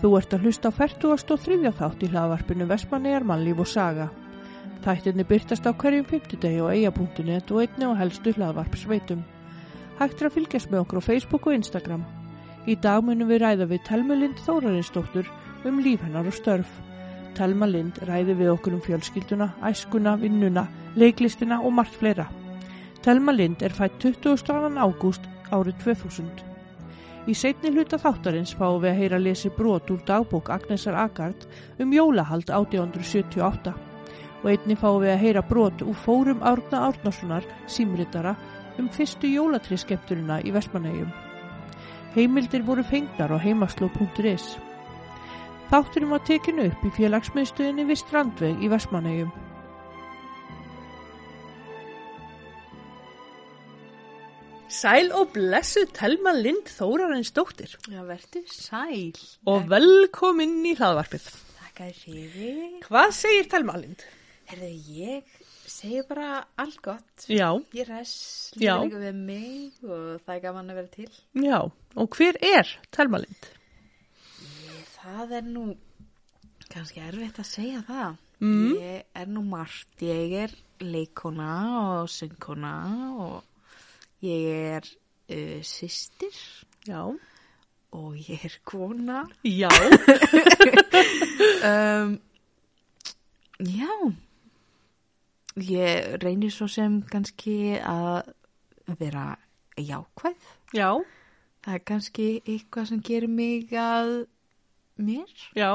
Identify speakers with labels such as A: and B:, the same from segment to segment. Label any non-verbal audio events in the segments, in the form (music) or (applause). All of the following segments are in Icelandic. A: Þú ert að hlusta á 43. þátt í hlaðvarpinu Vestmannegar mannlíf og saga. Þættinni byrtast á hverjum fymtudegi og eiga.net og einni og helstu hlaðvarpsveitum. Hægt er að fylgjast með okkur á Facebook og Instagram. Í dag munum við ræða við Telma Lind Þórarinsdóttur um líf hennar og störf. Telma Lind ræði við okkur um fjölskylduna, æskuna, vinnuna, leiklistina og margt fleira. Telma Lind er fætt 22. ágúst árið 2000. Í seinni hluta þáttarins fáum við að heyra lesi brot úr dagbók Agnesar Agard um jólahald 1878 og einni fáum við að heyra brot úr fórum Árna Árnasonar, símritara, um fyrstu jólatriskepturina í Vestmannegjum. Heimildir voru fengnar á heimasló.is. Þátturinn var tekinu upp í félagsmiðstöðinni við Strandveg í Vestmannegjum. Sæl og blessu Telma Lind Þórarinsdóttir
B: Já, verður sæl.
A: og velkomin í hlaðvarpið.
B: Takk að fyrir.
A: Hvað segir Telma Lind?
B: Herðu, ég segi bara allt gott.
A: Já,
B: Ég res,
A: Já.
B: líka við mig og það er gaman að vera til.
A: já. Og hver er Telma Lind?
B: Það er nú kannski erfitt að segja það. Mm. Ég er nú margt. Ég er leikona og söngkona og ég er uh, sýstir
A: Já.
B: og ég er kona.
A: Já.
B: um, já ég reynir svo sem kannski að vera jákvæð
A: (laughs) já,
B: það er kannski eitthvað sem gerir mig að mér
A: já.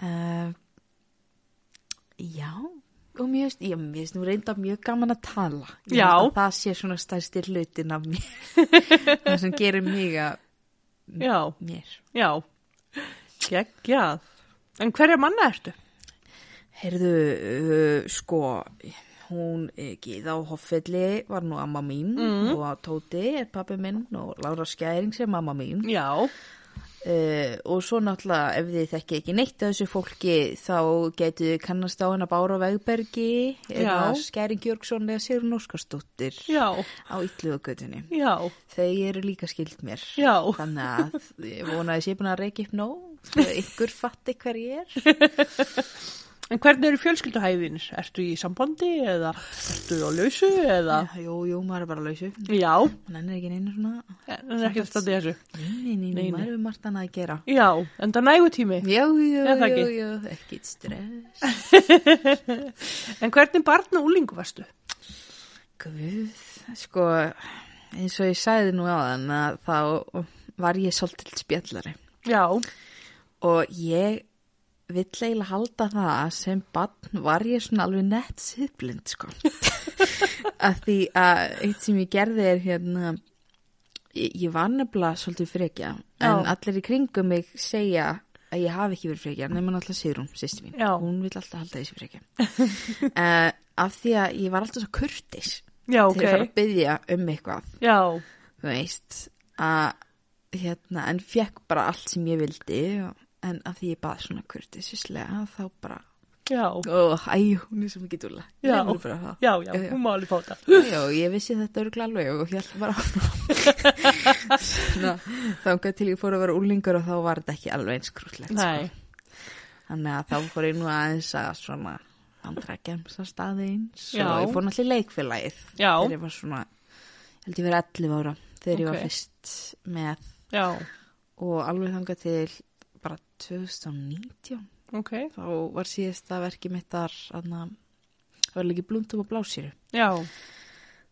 B: uh, já og mér veist, ég mér veist nú reynda mjög gaman að tala Ég
A: Já.
B: held að það sé svona stærsti hlutin af mér (laughs) það sem gerir mig að
A: Já,
B: mér
A: já. Geggjað. En hverja manna ertu?
B: Herðu, uh, sko, hún uh, Gíða og Hoffelli var nú amma mín og Tóti er pappi minn og Lára Skæring er mamma mín.
A: Já.
B: Uh, og svo náttúrulega ef þið þekki ekki neitt af þessu fólki þá getu þið kannast á hennar Bára Vegbergi eða
A: Já.
B: Skæring Jörgsson eða Sigrun Óskarsdóttir
A: Já,
B: á Ylluðugutinni.
A: já,
B: Þau eru líka skild mér.
A: já.
B: Þannig að ég vona að ég sé búin að reykja upp nóg, svo ykkur fatti hver ég er.
A: En hvernig eru fjölskylduhæðinir? Ertu í sambandi eða ertu á lausu eða?
B: Jú, jú, maður er bara lausu.
A: Já,
B: Hann ennir ekki neina svona
A: en er ekki að standa í þessu.
B: Nei, nei, nei,
A: Nei, nei.
B: maður er margt annað að gera.
A: Já, en það nægu tími.
B: Já, já,
A: Er það
B: já,
A: ekki?
B: já, ekkit stress.
A: En hvernig barn og úlingu varstu?
B: Guð, sko, eins og ég sagði nú áðan að þá var ég svolítil spjallari.
A: Já,
B: Og ég vill eiginlega halda það að sem barn var ég svona alveg nett siðblind,
A: (laughs)
B: sko. að því að eitt sem ég gerði er hérna, ég, ég var nefnilega svolítið frekja. En
A: Já.
B: allir í kringum mig segja að ég hafi ekki verið frekja, nema náttúrulega Sigrún, sýsti mín.
A: Já.
B: Hún vill alltaf halda þessi
A: (laughs)
B: frekja. uh, af því að ég var alltaf svo kurtis
A: já,
B: til að
A: ok.
B: fara að byggja um eitthvað
A: Já,
B: þú veist að hérna, en fekk bara allt sem ég vildi og, en að því ég bað svona kurtisislega þá bara,
A: já,
B: ó, æ, hún er svo mikið dúla
A: Já.
B: Leyfðu mér bara það.
A: já, já, hún má alveg fá það.
B: já, ég vissi þetta örgla alveg og hjálp bara (laughs) áfram þá gæti til ég fór að vera úlingur og þá var þetta ekki alveg eins krúllegt
A: Nei,
B: sko. þannig að þá fór ég nú aðeins að svona andra gemsa staði eins
A: Já.
B: og ég fór náttúrulega í leikfélagið
A: Já.
B: þegar ég var svona, ég held ég verið 11 ára þegar ég var
A: Ok.
B: fyrst með
A: já,
B: og alveg þangað til bara 2019
A: ok,
B: þá var síðasta verkið mitt þar aðna, það var líki blúndum og blásýru
A: já,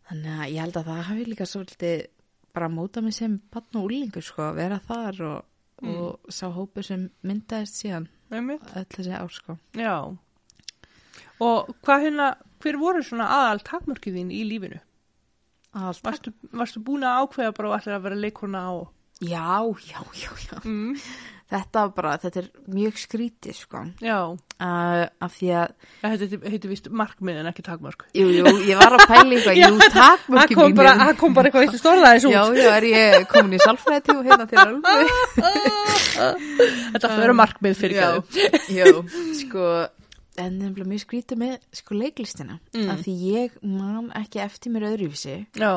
B: þannig að ég held að það hafi líka svolítið bara móta mig sem bann og úlingur sko, að vera þar og,
A: Mm.
B: og sá hópu sem myndaðist síðan
A: með mitt.
B: öll þessi ár sko
A: Já. Og hvað hérna, hver voru svona aðal takmörkið þín í lífinu?
B: Allt.
A: Varstu, varstu búin að ákveða bara allir að vera leikona á?
B: Já, já, já, já
A: Mm.
B: Þetta var bara, þetta er mjög skrítið sko
A: Já,
B: uh, af því að
A: það heiti, heiti vist markmið en ekki takmörk.
B: Jú, jú, ég var að pæla
A: (laughs)
B: eitthvað, jú, takk
A: Það kom, bara, það kom bara eitthvað eitt stórðaðis út.
B: Já, já, er ég komin í salfræti og hérna til alveg. (laughs)
A: Þetta ætti að vera markmið fyrir
B: já,
A: gæðu.
B: já, sko, en nefnilega mjög skrítið með sko leiklistina. Mm. Af því ég man ekki eftir mér öðruvísi
A: Já,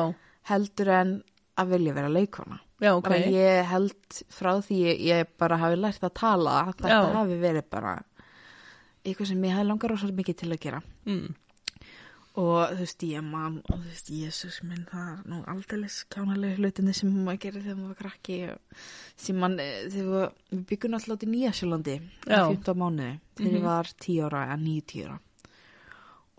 B: heldur en að vilja vera leikona
A: Já, ok.
B: bara ég held frá því ég, ég bara hafi lært að tala að þetta
A: Já.
B: hafi verið bara eitthvað sem ég hafi langar rosa mikið til að gera
A: Mm.
B: og þú veist ég man og þú veist Jésús minn það er nú aldeilis kjánalegu hlutinni sem maður gerir þegar maður var krakki og sem mann eh, þegar við- við byggum alltaf út í Nýja Sjölandi
A: Já. Mhm.
B: 15 mánuði þegar ég var 10 ára eða 9-10 ára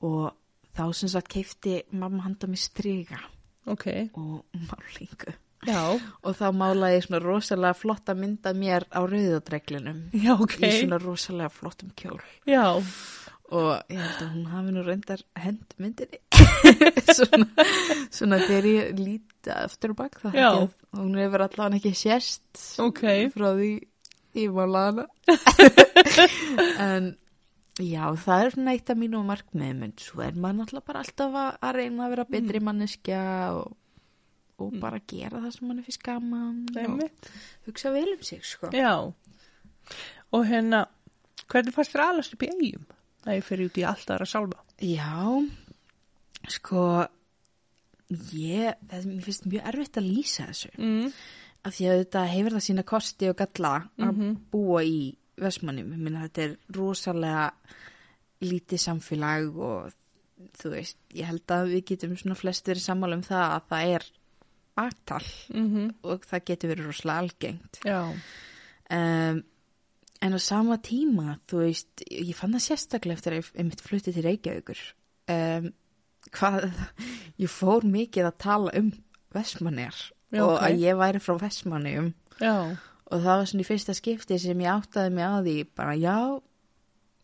B: og þá sem sagt keifti mamma handa mér striga
A: Ok.
B: og málingu
A: Já.
B: og þá málaði ég svona rosalega flotta mynda mér á rauðadreglinum
A: Já, ok.
B: í svona rosalega flottum kjól
A: Já.
B: og ég held að hún hafi nú reyndar hend myndinni (laughs) svona, svona þegar ég líti aftur og bak það
A: Já.
B: held ég að hún hefur allavega ekki sérst
A: Ok.
B: frá því ég var lana (laughs) en já það er svona eitt af mínu markmiðum en svo er maður náttúrulega bara alltaf að, að reyna að vera
A: Mm.
B: betri manneskja og, og bara gera það sem mann er fyrir skaman og
A: Einmitt.
B: hugsa vel um sig sko
A: Já. Og hérna, hvernig fannst þér aðlast upp í eigum? Það ég fyrir út í allt aðra sálma.
B: Já, sko, ég, það, mér finnst mjög erfitt að lýsa þessu.
A: Mm.
B: Af því að þetta hefur það sína kosti og galla að
A: Mhm.
B: búa í Vestmannum. Ég minna þetta er rosalega lítið samfélag og þú veist, ég held að við getum svona flest verið sammála um það að það er baktal
A: Mm
B: og það getur verið rosalega algengt.
A: Já.
B: Um, en á sama tíma, þú veist, ég fann það sérstaklega eftir að ég einmitt flutti til Reykjavíkur. Um, hvað, (laughs) ég fór mikið að tala um Vestmanniar
A: Já,
B: og
A: ok.
B: að ég væri frá Vestmannium
A: Já.
B: og það var svona í fyrsta skipti sem ég áttaði mig að því bara já,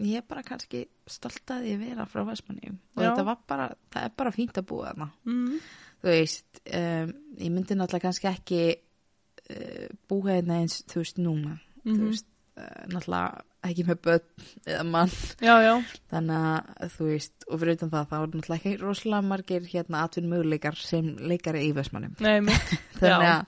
B: ég er bara kannski stolt að ég vera frá Vestmannium og
A: Já.
B: þetta var bara, það er bara fínt að búa þarna
A: Mm.
B: þú veist, um, ég myndi náttúrulega kannski ekki uh, búa hérna eins, þú veist, núna þú
A: Mhm.
B: veist, uh, náttúrulega ekki með börn eða mann,
A: Já, já.
B: þannig að þú veist, og fyrir utan það, þá er náttúrulega ekki rosalega margir hérna atvinnum möguleikar sem leikari í Vestmannum,
A: Nei, mitt.
B: (laughs) þannig
A: Já.
B: að,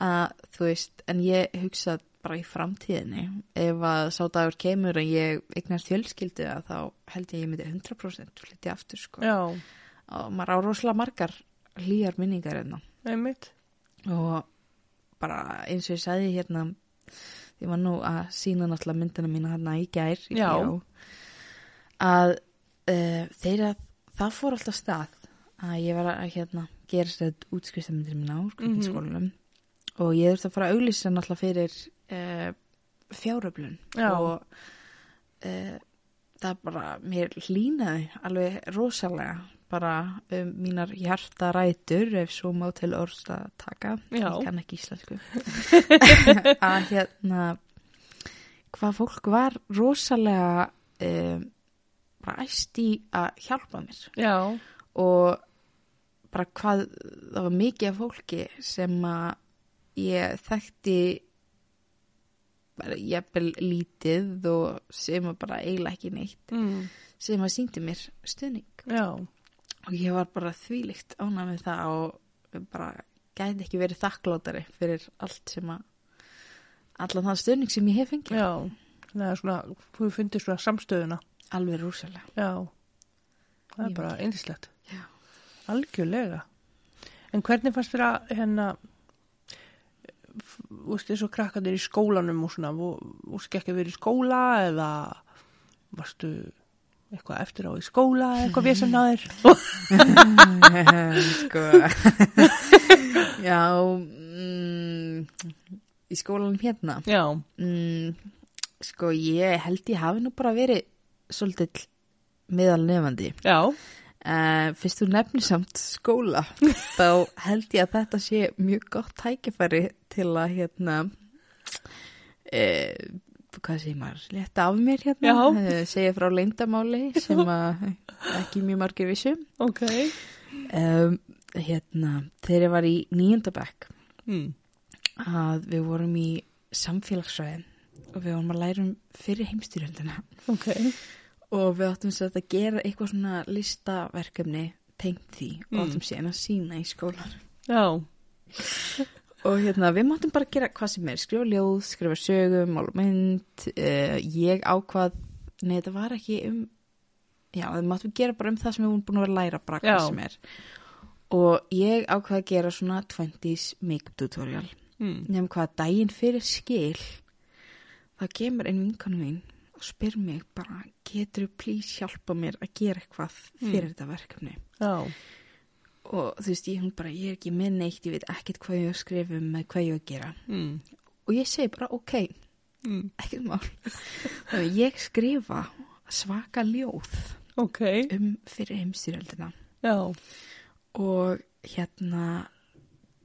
B: að þú veist, en ég hugsa bara í framtíðinni, ef að sá dagur kemur en ég eignast fjölskyldu að þá held ég að ég myndi 100% flytja aftur, sko,
A: Já.
B: og maður á rosalega margar hlýjar minningar hérna
A: Nei, mitt.
B: og bara eins og ég sagði hérna ég var nú að sína náttúrulega myndina mína hérna í gær í
A: Já.
B: bíó, að uh, þeirra það fór alltaf stað að ég var að hérna gera þetta útskrifstamyndir mína úr kvikmyndaskólanum og ég þurfti að fara að auglýsa náttúrulega fyrir uh, fjáröflun
A: Já.
B: og uh, það bara mér línaði alveg rosalega bara um mínar hjartarætur ef svo má til orðst að taka
A: Já.
B: ég kann ekki íslensku
A: (laughs)
B: að hérna hvað fólk var rosalega um, bara æst í að hjálpa mér
A: Já.
B: og bara hvað það var mikið af fólki sem að ég þekkti bara jafnvel lítið og sem að bara eiginlega ekki neitt
A: Mm.
B: sem að síndi mér stuðning
A: Já.
B: og ég var bara þvílíkt ánað með það og bara gæti ekki verið þakklátari fyrir allt sem að allan þann stuðning sem ég hef fengið
A: Já. Það er svona, þú fundir svona samstöðuna.
B: alveg rúsalega
A: Já. Það er
B: Mjög
A: bara eindislegt.
B: Já.
A: Algjörlega. En hvernig fannst þér að hérna f- þú veist eins og krakkandir í skólanum og svona, þú veist ekki að vera í skóla eða varstu eitthvað eftir á í skóla eitthvað vesen að þér
B: sko já mm, í skólanum hérna
A: Já,
B: mm, sko ég held ég hafi nú bara verið svolítið meðal nefandi
A: já,
B: uh, fyrst þú nefnir samt skóla þá held ég að þetta sé mjög gott tækifæri til að hérna uh, hvað segir maður, leta af mér hérna
A: Já.
B: eh, segja frá leyndamáli sem að ekki mjög margir vissum
A: ok
B: um, hérna, þegar ég var í nýjöndabæk
A: mm.
B: að við vorum í samfélagsræðin og við vorum að læra um fyrir heimstyrjöldina
A: Ok,
B: og við áttum sér að gera eitthvað svona listaverkefni tengt því og
A: Mm.
B: áttum sér að sína í skólar
A: já,
B: og hérna við máttum bara gera hvað sem er skrifa ljóð, skrifa sögum, mála mynd uh, ég ákvað nei þetta var ekki um já við máttum gera bara um það sem við vorum búin að vera að læra bara hvað
A: Já.
B: sem er og ég ákvað að gera svona 20s make-up tutorial
A: Mm.
B: nefn hvað daginn fyrir skil það kemur einn vinkonu mín og spyr mig bara getur þú please hjálpa mér að gera eitthvað fyrir þetta verkefni
A: Já.
B: og þú veist ég hún bara ég er ekki með neitt, ég veit ekkert hvað ég á að skrifa um eða hvað ég á að gera
A: Mm.
B: og ég segi bara ok, (laughs)
A: Mm.
B: ekkert mál þannig að ég skrifa svaka ljóð
A: Ok.
B: um fyrir heimstyrjöldina
A: Já.
B: og hérna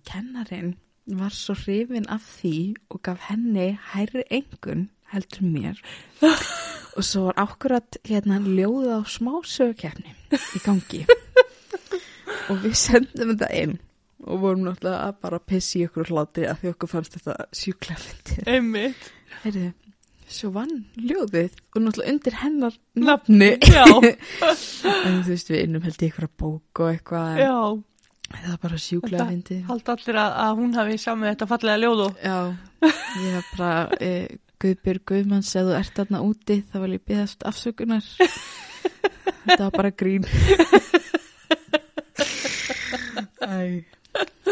B: kennarin var svo hrifin af því og gaf henni hærri engun heldur en (laughs) mér og svo var ákkurat hérna ljóða á smásögukefni í gangi (laughs) og við sendum þetta inn og vorum náttúrulega að bara pissi í okkur hláti að því okkur fannst þetta sjúklega fyndið.
A: Einmitt.
B: Heyrðu, svo vann ljóðið og náttúrulega undir hennar
A: Nafni. (laughs) Já.
B: en þú veist við innum held í eitthvað bók og eitthvað en
A: Já.
B: það var bara sjúklega fyndið.
A: Haldi allir að, að hún hafi samið þetta fallega ljóðu.
B: Já, ég var bara eh, Guðbjörg Guðmanns, ef þú ert þarna úti þá vil ég byggðast (laughs) afsökunar Þetta var bara grín Æ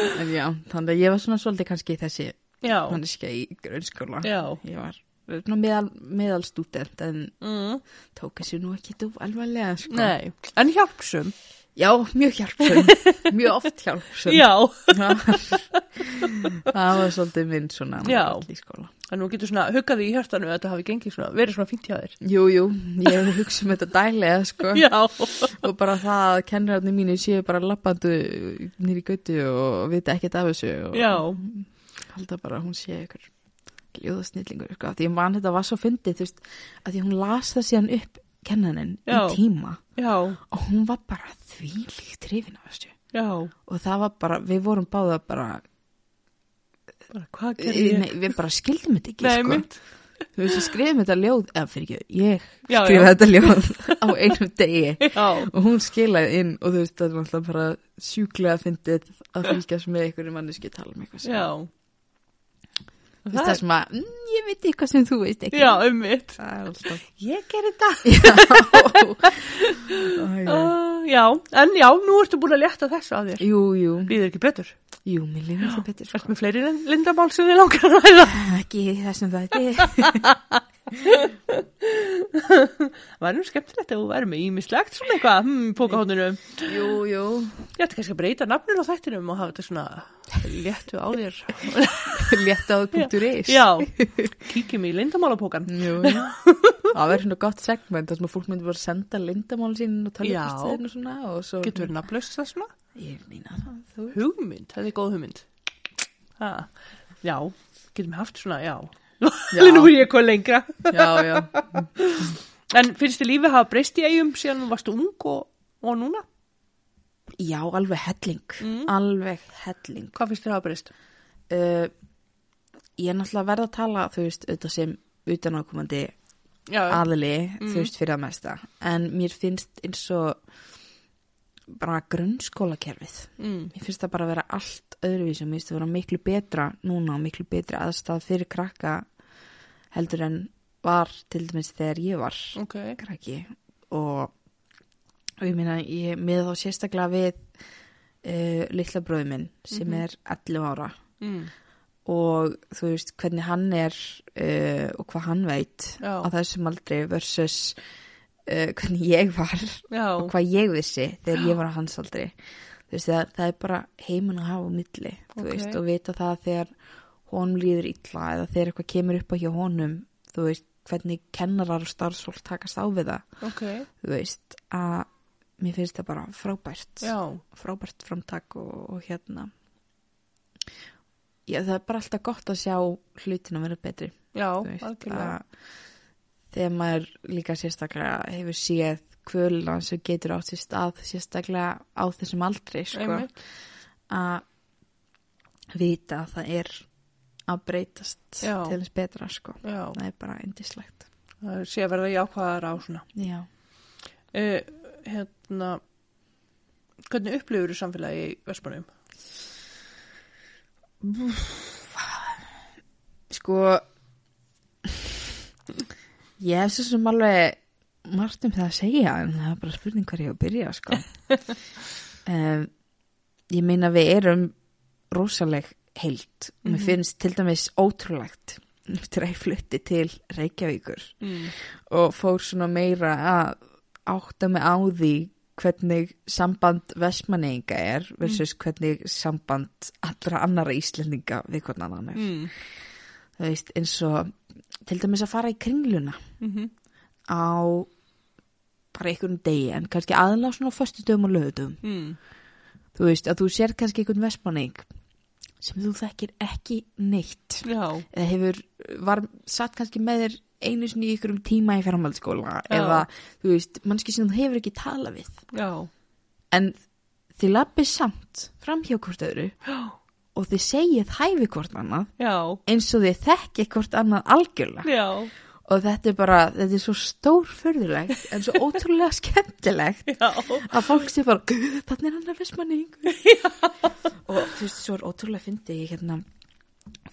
B: En já, þannig að ég var svona svolítið kannski þessi
A: Já.
B: manneskja í grunnskóla
A: Já.
B: Ég var svona meðal, meðal stúdent en
A: Mm.
B: tók þessu nú ekki þú alvarlega sko.
A: Nei. En hjálpsum.
B: Já, mjög hjálpsum Mjög oft hjálpsum (laughs)
A: Já.
B: Það var svolítið minn svona
A: Já.
B: í skóla
A: En nú getur svona huggaði í hjartanu að þetta hafi gengið svona, verið svona fínt hjá þér.
B: Jú, jú, ég hugsa um þetta dælega, sko,
A: Já.
B: og bara það að kennararnir mínu séu bara lappandu nýri götu og vita ekkert af þessu og
A: Já.
B: halda bara að hún sé ykkur ljóðasnillingur, sko, af því ég man þetta var svo fyndið, þú veist, af því hún las það síðan upp kennaninn í
A: Já.
B: tíma
A: Já.
B: og hún var bara þvílíkt hrifin af þessu
A: Já.
B: og það var bara, við vorum báða bara, eh,
A: Bara, hvað gerir ég?
B: nei, við bara skildum þetta ekki,
A: Nei,
B: sko.
A: mitt.
B: Þú veist, ég skrifum þetta ljóð, eða fyrir ekki, ég
A: Já, já.
B: skrifa þetta ljóð á einum degi.
A: Já.
B: og hún skilaði inn og þú veist það er náttúrulega bara sjúklega fyndið að fylgjast með einhverju manneski tala um eitthvað sem-
A: Já.
B: Þú veist, það sem að mm, ég veit eitthvað sem þú veist ekki
A: Já, einmitt.
B: það er alltaf
A: Ég gerir þetta.
B: (laughs) Æ, æ.
A: Uh, já, en já, nú ertu búin að létta þessu af þér.
B: jú, jú,
A: Býður ekki betur.
B: jú, mér lífum það betur
A: Ertu
B: sko.
A: með fleiri lin- lindarmál sem þið langar að ræða?
B: ekki í þessum þetta
A: Það væri nú skemmtilegt ef þú væri með ímislegt svona eitthvað, hm, pókahóndinu.
B: jú, jú,
A: Ég ætti kannski að breyta nafninu á þættinum og hafa þetta svona léttu á þér.
B: léttáð.is
A: Já, (laughs) kíkjum í lindamálapókan.
B: jú, jú það verður svona gott segment þar sem að fólk myndi bara senda lindamál sín og tala
A: Já.
B: um og svona og svo
A: Getur verið nafnlaust það svona?
B: ég nýna það, þú
A: Hugmynd, það er góð hugmynd. Ha. Já, getum við haft svona, já.
B: Já.
A: (laughs) Nú er ég eitthvað lengra.
B: já, já,
A: En finnst þið lífið hafa breyst í eigum síðan þú varst ung og, og núna?
B: já, alveg helling
A: Mm.
B: alveg helling
A: Hvað finnst þið hafa breyst?
B: uh, ég er náttúrulega að verða að tala þú veist, auðvitað sem utanákomandi
A: Já,
B: aðli, þú veist, fyrir að mesta en mér finnst eins og bara grunnskólakerfið
A: mm.
B: mér finnst það bara að vera allt öðruvísi og mér finnst það að vera miklu betra núna og miklu betri aðstæð fyrir krakka heldur en var til dæmis þegar ég var
A: ok.
B: krakki og, og ég meina ég með þá sérstaklega við uh, litla bróði minn sem er 11 ára
A: Mm.
B: og þú veist hvernig hann er uh, og hvað hann veit
A: Já.
B: á þessum aldri versus uh, hvernig ég var
A: Já,
B: og hvað ég vissi þegar ég var á hans aldri þú veist það, það er bara heimin að hafa á milli þú
A: Ok.
B: veist og vita það þegar honum líður illa eða þegar eitthvað kemur upp á hjá honum þú veist hvernig kennarar og starfsfólk takast á við það
A: ok.
B: þú veist að mér finnst það bara frábært
A: Já,
B: frábært framtak og, og hérna já, það er bara alltaf gott að sjá hlutin að vera betri
A: já,
B: þú veist,
A: algjörlega.
B: að þegar maður líka sérstaklega hefur séð kvöluna sem getur átt sér stað sérstaklega á þessum aldri sko,
A: Einmitt.
B: að vita að það er að breytast
A: Já.
B: til þess betra sko.
A: Já,
B: það er bara indislegt
A: það sé að verða jákvæðar á svona.
B: já
A: Uh, hérna, hvernig upplifur þú samfélagi í Vespunum?
B: sko ég hef svo sem alveg margt um það að segja en það er bara spurning hver ég á að byrja sko um, ég meina við erum rosaleg heilt. Mér finnst til dæmis ótrúlegt eftir að ég flutti til Reykjavíkur
A: Mm.
B: og fór svona meira að átta mig á því hvernig samband vestmanninga er versus hvernig samband allra annara íslendinga við hvernig annan er.
A: Mm.
B: Það veist eins og til dæmis að fara í kringluna
A: Mm
B: á bara einhverjum degi en kannski aðlega svona á föstudöfum og lögutum.
A: mm.
B: Þú veist að þú sér kannski einhvern vestmanning sem þú þekkir ekki neitt
A: Já,
B: eða hefur, var satt kannski með þér einu sinni í ykkur um tíma í framhaldsskóla eða, þú veist, mannski sem þú hefur ekki talað við
A: já, (gasps)
B: en þið lappið samt fram hjá hvort öðru
A: já,
B: og þið segið hæfi hvort annað
A: já,
B: eins og þið þekkið hvort annað algjörlega
A: já,
B: og þetta er bara, þetta er svo stór fyrðulegt en svo ótrúlega skemmtilegt
A: já.
B: að fólk sé bara, "Guð, þarna er annar vestmanning og þú veist, svo er ótrúlega fyndi ég hérna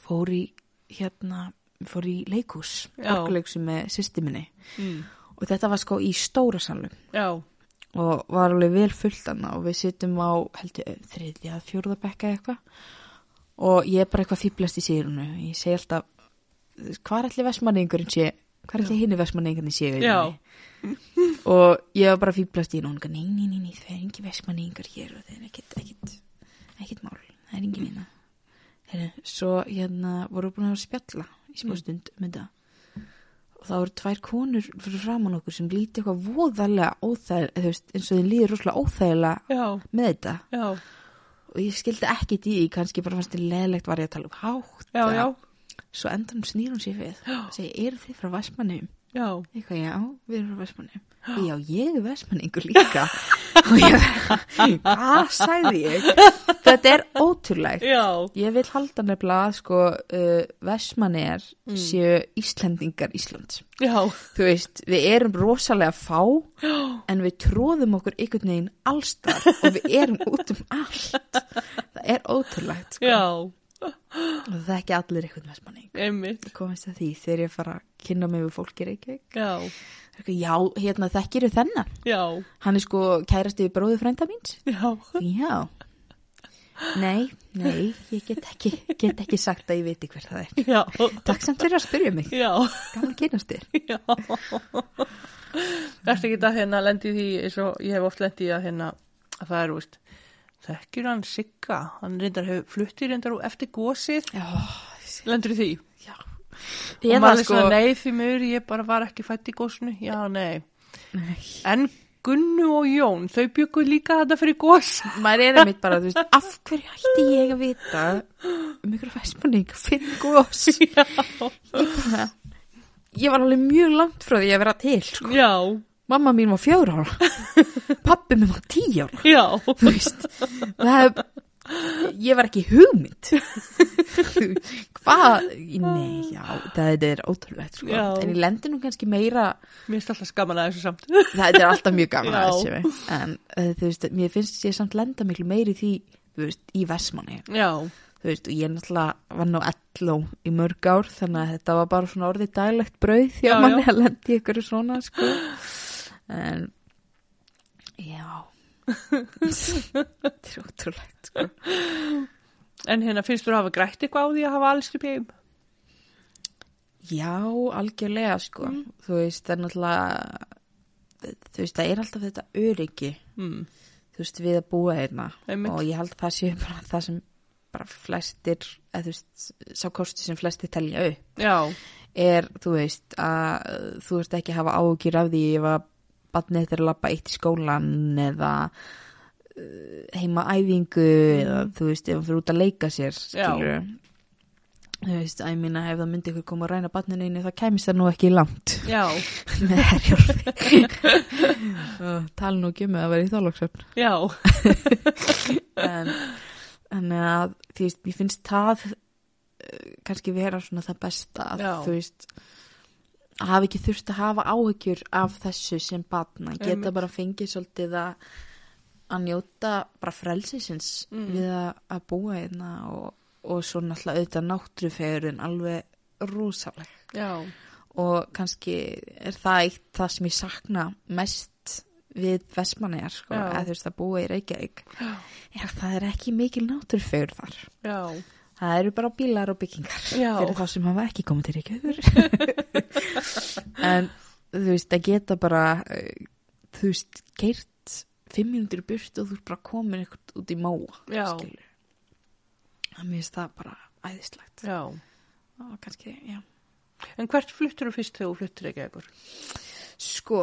B: fór í hérna, fór í leikús
A: Já.
B: orkuleiksu með systir minni
A: Mm.
B: og þetta var sko í stóra salum
A: Já,
B: og var alveg vel fullt hana og við sittum á, heldur, þriðja fjórða bekka eitthvað og ég er bara eitthvað fýblast í síðrunu ég segi alltaf, hvað er allir vestmanningurinn sé hvað er allir hinni vestmanningurinn sé
A: Já.
B: og ég var bara fýblast í hún og hún gaf, nei, nei, nei, nei, það er engin vestmanningur hér og það er ekkit, ekkit, ekkit mál það er engin hérna Heru, svo hérna voru búin að spjalla
A: Mm.
B: í smá stund um þetta og það voru tvær konur fyrir framann okkur sem líti eitthvað voðalega óþægilega, þú veist, eins og þeim líður rosalega óþægilega
A: já,
B: með þetta
A: já,
B: og ég skildi ekkit í því, kannski bara fannst þið leðlegt var ég að tala um hátt
A: já,
B: eða-
A: já,
B: svo endanum snýr hún sér við
A: (gasps)
B: og segir, eru þið frá Vestmannum?
A: já,
B: eitthvað, já, við erum frá Vestmannum já, ég er Vestmanningur líka og ég, (laughs) hvað sagði ég? þetta er ótrúlegt
A: já,
B: ég vil halda nefnilega að sko uh, Vestmannir séu Íslendingar Íslands
A: já,
B: þú veist, við erum rosalega fá en við tróðum okkur einhvern veginn allstar og við erum út um allt það er ótrúlegt sko.
A: já,
B: og það er ekki allir einhvern vestmanning
A: einmitt,
B: ég komast að því þegar ég fara að kynna mig við fólk í Reykjavík
A: já,
B: Það er eitthvað, já, hérna þekkir þau þennan
A: já,
B: hann er sko kærasti við bróðu frænda míns
A: já,
B: já nei, nei, ég get ekki get ekki sagt að ég viti hver það er
A: já,
B: takk samt fyrir að spyrja mig,
A: já,
B: gaman að kynast þér
A: já. Verst ekki það hérna lendi því eins og ég hef oft lendi að hérna að það er, veist, þekkir hann Sigga, hann reyndar hefur fluttir reyndar og eftir gósið,
B: já,
A: lendur því.
B: já
A: og
B: eða
A: maður er
B: sko
A: svona, nei því mjögur, ég bara var ekki fætt í gósinu, já, nei.
B: nei.
A: En Gunnu og Jón, þau byggu líka þetta fyrir gós.
B: maður er einmitt bara, þú veist, af hverju ætti ég að vita um ykkur fæsmanning fyrir gos ég, bara, ég var alveg mjög langt frá því að vera til sko.
A: Já,
B: mamma mín var fjár ára pappi minn var tí ára
A: já,
B: þú veist það, ég var ekki hugmynd hvað nei, já, það er ótrúlegt sko.
A: Já.
B: en ég lendi nú kannski meira
A: mér finnst alltaf skaman að þessu samt.
B: það er alltaf mjög gaman að
A: Já.
B: þessu en uh, þú veist, mér finnst ég samt lenda miklu meiri í því, þú veist, í Vestmanni
A: Já,
B: þú veist, og ég náttúrulega var nú elló í mörg ár, þannig að þetta var bara svona orðið dælegt brauð því
A: Já,
B: að manni
A: já.
B: að lenda í ykkur svona, sko en já
A: (laughs)
B: þetta er ótrúlegt, sko
A: en hérna finnst þú að hafa grætt eitthvað á því að hafa alls upp í heim?
B: já, algjörlega, sko þú veist, það er náttúrulega þú veist, það er alltaf þetta öryggi
A: Mm.
B: þú veist, við að búa hérna
A: Einmitt.
B: og ég held að það sé bara það sem bara flestir, eða þú veist, sá kosti sem flestir telja upp
A: Já,
B: er, þú veist, að uh, þú veist ekki að hafa áhugir af því ef að barnið þetta er að labba eitt í skólan eða uh, heima á æfingu eða þú veist, ef hann fyrir út að leika sér skilur þú veist, að ég minna ef það myndi ykkur koma að ræna barninu einu það kæmist það nú ekki langt
A: (laughs) já,
B: með (laughs) herjálfi tala nú ekki um að það væri í þálagsöfn
A: já,
B: en, en að, þú veist, mér finnst það eh, kannski vera svona það besta að
A: Já.
B: þú veist að hafa ekki þurft að hafa áhyggjur af þessu sem batna, geta
A: Einmitt.
B: bara fengið svolítið að að njóta bara frelsisins
A: Mm.
B: við að, að búa hérna og, og svo náttúrulega auðvitað náttúrufegurinn alveg rosaleg
A: já,
B: og kannski er það eitt það sem ég sakna mest við Vestmannegar sko,
A: Já.
B: að þú veist að búa í Reykjavík já, það er ekki mikil náttúrufegur þar
A: Já,
B: það eru bara bílar og byggingar
A: Já.
B: fyrir þá sem hafa ekki komið
A: (laughs)
B: til Reykjavíkur en þú veist að geta bara eh, þú veist, keirt fimm mínútur í burt og þú ert bara komin eitthvað út í móa
A: Já.
B: skilur. það mér finnst það bara æðislegt
A: já.
B: og kannski, já
A: En hvert fluttur þú fyrst þegar þú fluttur ekki ekkur?
B: Sko,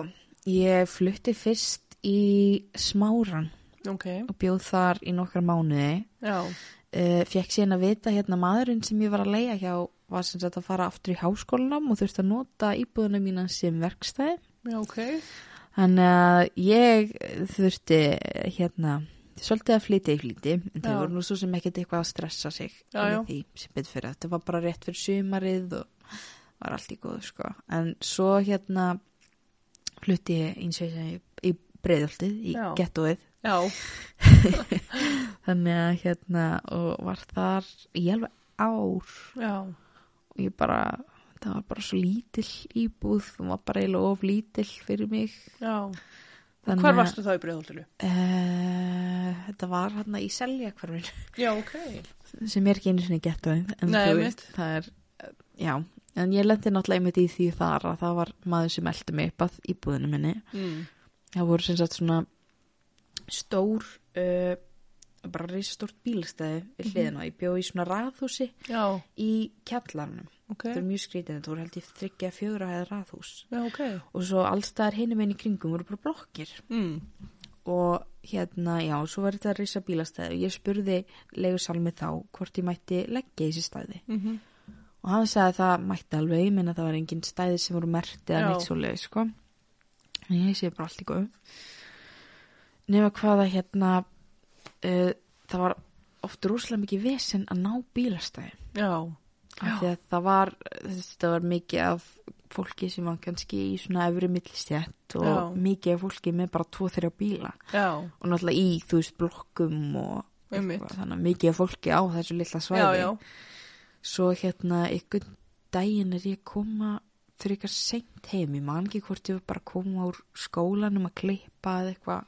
B: ég flutti fyrst í Smáran
A: Ok,
B: og bjóð þar í nokkra mánuði.
A: já,
B: Uh, fekk síðan að vita hérna maðurinn sem ég var að leiga hjá var sem sagt að fara aftur í háskólanum og þurfti að nota íbúðuna mína sem verkstæði.
A: já, ok.
B: Þannig að ég þurfti eh, hérna svolítið að flytja í flýti en það
A: Já.
B: voru nú svo sem ekkert eitthvað að stressa sig
A: Já,
B: yfir
A: já.
B: því sem betur fyrir þetta var bara rétt fyrir sumarið og var allt í góðu sko en svo hérna flutti ég eins og ég segi, í breiðaldið í
A: Já.
B: gettóið
A: Já,
B: þannig að hérna og var þar í alveg ár
A: já,
B: og ég bara það var bara svo lítill íbúð og var bara eiginlega of lítill fyrir mig
A: já.
B: Þannig
A: Hvar
B: að-
A: varstu þá í breiðholtinu?
B: Eh, þetta var hérna í selja
A: Já, ok.
B: sem er ekki einu sinni gett en
A: Nei,
B: þú
A: einmitt.
B: það er, eh, já en ég lendi náttúrulega einmitt í því þar að það var maður sem eldi mig upp að íbúðinu minni
A: Mm.
B: það voru sem sagt svona stór uh, bara reisastórt bílstæði við hliðina ég bjó í svona raðhúsi
A: Já,
B: í kjallarnum
A: ok.
B: þetta er mjög skrítið þetta voru held ég þryggja fjögra eða raðhús
A: Já, ok.
B: og svo allstaðar hinum einn í kringum voru bara blokkir
A: Mm.
B: og hérna, já, svo var þetta að reysa bílastæði og ég spurði leigusalmi þá hvort ég mætti leggja í þessi stæði
A: Mm -hmm.
B: og hann sagði að það mætti alveg, ég minna það var engin stæði sem voru merkt eða
A: Já.
B: neitt svo leið, sko en ég sé bara allt í góð nema hvað að hérna uh, það var oft rúslega mikið vesen að ná bílastæði
A: Já,
B: af því að það var þetta var mikið af fólki sem var kannski í svona efri millistjætt og
A: Já.
B: mikið af fólki með bara tvo-þrjá bíla
A: já,
B: og náttúrulega í, þú veist, blokkum og
A: Einmitt.
B: eitthvað, þannig að mikið af fólki á þessu lilla
A: já,
B: svæði
A: já.
B: svo hérna, einhvern daginn er ég að koma frekar seint heim, ég man ekki hvort ég var bara að koma úr skólanum að klippa eða eitthvað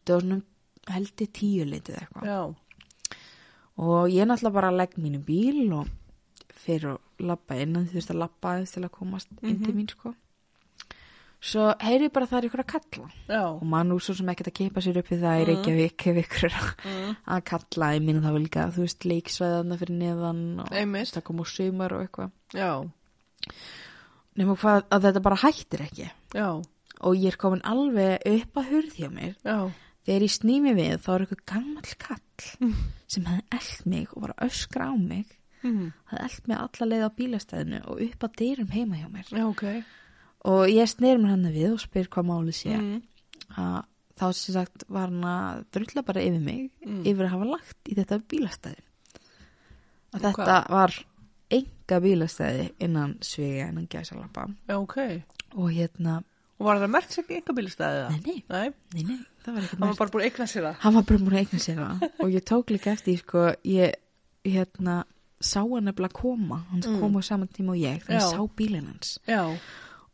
B: þetta var svona um heldi tíu litið eitthvað
A: Já,
B: og ég náttúrulega bara legg mínu bíl og fyrir að labba inn en þú veist að labba aðeins til að komast inn til mín sko svo heyri ég bara að það er ykkur að kalla
A: já,
B: og mann úr svo sem ekkert að keipa sér upp við það í Reykjavík ef ykkur er að- að kalla ég minna það var líka, þú veist, leiksvæðana fyrir neðan og
A: Einmitt.
B: það kom úr sumar og eitthvað
A: já,
B: nema hvað að þetta bara hættir ekki
A: já,
B: og ég er komin alveg upp að hurð hjá mér
A: já,
B: þegar ég snými við þá er eitthvað gammal kall sem hefði eld mig og var að öskra á mig
A: mm.
B: hafði eld mig alla leið á bílastæðinu og upp að dyrum heima hjá mér
A: já, ok.
B: og ég snýr mér hann við og spyr hvað málið sé
A: Mm.
B: að þá sem sagt var hann að drulla bara yfir mig
A: Mm.
B: yfir að hafa lagt í þetta bílastæði að þetta var enga bílastæði innan svega innan gæsalappa
A: Já, ok.
B: og hérna,
A: Og var það mert sem enga bílastæði það?
B: nei nei,
A: Nei,
B: nei, nei það var ekkert
A: hann var
B: mest
A: bara búin að eigna sér það.
B: hann var bara múin að eigna sér það og ég tók líka eftir sko, ég hérna sá hann nefnilega koma hann
A: Mm.
B: kom á saman tíma og ég
A: Já.
B: þannig ég sá bílinn hans
A: Já,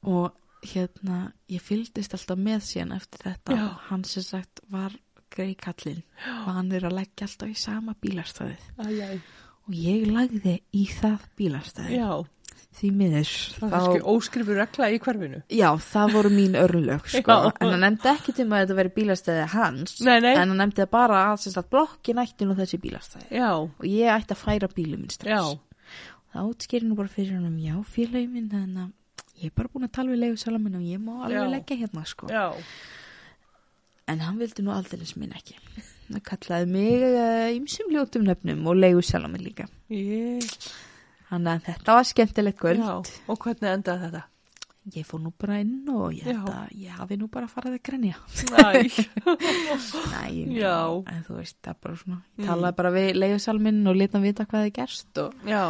B: og hérna ég fylgdist alltaf með síðan eftir þetta
A: Já.
B: hann sem sagt var grei kallinn og hann er að leggja alltaf í sama bílarstæðið
A: æjæ.
B: og ég lagði í það bílarstæði
A: Já,
B: því miður
A: það er kannski óskrifur regla í hverfinu.
B: já, það voru mín örlög sko.
A: (laughs) Já.
B: en hann nefndi ekki til maður að þetta veri bílarstæði hans
A: Nei, nei.
B: en hann nefndi bara að sem sagt blokkin ætti nú þessi bílarstæði
A: Já,
B: og ég ætti að færa bílum minn strax
A: já,
B: það útskýri nú bara fyrir hann um já, félagi minn þannig að ég er bara búin að tala við leigusalaminn og ég má alveg
A: Já.
B: leggja hérna sko
A: já,
B: En hann vildi nú aldeilis minn ekki. Hann kallaði mig eh, ýmsum ljótum nöfnum og leigu sjálf mig líka.
A: ég,
B: Þannig að þetta var skemmtilegt kvöld.
A: já. Og hvernig endaði þetta?
B: Ég fór nú bara inn og ég,
A: Já.
B: held að ég hafi nú bara farið að (laughs) grenja.
A: Æ,
B: Næ, ég meina,
A: Já.
B: en þú veist, það er bara svona, ég talaði bara við leigusalminn og leta hann vita hvað það gerst og
A: (laughs) já,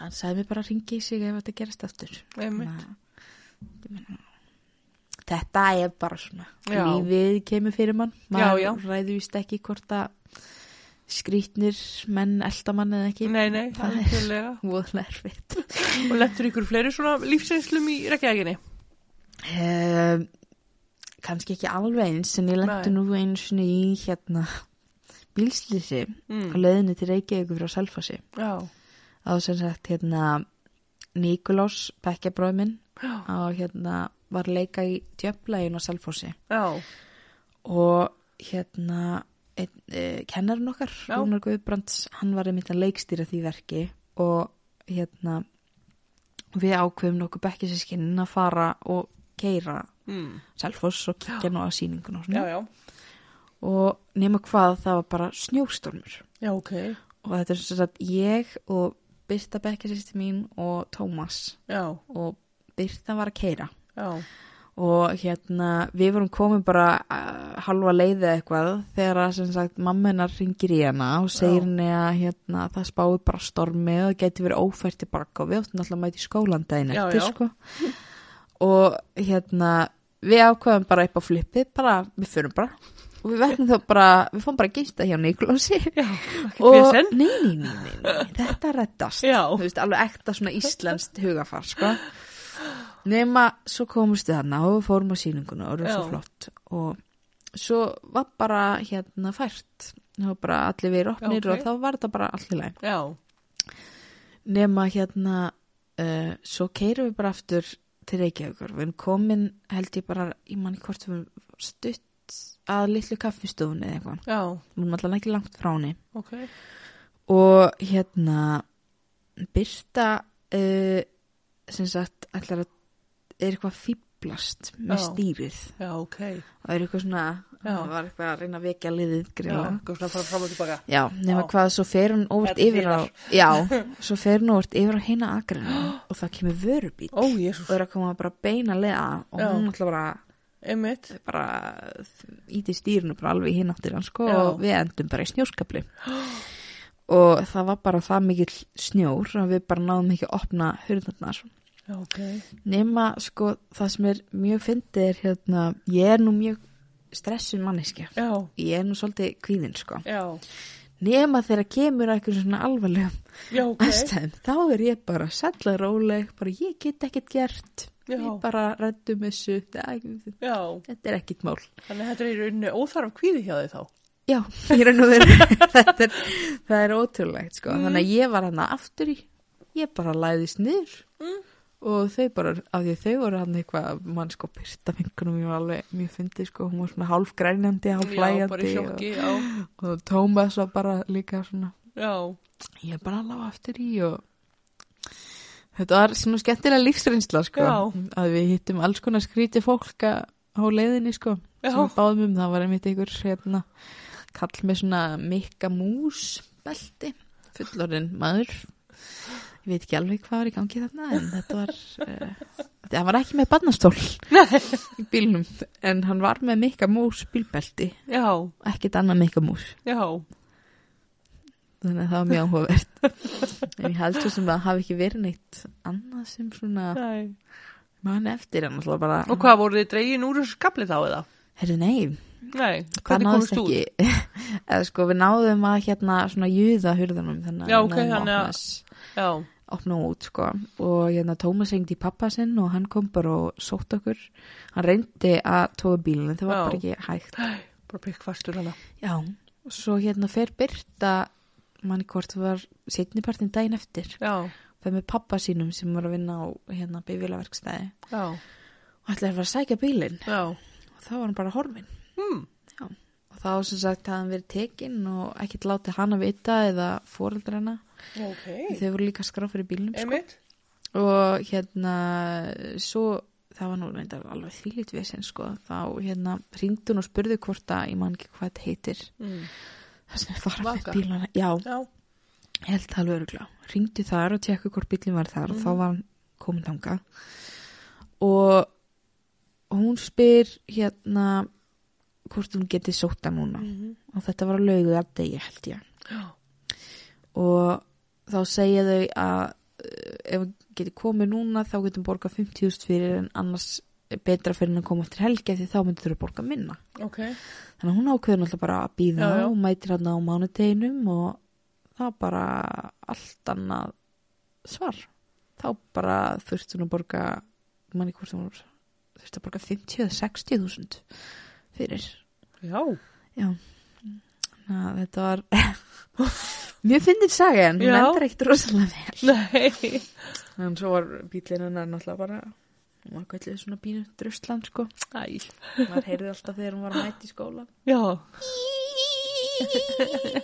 B: hann sagði mér bara að ringi í sig ef þetta gerist aftur.
A: einmitt.
B: Þannig að, ég meina, þetta er bara svona,
A: Já.
B: lífið kemur fyrir mann, maður
A: Já, já.
B: ræður víst ekki hvort að skrýtnir menn eldamann eða ekki,
A: Nei, nei,
B: Það er-
A: algjörlega.
B: voðlega erfitt.
A: Og lettur ykkur fleiri svona lífseinslum í rekkjæginni?
B: Um, kannski ekki alveg eins en ég lendi
A: Nei.
B: nú einu sinni í hérna bílslýsi á
A: Mm.
B: leiðinni til Reykjavík frá Selfossi
A: Já.
B: það var sem sagt hérna Nikolás bekkjabróð minn
A: Já.
B: og hérna var að leika í djöflægin á Selfossi
A: Já.
B: og hérna ein, e, kennarinn okkar,
A: Já.
B: Rúnar Guðbrands hann var einmitt að leikstýra því verki og hérna við ákveðum nokkuð bekkjasískinn að fara og keira
A: Mm.
B: Selfoss og kikja nú að sýningun
A: Já,
B: og svona
A: já.
B: og nema hvað það var bara snjóstormur
A: Já, ok.
B: og þetta er svo að ég og Birta bekkjasýsti mín og Tómas
A: Já,
B: og Birta var að keira
A: já.
B: og hérna við vorum komin bara uh, halva leiði eitthvað þegar að sem sagt mamma hennar ringir í hana og segir
A: Já.
B: henni að hérna það spáir bara stormi og það geti verið ófært í barka og við áttum alltaf að mæta í skólan daginn
A: Já,
B: eftir
A: já.
B: sko og hérna við ákveðum bara upp á flippið bara við förum bara og við verðum þá bara við fáum bara að gista hjá Nikolasi
A: Já, ekki
B: og nei,
A: vesen.
B: nei, nei, nei, nei, þetta reddast
A: Já.
B: þú veist, alveg ekta svona íslenskt hugafar sko. nema svo komumst við þarna og við fórum á sýninguna og það var
A: Já.
B: svo flott og svo var bara hérna fært það var bara allir við opnir
A: Já, ok.
B: og þá var þetta bara allir læg
A: Já,
B: nema hérna uh, svo keirum við bara aftur til Reykjavíkur við erum komin held ég bara í manni hvort við erum stutt að litlu kaffistofunni eða eitthvað
A: já,
B: við erum allan ekki langt frá henni
A: ok.
B: og hérna Birta uh, sem sagt ætlar að er eitthvað fýblast með
A: Já.
B: stýrið
A: Já, ok.
B: og er eitthvað svona
A: Já.
B: það var eitthvað að reyna að vekja liðið
A: Já,
B: grila
A: ekki svona fara fram og tilbaka.
B: Já, nema
A: Já.
B: hvað, svo fer hún óvart
A: Þetta
B: yfir á Já,
A: (laughs)
B: svo fer hún óvart yfir á heina agrinu
A: (gasps)
B: og það kemur vörubíl
A: Ó, jésús.
B: og er að koma bara beina leiða og
A: Já.
B: hún ætla bara
A: Einmitt.
B: bara íti stýrinu bara alveg hinn áttir hann sko
A: Já.
B: og við endum bara í snjóskapli og það var bara það mikill snjór að við bara náðum ekki að opna hurðarnar
A: Já, ok.
B: nema sko það sem er mjög fyndið er hérna ég er nú mjög stressun manneskja
A: Já,
B: ég er nú svolítið kvíðin sko
A: já,
B: nema þegar kemur að einhverjum svona alvarlegum
A: já, ok.
B: aðstæðum þá er ég bara sætla róleg bara ég get ekkert gert
A: Já.
B: ég bara reddum þessu þetta
A: Já,
B: er ekkert mál
A: þannig að þetta er í rauninni óþarf kvíði hjá þið þá.
B: Já, ég raun og
A: (laughs)
B: veru, þetta er, það er ótrúlegt sko,
A: Mm.
B: þannig að ég var hann aftur í, ég bara læðist niður
A: Mm.
B: og þau bara, af því að þau voru hann eitthvað, mann sko byrta vinkunum, ég var alveg mjög fyndið sko, hún var svona hálf grænjandi, hálf
A: Já, bara í
B: hlæjandi og,
A: sjokki, já,
B: og Tómas var bara líka svona,
A: já,
B: ég bara lág aftur í og þetta var svona skemmtilega lífsreynsla sko,
A: Já.
B: að við hittum alls konar skrítið fólk að- á leiðinni sko
A: já,
B: sem við báðum um, það var einmitt einhver hérna, kall með svona mikka mús belti, fullorinn maður ég veit ekki alveg hvað var í gangi þarna en þetta var uh, það var ekki með barnastól í bílnum, en hann var með mikka mús bílbelti,
A: já,
B: ekkert annað mikka mús
A: já,
B: þannig að það var mjög áhugavert en ég held svo sem að það hafi ekki verið neitt annað sem svona
A: nei.
B: mann eftir en alltaf bara
A: Og hvað voru þið dregin úr þessu skapli þá eða?
B: herri nei,
A: Nei,
B: það
A: hvernig
B: náðist
A: komist út?
B: ekki (laughs) eða sko við náðum að hérna svona júða hurðanum þannig að
A: Já,
B: við
A: ok, þannig
B: náðum að
A: að-
B: opna þess-
A: Já,
B: opna út sko og hérna Tómas reyndi í pappa sinn og hann kom bara og sótt okkur hann reyndi að tóða bílun það var
A: Já.
B: bara ekki hægt
A: bara hérna. pikkfastur hana.
B: já, svo hérna fer Birta manni hvort það var setnipartin daginn eftir
A: Já,
B: það með pappa sínum sem var að vinna á hérna bifjölaverkstæði
A: já,
B: og ætlaði að fara að sækja bílinn
A: já,
B: og þá var hann bara horfin
A: hmm,
B: og þá sem sagt hafði hann verið tekinn og ekkert látið hana vita eða foreldrana
A: já, ok.
B: þau voru líka skráð fyrir bílnum sko.
A: Einmitt,
B: og hérna svo það var nú reyndar alveg þvílít vesinn sko þá hérna ringdi hún og spurði hvort að ég man ekki hvað þetta heitir
A: mm.
B: það sem var með
A: Vaka.
B: bílana já,
A: já,
B: ég held það alveg örugla ringdi þar og tekku hvort bílinn var þar og þá var hann komin þanga og hún spyr hérna hvort hún geti sótt hann núna
A: Mhm.
B: og þetta var að laugu að degi held ég
A: já,
B: og þá segja þau að eh, ef við getum komið núna þá getum borgað 50.000 fyrir en annars er betra fyrir en að koma eftir helgi af því þá myndir þau að borga minna
A: ok,
B: þannig að hún ákveður náttúrulega bara að býða
A: Já, já.
B: og mætir hann á mánudeginum og það var bara allt annað svar þá bara þurfti hún að borga manni hvort hún var þurfti að borga 50 eða 60 þúsund fyrir
A: Já.
B: já Ná, þetta var (laughs) mjög fyndin saga en hún
A: Já.
B: endur ekkert rosalega vel
A: Nei.
B: en svo var bílinn hennar náttúrulega bara hún var gætið svona bínu druslan sko
A: Æ.
B: maður heyrði alltaf þegar hún var að mæta í skóla
A: Já.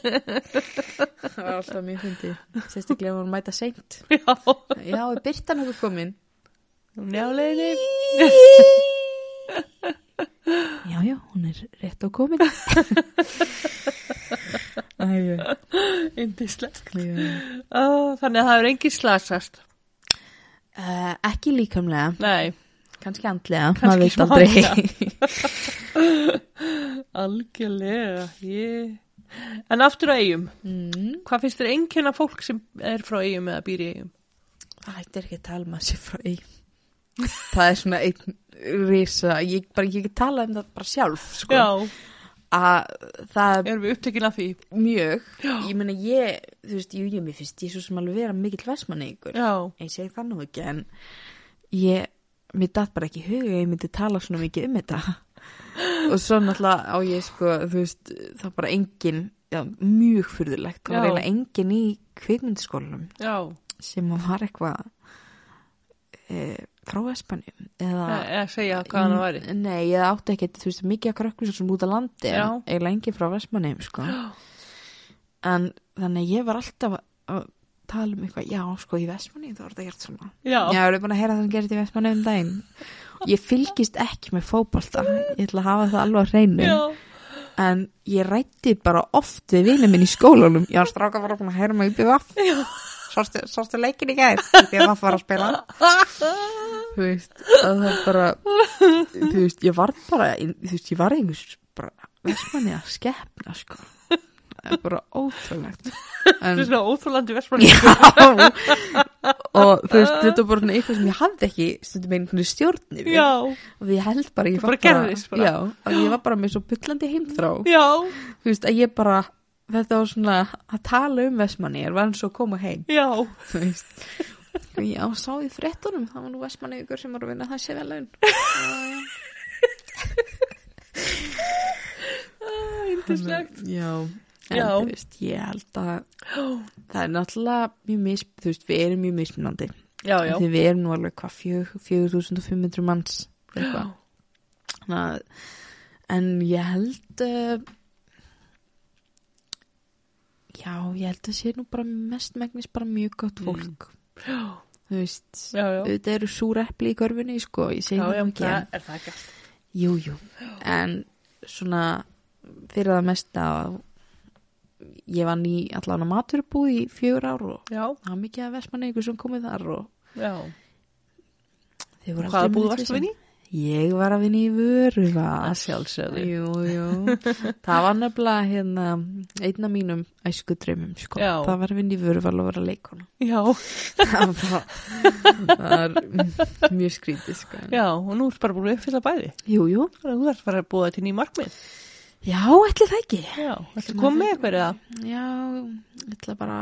B: það var alltaf mjög fyndið sérstaklega ef hún mæta seint
A: Já.
B: já, er Birtan okkur komin
A: (laughs) Njáleginni.
B: já, já, hún er rétt á (laughs) komin æjú
A: Indislegt. Ó, Þannig að það er engin slasast.
B: Uh, ekki líkamlega,
A: Nei.
B: kannski andlega, maður
A: Kannski
B: veit aldrei.
A: Algjörlega. Ég. En aftur á eigum.
B: (laughs) Mm.
A: Hvað finnst þér einkenna fólk sem er frá eigum eða býr í eigum?
B: Ættir ekki að tala um að sé frá eigum. Það er svona einn risa, ég bara ég get talað um það bara sjálf, sko.
A: Já.
B: Að það er
A: Erum við upptekin af því?
B: mjög, ég meina ég, þú veist, jú, ég mér finnst ég svo sem alveg vera mikill versmanni ykkur.
A: Já.
B: Ég segi það nú ekki, en ég, mér datt bara ekki í hug að ég myndi tala svona mikið um þetta. Og svo náttúrulega á ég, sko, þú veist, það er bara engin, já, mjög fyrðulegt. Það var
A: Já.
B: eiginlega engin í kvikmyndaskólanum
A: Já.
B: sem að var eitthvað e, frá Espanjum eða
A: Nei, Eða Eh, segja hvað hann væri.
B: Nei, ég átti ekkert, þú veist, mikið að krökkum sem út að landi,
A: Já.
B: en eiginlega engin frá Vestmannheim,
A: (gasps)
B: sko.
A: Já.
B: En þannig að ég var alltaf að- að tala um eitthvað, já, sko, í Vestmannheim þá var þetta gert svona.
A: Já.
B: Já, ég er búin að heyra það sem gerist í Vestmannheim um daginn. Ég fylgist ekki með fótbolta, ég ætla að hafa það alveg að
A: (laughs)
B: reynu.
A: Já.
B: En ég rætti bara oft við vinið minn í skólanum. Já, stráka var búin að heyra mig upp í vaff. Sástu, sástu leikin í
A: (laughs)
B: gæð, því að vaff var að spila. Þú veist, að það bara, þú veist, ég var bara, þú veist, ég var einhvers, bara, versmanni að skepna, sko. Það er bara ótrúlegt.
A: Þetta
B: En,
A: er svona óþólandi versmanni.
B: já, og þú veist, þetta var bara svona eitthvað sem ég hafði ekki, stundum einhvern stjórn yfir.
A: (laughs) Já,
B: Og ég held bara, ég
A: Það
B: var
A: bara gerðist bara.
B: Já, að ég var bara með svo byllandi heimþrá
A: já,
B: þú veist, að ég bara þetta var svona að tala um Vestmannir var hann svo að koma heim
A: já,
B: þú veist já, sá því fréttunum, það var nú Vestmanni ykkur sem var að vinna það sé vel laun
A: yndislegt.
B: já, en
A: Já.
B: þú veist, ég held að það er náttúrulega mjög mis þú veist, við erum mjög mismunandi
A: Já, já,
B: því við erum nú alveg hvað fjö- 4500 manns eitthvað Þannig að- en ég held uh, já, ég held að sé nú bara mestmægnis bara mjög gott fólk þú veist
A: Mm. já, já.
B: auðvitað eru súrepli í körfunni sko, ég segi
A: Já, já,
B: það nú ekki en,
A: það er það ekki allt.
B: jú, jú, en svona fyrir það mesta ég vann í allan á maturubúð í fjögur ár og
A: Já,
B: það var mikið af versmanni ykkur sem komið þar og
A: já.
B: þau voru
A: Hvaða búð
B: aldrei með
A: varstu
B: tvisvar.
A: vinni?
B: ég var að vinna í vöruvað
A: sjálfsögðu.
B: Jú, jú. Það var nefnilega hérna, einn af mínum æsku draumum, sko.
A: Já.
B: Það var að vinna í vöruval og vera leikona.
A: Já,
B: Það var, það var mm, mjög skrítið, sko.
A: já, og nú ertu bara búin að uppfylla bæði.
B: Jú, jú.
A: Þannig að Þú ert bara að búa til ný markmið.
B: Já, ætli það ekki.
A: Já, ættu að koma með eitthvað eða?
B: Já, ég ætla bara,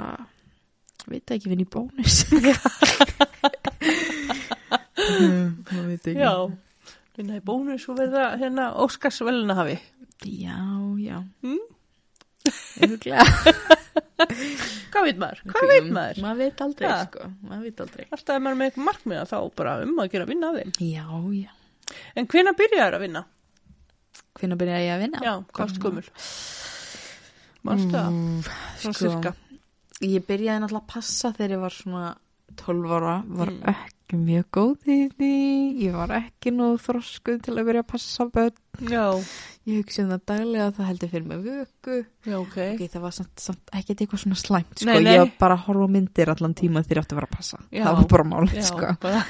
B: veit ekki, vinna í bónus. Það veit
A: Já. Vinna í bónus og verða hérna Óskars velunahafi.
B: Já, já.
A: Mm?
B: Örugglega.
A: Hvað veit maður? Hvað
B: um
A: veit maður?
B: Maður veit aldrei,
A: Ha?
B: sko. Maður veit aldrei.
A: Alltaf er maður með eitthvað markmiða þá bara um að gera að vinna að þeim.
B: Já, já.
A: En hvena byrjaður að vinna?
B: Hvenær byrjaði ég að vinna?
A: Já, hvort skumul. Manstu
B: Mm,
A: það?
B: sko.
A: Svona cirka.
B: Ég byrjaði náttúrulega að passa þegar ég var svona 12 ára, var
A: Hmm.
B: ekki mjög góð í því, ég var ekki nú þroskuð til að byrja að passa börn,
A: Já,
B: ég hugsi um það daglega það heldur fyrir mig vöku.
A: já, ok.
B: Ok, það var samt, samt ekkert eitthvað svona slæmt, sko,
A: Nei, nei.
B: ég var bara að horfa á myndir allan tíma þegar ég átti að vera að passa,
A: Já.
B: það var bara málið,
A: Já, (laughs)
B: sko.
A: bara,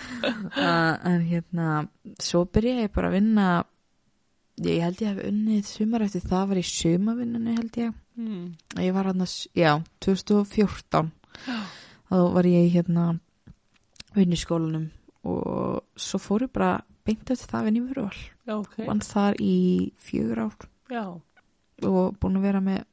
B: Uh, en hérna, svo byrjaði ég bara að vinna, ég held ég hef unnið sumar eftir það var í sumavinnunni held ég.
A: mm,
B: Ég var hann að, já, 2014 þá var ég hérna vinn í skólanum og svo fór ég bara beint eftir það vinn í vöruval
A: já, ok.
B: vann þar í fjögur ár
A: Já,
B: og búin að vera með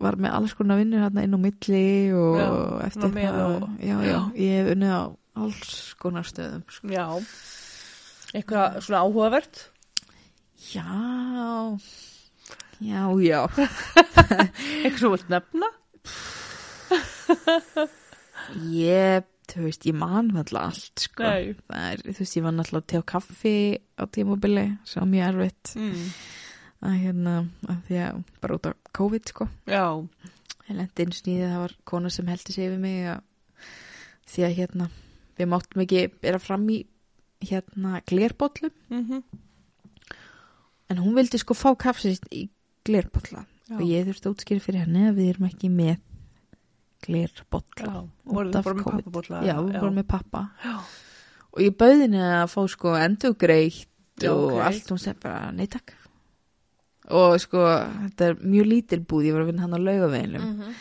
B: var með alls konar vinnur hérna inn á milli og
A: Já,
B: eftir
A: svona með
B: það
A: og-
B: já, já,
A: já.
B: ég hef unnið á alls konar stöðum sko.
A: já. Eitthvað svona áhugavert?
B: Já, já, já.
A: Eitthvað sem þú vilt nefna?
B: Ég, þú veist, ég man alltaf allt, sko.
A: Nei.
B: Það er, þú veist, ég var náttúrulega að tega kaffi á tímabili, sem var mjög erfitt.
A: Mm.
B: Að hérna, að því að bara út af COVID, sko.
A: Já.
B: Ég lendi einu snýði, það var kona sem heldur sig yfir mig að því að hérna, við máttum ekki vera fram í hérna glerbollum,
A: Mm -hmm.
B: en hún vildi sko fá kaffi sitt í glerbolla
A: Já.
B: og ég þurfti að útskýra fyrir henni að við erum ekki með glerbolla.
A: Já. Voruð
B: Út
A: þið
B: af
A: bara með
B: COVID.
A: pappabóla?
B: Já, við vorum með pappa
A: Já.
B: og ég bauði henni að fá sko endugreitt
A: Já,
B: og
A: ok.
B: allt hún segi bara nei takk og sko þetta er mjög lítil búð ég var að vinna hann á laugaveginum
A: Mhm.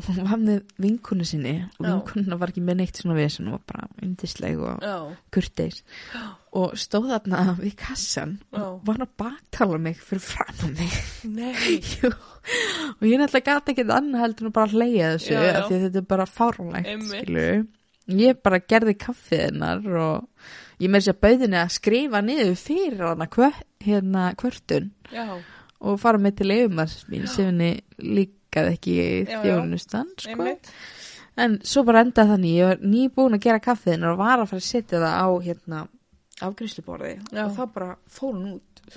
B: og hún var með vinkonu sinni og
A: Já.
B: vinkonuna var ekki með neitt svona vesen hún var bara yndisleg og
A: Já.
B: kurteis og stóð þarna við kassan
A: Já.
B: og var að baktala mig fyrir fram að mig
A: Nei.
B: Jú. og ég náttúrulega gata ekkert annað heldur en að bara hleyja þessu
A: Já, já.
B: af því að þetta er bara fáránlegt
A: Einmitt.
B: skilurðu. ég bara gerði kaffið hennar og ég með þess að bauðinni að skrifa niður fyrir hana hver, hérna kvörtun
A: Já.
B: og fara með til leifumars mín sem henni líkaði ekki
A: Já, já.
B: þjónustan sko.
A: Einmitt.
B: en svo bara endaði þannig ég var nýbúin að gera kaffið hennar og var að fara að setja það á hérna afgriðsluborði
A: Já.
B: og það bara fór hún út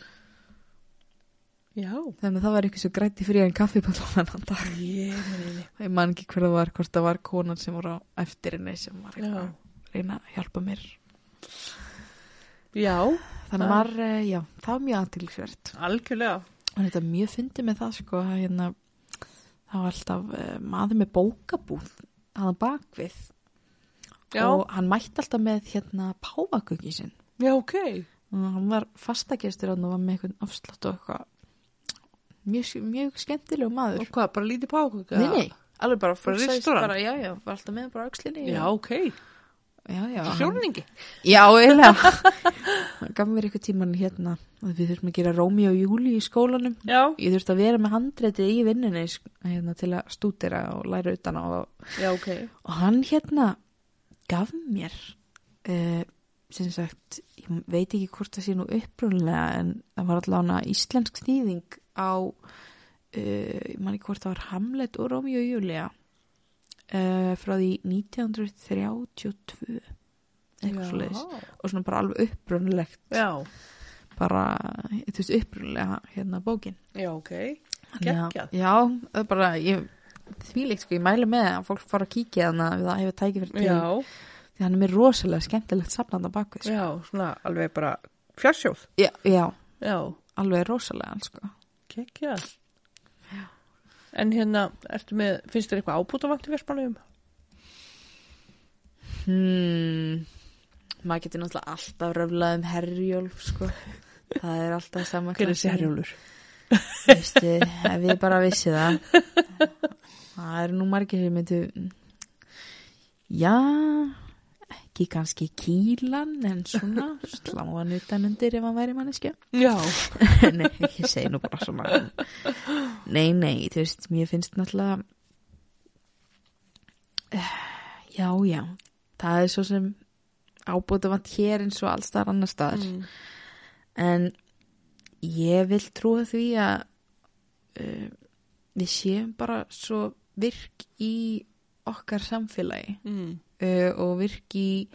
A: Já.
B: þannig að það var eitthvað svo græti fyrir hann kaffipallan hann dag
A: Ég meini.
B: ég man ekki hver það var, hvort það var konan sem voru á eftir henni sem var eitthvað
A: Já.
B: að reyna að hjálpa mér
A: Já.
B: þannig
A: Það-
B: var, eh, já, það var mjög aðtilsvert
A: Algjörlega.
B: og þetta er mjög fyndið með það sko að hérna, það var alltaf eh, maður með bókabúð hann bakvið
A: Já.
B: og hann mætti alltaf með hérna páfagöggi sinn
A: Já, ok.
B: og hann var fastagestur hann og var með eitthvað afslátt og eitthvað mjög, mjög skemmtilegu maður
A: Og hvað, bara lítið pákuka?
B: nei, nei, alveg bara,
A: Bara
B: sagðist
A: restaurant?
B: bara, já, já, var alltaf með bara á öxlinni
A: Já,
B: og-
A: ok.
B: já, já, hann-
A: Sjóningi.
B: Já, eiginlega. Það gaf mér eitthvað tíman hérna að við þurfum að gera Rómi og Júli í skólanum.
A: Já.
B: Ég þurfti að vera með handreitið í vinninni sk- hérna, til að stúdera og læra utan á. Og,
A: Já, ok.
B: og hann hérna gaf mér, uh, sem sagt, ég veit ekki hvort það sé nú upprúnlega en það var allavega íslensk snýðing á, uh, ég man ekki hvort það var Hamlet og Rómi og Júlia uh, frá því 1932 eitthvað svo og svona bara alveg upprunalegt
A: Já.
B: bara, þú veist, upprunalega hérna bókin
A: Já, ok.
B: Þannig að-
A: Geggjað.
B: Já, það er bara, ég þvílíkt sko, ég mælu með að fólk fara að kíkja þannig að það hefur tækið fyrir til
A: Já.
B: því hann er mér rosalega skemmtilegt safnanda bakvið sko.
A: Já, svona alveg bara fjarsjóð.
B: já. já,
A: Já.
B: alveg rosalega sko.
A: Kekja. En hérna, ertu með, finnst þér eitthvað ábútavant í Vespanum?
B: hmm. maður getur náttúrulega alltaf röflað um herjólf (laughs) sko. það er alltaf sama
A: Hver er þessi herjólur?
B: Vistu, ef ég bara vissi það Það eru nú margir sem myndu Já ekki kannski kýlan en svona (laughs) sláan utan undir ef hann væri manneskja
A: Já.
B: Nei, ég segi nú bara svona Nei, nei, þú veist, mér finnst náttúrulega Eh, Já, já Það er svo sem ábútavant hér eins og allstar annar staðar
A: Mm.
B: en ég vil trúa því að uh, við séum bara svo virk í okkar samfélagi
A: Mm.
B: uh, og virk í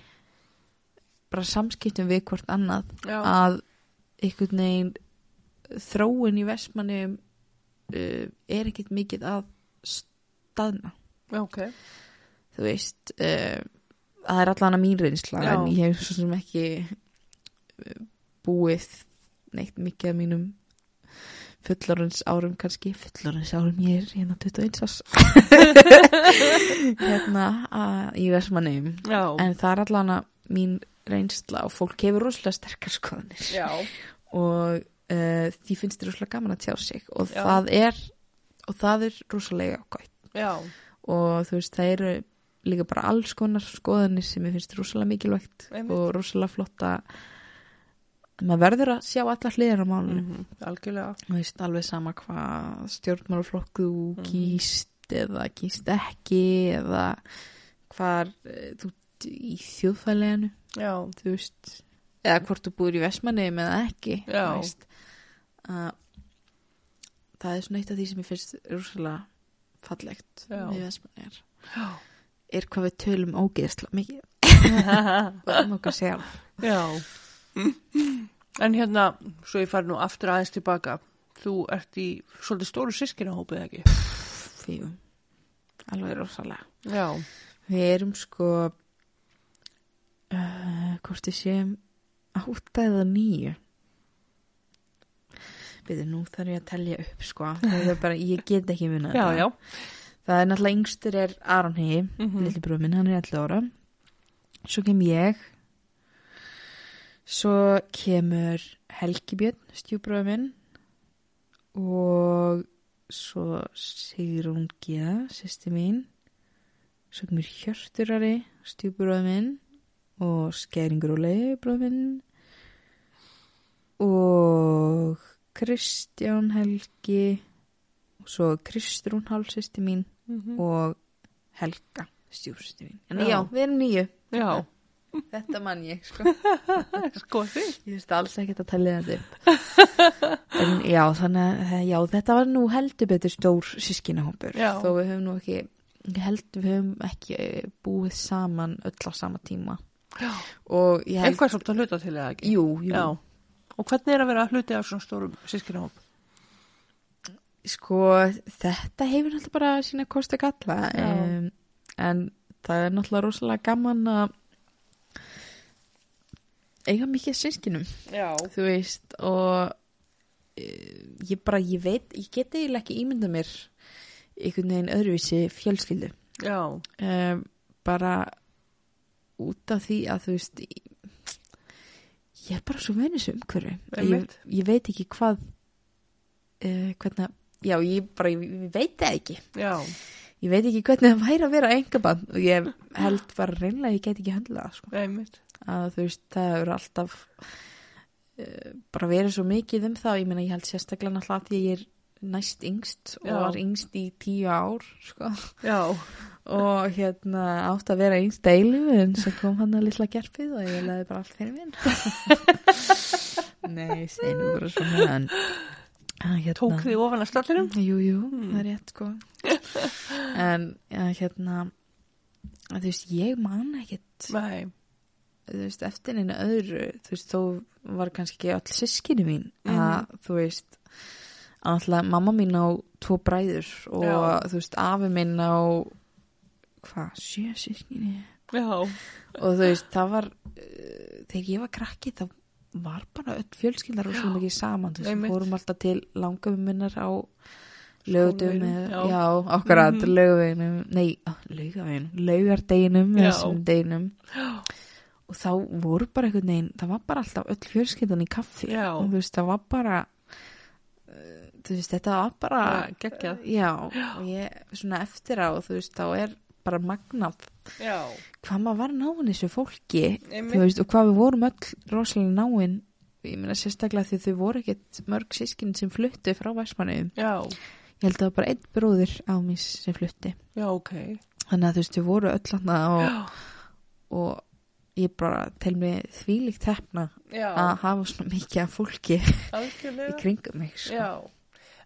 B: bara samskiptum við hvort annað
A: Já.
B: að einhvern veginn þróun í vestmanni uh, er ekkert mikið að staðna
A: Já, ok.
B: þú veist uh, það er allan að mín reynsla
A: Já.
B: en ég hef svo sem ekki eh, búið neitt mikið af mínum fullorins árum kannski fullorins árum ég er hérna 21 árs
A: (laughs)
B: hérna að, í Vestmanneum
A: Já.
B: en það er allan að mín reynsla og fólk hefur rosalega sterkar skoðanir
A: Já.
B: og uh, því finnst þér rosalega gaman að tjá sig og
A: Já.
B: það er og það er rosalega ákvæmt
A: Já.
B: og þú veist það eru líka bara alls konar skoðanir sem ég finnst rosalega mikilvægt
A: Einmitt.
B: og rosalega flott að maður verður að sjá allar hliðar á málunum
A: Mhm. Algjörlega.
B: þú veist alveg sama hvað stjórnmálaflokku þú
A: Mhm.
B: gíst eða gíst ekki eða hvar eh, þú ert í þjóðfæleginu
A: Já.
B: þú veist eða hvort þú búir í Vestmanneum eða ekki þú
A: Já.
B: veist. Að það er svona eitt af því sem ég finnst rússalega fallegt
A: Já.
B: við Vestmannegar er hvað við tölum ógeðsla
A: (laughs)
B: mikið og um okkur sjálf
A: Já. En hérna, svo ég fari nú aftur aðeins tilbaka. Þú ert í svolítið stóru sískinahópið ekki?
B: fíum um, alveg rosalega
A: Já.
B: við erum sko uh, hvort ég séum átta eða nýju við nú þarf ég að telja upp sko það er bara, ég get ekki munna
A: Já, já.
B: það er náttúrulega yngstur er Aron Hei mm
A: Mhm.
B: bróð minn, hann er 11 ára svo kem ég svo kemur Helgi Björn, stjúbróð minn og svo Sigrún Gíða, sýsti mín svo kemur Hjörturari stjúbróð minn og Skæringur og Leifbróð minn og Kristján Helgi og svo Kristrún hálfsýsti mín
A: Mhm.
B: og Helga stjúrstu mín en
A: Já.
B: já, við erum nýju,
A: Já.
B: þetta mann ég sko.
A: Sko því.
B: (laughs) ég veist alls ekkert að tellja þetta upp en já, þannig að eh, já, þetta var nú heldur betur stór sískinahópur
A: Já.
B: þó við höfum nú ekki ég held við höfum ekki eh, búið saman öll á sama tíma
A: Já.
B: og ég held
A: Eitthvað svolítið að hluta til eða ekki?
B: jú, jú,
A: Já. Og hvernig er að vera hluti af svona stórum sískinahóp?
B: sko þetta hefur náttúrulega bara sína kosti og galla
A: Já.
B: um, en það er náttúrulega rosalega gaman að eiga mikið af sískinum
A: Já.
B: þú veist og eh, ég bara, ég veit ég get eiginlega ekki ímynda mér einhvern veginn öðruvísi fjölskyldu
A: Já.
B: um, bara út af því að þú veist ég, ég er bara svo vennis umhverfi ég,
A: Einmitt.
B: ég veit ekki hvað uh, hvernig já, ég bara, ég, ég veit það ekki
A: Já.
B: ég veit ekki hvernig það væri að vera engabann og ég held bara reynlega að ég get ekki höndla það sko
A: Einmitt.
B: að þú veist, það eru alltaf uh, bara verið svo mikið um það, ég meina ég held sérstaklega náttúrulega að því að ég er næst yngst og
A: Já.
B: var yngst í tíu ár sko.
A: Já.
B: og hérna átt að vera yngst deilu en svo kom hann að litla gerfið og ég leði bara allt fyrir minn (laughs) Nei, ég segi nú bara svona en en hérna,
A: Tók þið ofan að stallinum?
B: Jú, jú, það er rétt sko en ja, hérna að þú veist, ég man ekkit
A: Nei.
B: þú veist, eftir einu öðru þú veist, þó var kannski öll sískinu mín að þú veist að náttúrulega mamma mín á tvo bræður og
A: Já.
B: þú veist, afi minn á hvað, sjö sískinu
A: Já.
B: og þú veist, það var eh, þegar ég var krakki þá var bara öll fjölskyldar og svo mikið saman þú veist,
A: Einmitt.
B: við fórum alltaf til langöfum minnar á lögutum
A: Skólaveginum, já. Mhm.
B: já, okkur að mm. lögaveginum nei, lögaveginum, laugardeginum
A: Já.
B: eða sunnudeginum og þá voru bara einhvern veginn það var bara alltaf öll fjölskyldan í kaffi
A: Já.
B: og þú veist, það var bara eh, þú veist, þetta var bara
A: Já, geggjað.
B: já, og ég svona eftir á þú veist, þá er bara magnað
A: Já.
B: hvað maður var náinn þessu fólki
A: Einmitt.
B: þú veist, og hvað við vorum öll rosalega náinn ég meina sérstaklega því þau voru ekkert mörg sískin sem fluttu frá Vestmannaugum
A: Já.
B: ég held að það var bara einn bróðir á mér sem flutti
A: Já, ok.
B: þannig að þú veist, þau voru öll hann og,
A: (gasps) Já.
B: og ég bara tel mig þvílíkt hefna
A: Já.
B: að hafa svona mikið af fólki Ah, í
A: Algjörlega.
B: kringum mig sko.
A: Já,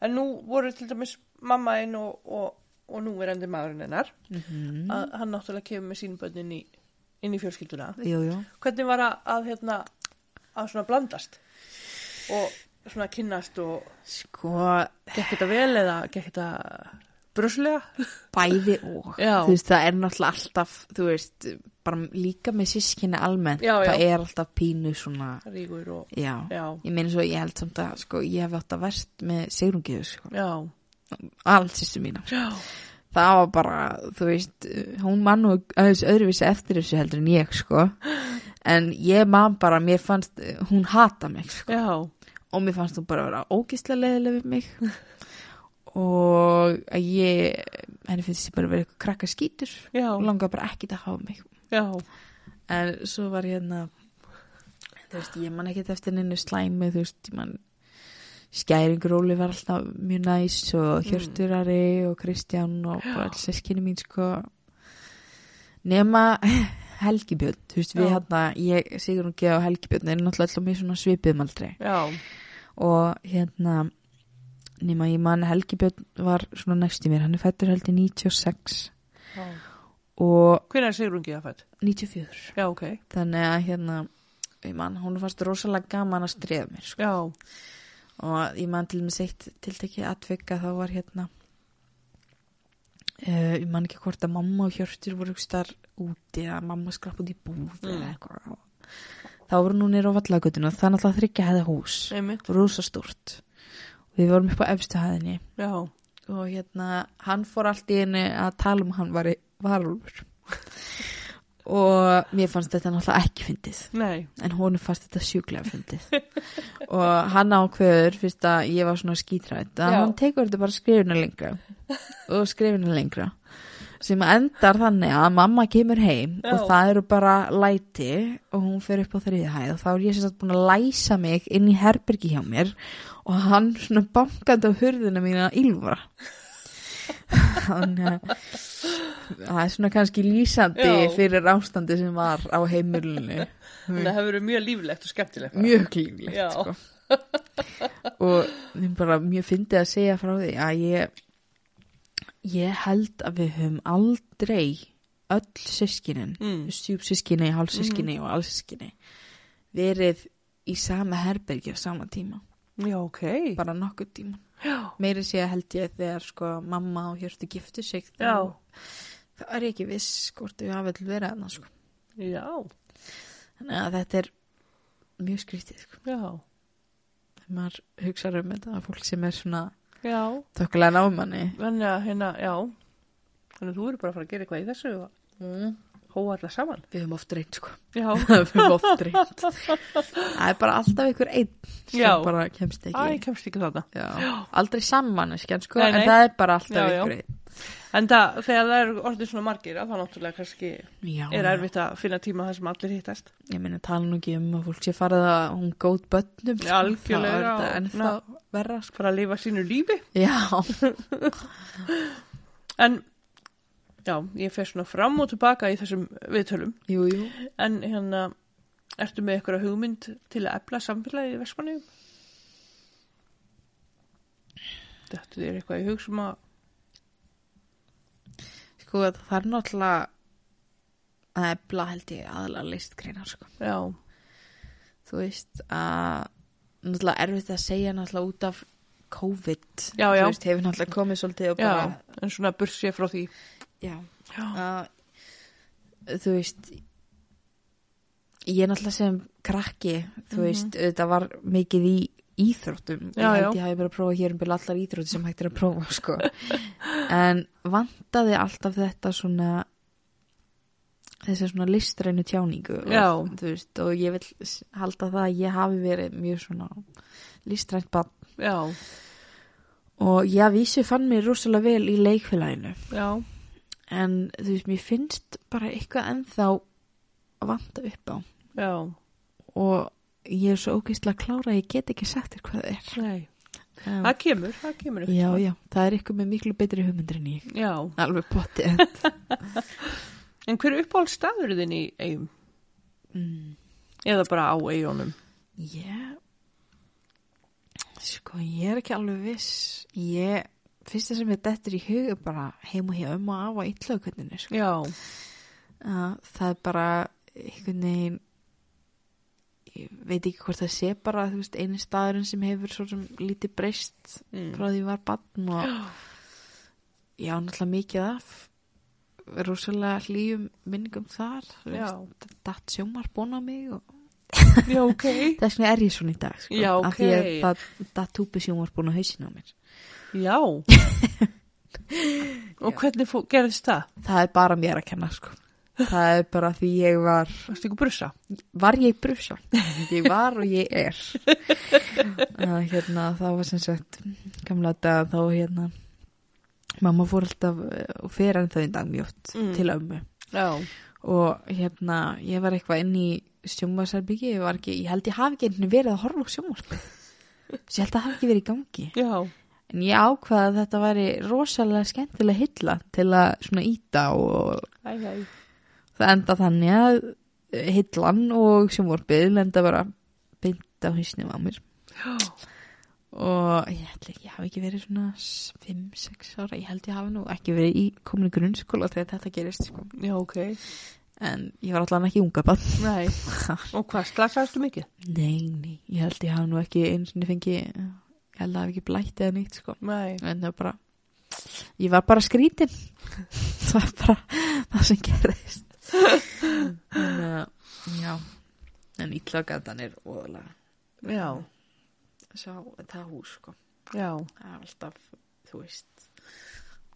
A: en nú voru til dæmis mamma einn og, og, og núverandi maðurinn hennar
B: Mhm.
A: að hann náttúrulega kemur með sín börn inn í, inn í fjölskylduna.
B: jú, jú
A: Hvernig var að, að hérna að svona blandast og svona kynnast og
B: sko,
A: gekk þetta vel eða gekk þetta bruslega?
B: bæði og
A: Já.
B: þú veist, það er náttúrulega alltaf þú veist, bara líka með sískinni almennt,
A: Já, já.
B: það er alltaf pínu svona,
A: Ríkur og
B: já,
A: já,
B: ég meina svo ég held samt að, sko, ég hef átt að verst með Sigrungiðu, sko,
A: já,
B: allt sýstu mína
A: já,
B: það var bara, þú veist hún mann og aðeins öðruvísi eftir þessu heldur en ég, sko en ég man bara, mér fannst hún hata mig, sko
A: já,
B: og mér fannst þú bara að vera ógislega leiðileg við mig og að ég henni finnst ég bara að vera eitthvað krakka skítur
A: já,
B: og langaði bara ekkit að hafa mig
A: já,
B: en svo var hérna þú veist, ég man ekkit eftir neinu slæmi þú veist, ég man skæringur Óli var alltaf mjög næs og Hjörturari og Kristján og bara alls sískinni mín sko nema (laughs) Helgibjörn, þú veist, við
A: Já.
B: hérna, ég, Sigrun G. og Helgibjörn er náttúrulega alltaf mér svona svipiðum aldrei
A: Já,
B: og hérna nema ég man Helgibjörn var svona næst í mér, hann er fættur heldur 96
A: já.
B: og
A: Hvenær er Sigrungi að fætt?
B: 94
A: Já, ok.
B: þannig að hérna ég man, hún fannst rosalega gaman að streða mér sko.
A: Já,
B: og ég man til þess eitt tiltekið atvika þá var hérna uh, ég man ekki hvort að mamma og Hjörtur voru ykkur starf úti eða mamma skrapp út í búð eða eitthvað þá voru nú nýra á vallagötun og það er náttúrulega þryggja hefði hús
A: einmitt.
B: rosa stórt og við vorum upp á efstu hæðinni
A: Já,
B: og hérna hann fór allt í einu að tala um að hann var varulfur og mér fannst þetta náttúrulega ekki fyndið
A: nei,
B: en honum fannst þetta sjúklega fyndið og hann ákveður fyrst að ég var svona skítrætt að
A: Já.
B: hann tekur þetta bara skrifina lengra og skrifina lengra sem endar þannig að mamma kemur heim
A: Já.
B: og það eru bara læti og hún fer upp á þriðja hæð og þá er ég sem sagt búin að læsa mig inn í herbergi hjá mér og hann svona bankandi á hurðina mína að ylfra þannig að það er svona kannski lýsandi
A: Já.
B: fyrir ástandi sem var á heimilinu
A: það hefur verið mjög líflegt og skemmtilegt.
B: mjög klíflegt
A: Já.
B: sko. og ég bara mjög fyndið að segja frá því að ég ég held að við höfum aldrei öll sískinin
A: Mm.
B: stjúpsískinni, hálfsískinni
A: Mhm.
B: og allsískinni verið í sama herbergi á sama tíma
A: Já, ok.
B: bara nokkuð tíma
A: Já,
B: meiri sé held ég þegar sko mamma og hjörtu giftu sig þá-
A: já,
B: þá er ég ekki viss hvort við hafa vel verið annars sko.
A: já,
B: þannig að þetta er mjög skrítið sko.
A: já,
B: þegar maður hugsar um þetta að fólk sem er svona
A: já.
B: Tökulega námanni
A: Þannig að hérna, já, þannig að þú eru bara að fara að gera eitthvað í þessu og
B: mm.
A: hóa alla saman.
B: Við höfum oft reynd
A: (laughs)
B: sko
A: Já,
B: Við höfum oft reynd Það er bara alltaf einhver einn sem
A: Já.
B: bara kemst
A: æ,
B: ekki
A: kemst ekki þarna.
B: Já. Aldrei sammanneskjan sko
A: Nei, nei.
B: En það er bara alltaf
A: Já, já.
B: einhver einn
A: En það, þegar það eru orðið svona margir að það náttúrulega kannski
B: Já,
A: er erfitt að finna tíma þar sem allir hittast.
B: Ég meina tala nú ekki um að fólk sé farið að hún góð bönnum sko.
A: Algjörlega,
B: Það er þetta
A: já.
B: ennþá verra sko.
A: Fara að lifa sínu lífi.
B: Já,
A: En, já, ég fer svona fram og tilbaka í þessum viðtölum.
B: jú, jú
A: En hérna, ertu með eitthvað hugmynd til að efla samfélagið í Vestmanniðum? Þetta er eitthvað í hug sem að,
B: Sko það er náttúrulega Það er bla held ég aðalega listgreinar sko
A: já,
B: þú veist að náttúrulega erfitt að segja náttúrulega út af COVID
A: Já, já.
B: þú veist hefur náttúrulega komið svolítið og
A: já,
B: bara
A: en svona bursið frá því.
B: já.
A: Já,
B: Að, þú veist ég náttúrulega sem krakki þú veist þetta var mikið í íþróttum
A: Mhm. Já,
B: ég held
A: já.
B: ég hafi bara prófað hér um byrja allar íþrótti sem hægt er að prófa sko en vantaði alltaf þetta svona þessi svona listrænu tjáningu
A: Já.
B: og, þú veist, og ég vil s- halda það að ég hafi verið mjög svona listrænt bann
A: já,
B: og ég að vísu fann mér rosalega vel í leikfélaginu
A: já,
B: en þú veist, mér finnst bara eitthvað ennþá að vanta upp á
A: já,
B: og ég er svo ógeistlega klára að ég get ekki sagt þér hvað það er
A: nei.
B: um,
A: Það kemur, það kemur.
B: já, já, það er eitthvað með miklu betri hugmyndir en ég
A: Já,
B: alveg (laughs) potið
A: en hver er uppáhaldstafur þinn í eigum?
B: mm.
A: Eða bara á eigunum?
B: Ég, sko, ég er ekki alveg viss. Ég, fyrsta sem ég dettur í hug er bara heim og hjá um og af á illagötninni, sko.
A: Já,
B: Uh, það er bara einhvern veginn, ég veit ekki hvort það sé bara, þú veist, eini staðurinn sem hefur svo sem lítið breyst
A: mm.
B: frá því ég var bann og já, náttúrulega mikið af rosalega hlýjum minningum þar, þú
A: já,
B: veist, datt sjómar búin á mig og
A: já, ok. (laughs)
B: Þess vegna er ég svona í dag sko.
A: Já,
B: Af því að
A: ókei.
B: það, það túpi sem var búin á hausinu á mér
A: Já. Og hvernig fó, gerðist það?
B: Það er bara mér að kenna sko. Það er bara því ég var
A: Varstu ykkur brusa?
B: Var ég brusa? Ég var og ég er að, hérna, Það var sem sagt Gamla dag þá hérna Mamma fór alltaf eh, og fer en það í dag mjög oft
A: Mm.
B: til ömmu
A: Já,
B: og hérna ég var eitthvað inn í sjónvarsherbyggi ég, var ekki- ég held ég hafi ekki einhvern verið að horfa á sjónvarp ég held að hafi ekki verið í gangi
A: já,
B: En ég ákvaða að þetta væri rosalega skemmtilega hilla til að svona íta og,
A: æ, æ,
B: það enda þannig að eh, hillan og sjónvarpið lenda bara beint á hausnum á mér og ég held ekki, ég hafi ekki verið svona 5-6 ára, ég held ég hafi nú ekki verið í komin í grunnskóla þegar þetta gerist sko.
A: Já, ok.
B: en ég var allan ekki unga bann
A: Nei. Og hvað slasaðistu mikið?
B: (laughs) nei, nei, ég held ég hafi nú ekki eins og fengi, ég held að hafi ekki blætt eða nýtt sko
A: Nei.
B: en það var bara ég var bara skrítin (laughs) það var bara það sem gerðist en uh, já en ítlögandan er óðalega
A: Já,
B: sá það hús sko
A: já.
B: það er alltaf þú veist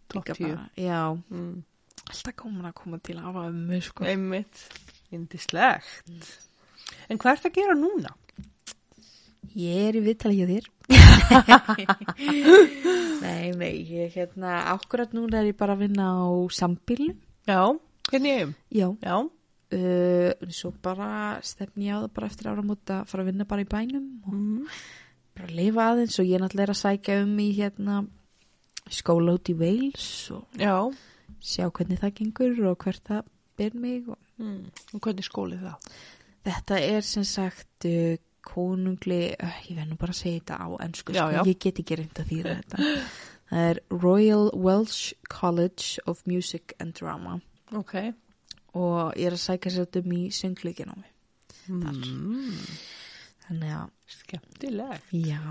A: Topp
B: líka
A: tíu.
B: bara- já
A: Mm.
B: alltaf komin að koma til afa ömmu sko
A: Einmitt. Indislegt. Mm. En hvað ertu að gera núna?
B: ég er í viðtali hjá þér (laughs) nei nei ég hérna akkurat núna er ég bara að vinna á sambílu
A: Já, hérna ég um.
B: já
A: Já,
B: uh, svo bara stefni ég á það bara eftir áramót að fara að vinna bara í bænum og
A: Mhm.
B: bara lifa aðeins og ég náttúrulega er að sækja um í hérna skóla út í Wales og
A: já.
B: sjá hvernig það gengur og hvert það ber mig og
A: Mm. Og hvernig skóli það?
B: þetta er sem sagt uh, konungli, uh, ég verð nú bara að segja þetta á ennsku,
A: Já, já.
B: ég get ekki reynd að þýra þetta það er Royal Welsh College of Music and Drama
A: Ok.
B: og ég er að sækja sér þetta um í söngleikinámi
A: Mm.
B: þannig að
A: Skemmtilegt.
B: Já,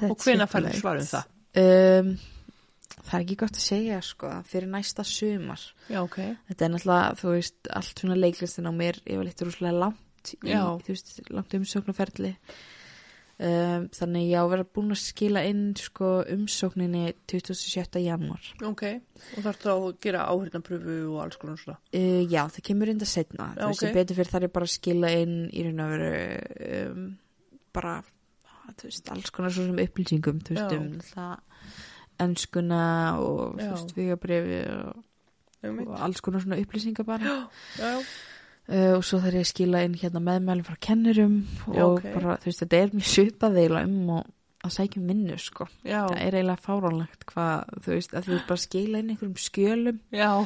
B: þetta
A: Og hvena færðu
B: skemmtilegt.
A: svarum það?
B: Um, það er ekki gott að segja, sko, fyrir næsta sumar.
A: Já, ok.
B: Þetta er náttúrulega, þú veist, allt svona leiklistin á mér, ég var litur úrslega langt í,
A: Já.
B: þú veist, langt umsóknarferli. Um, þannig ég á að vera búin að skila inn, sko, umsókninni 27. janúar.
A: Ok. Og þarf þá að gera áhrifnapröfu og alls konar svona.
B: Uh, já, það kemur enda setna.
A: Já,
B: Þú veist,
A: ok.
B: okay. betur fyrir þar er bara að skila inn í raun og veru um, bara, þú veist, alls konar svo sem upplýsingum, þú veist,
A: Já.
B: um það ennskuna og, þú
A: Já.
B: veist, vegabrifi og,
A: Einmitt.
B: og alls konar svona upplýsingar bara.
A: Já,
B: Uh, og svo þarf ég að skila inn hérna meðmælum frá kennurum
A: Já,
B: og
A: ok.
B: bara, þú veist, þetta er mjög svipað eiginlega um og að sækja um vinnu, sko.
A: já.
B: Það er eiginlega fáránlegt hvað, þú veist, að þú veist bara að skila inn einhverjum skjölum
A: Já,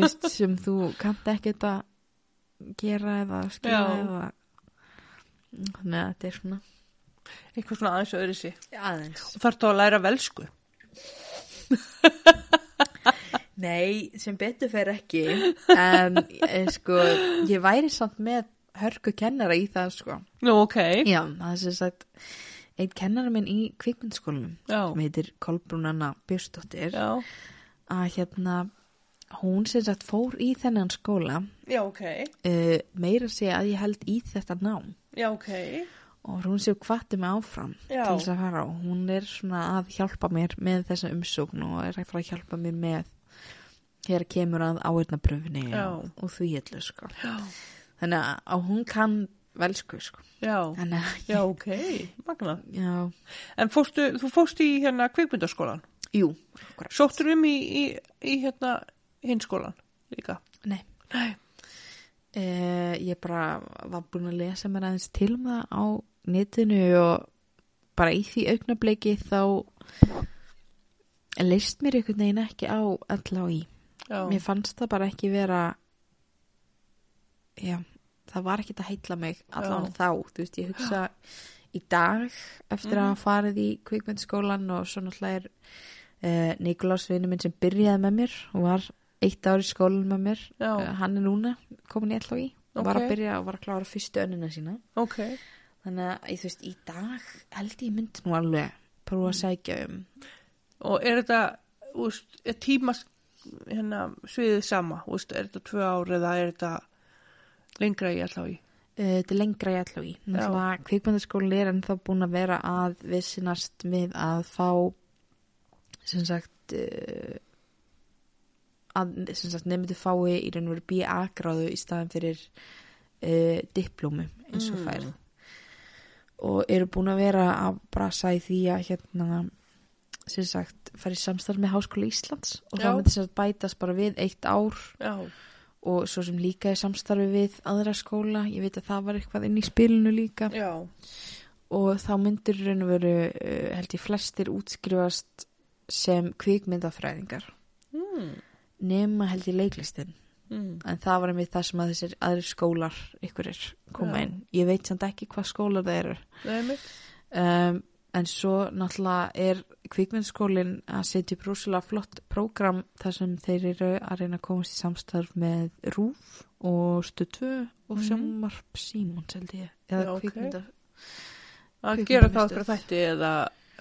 A: (laughs)
B: veist, sem þú kannt ekkert að gera eða skilja
A: Já.
B: eða þannig að þetta er svona
A: eitthvað svona aðeins öðru sér.
B: aðeins
A: Þarf þá að læra velsku?
B: Nei, sem betur fer ekki en eh, sko ég væri samt með hörku kennara í það sko
A: Nú, ok. (laughs)
B: Já, það er sem sagt einn kennara minn í kvikmyndskólanum
A: Já.
B: sem heitir Kolbrúnanna Björsdóttir
A: Já.
B: að hérna hún sem sagt fór í þennan skóla
A: Já, ok.
B: uh, meira sé að ég held í þetta nám
A: Já, ok.
B: og hún séu hvati mig áfram
A: Já.
B: til þess að fara og hún er svona að hjálpa mér með þessa umsókn og er að fara að hjálpa mér með hér kemur að áhyrnapröfni
A: Já.
B: og, og því öllu sko
A: Já.
B: þannig að- að hún kann velsku sko
A: Já.
B: þannig að
A: Já, ok. Magna.
B: já,
A: En fórstu, þú fórst í hérna kvikmyndaskólan?
B: jú,
A: Sóttur um í, í, í hérna hinskólan líka?
B: nei
A: Nei.
B: uh, ég bara var búin að lesa mér aðeins til um það á netinu og bara í því augnableiki þá leist mér einhvern veginn ekki á allá í
A: Já.
B: Mér fannst það bara ekki vera Já, það var ekki að heitla mig allan
A: Já.
B: þá, þú veist, ég hugsa í dag eftir
A: Mhm.
B: að hafa farið í kvikmyndskólan og svo náttúrulega er uh, Nikolás vinur minn sem byrjaði með mér og var eitt ár í skólan með mér
A: Já.
B: Eh, hann er núna komin í allá í og var
A: Ok.
B: að byrja og var að klára fyrstu önnina sína
A: Ok.
B: þannig að, ég, þú veist, í dag held ég mynd nú alveg prófa að sækja um
A: Og er þetta, úst, er tíma hérna sviðið sama? Úst, er þetta tvö ár eða er þetta lengra í allá í?
B: Eh, Þetta er lengra í allu í. Náttúrulega kvikmyndaskóli er ennþá búin að vera að vissinast við að fá sem sagt eh, að sem sagt nefndu fái í raun og veru BA gráðu í staðan fyrir uh, diplómi eins og færð og eru búin að vera að brasa í því að hérna sem sagt fara í samstarf með Háskóla Íslands og
A: Já.
B: það myndi sem sagt bætast bara við eitt ár
A: Já.
B: og svo sem líka í samstarfi við aðra skóla, ég veit að það var eitthvað inn í spilinu líka
A: Já.
B: og þá myndir raun og veru eh, held ég flestir útskrifast sem kvikmyndafræðingar
A: Mm.
B: nema held ég leiklistin
A: Mm.
B: en það var einmitt það sem að þessir aðri skólar ykkurir koma
A: Já.
B: inn ég veit samt ekki hvað skólar það eru
A: Nei, mitt.
B: um, en svo náttúrulega er kvikmyndskólin að setja upp rosalega flott prógram þar sem þeir eru að reyna að komast í samstarf með RÚF og Stötu og
A: Mhm.
B: Sjómarp Símons held ég eða
A: Já, ok.
B: kvikmynda
A: Að
B: Kvikmyndamiðstöð.
A: gera það okkur að þætti eða...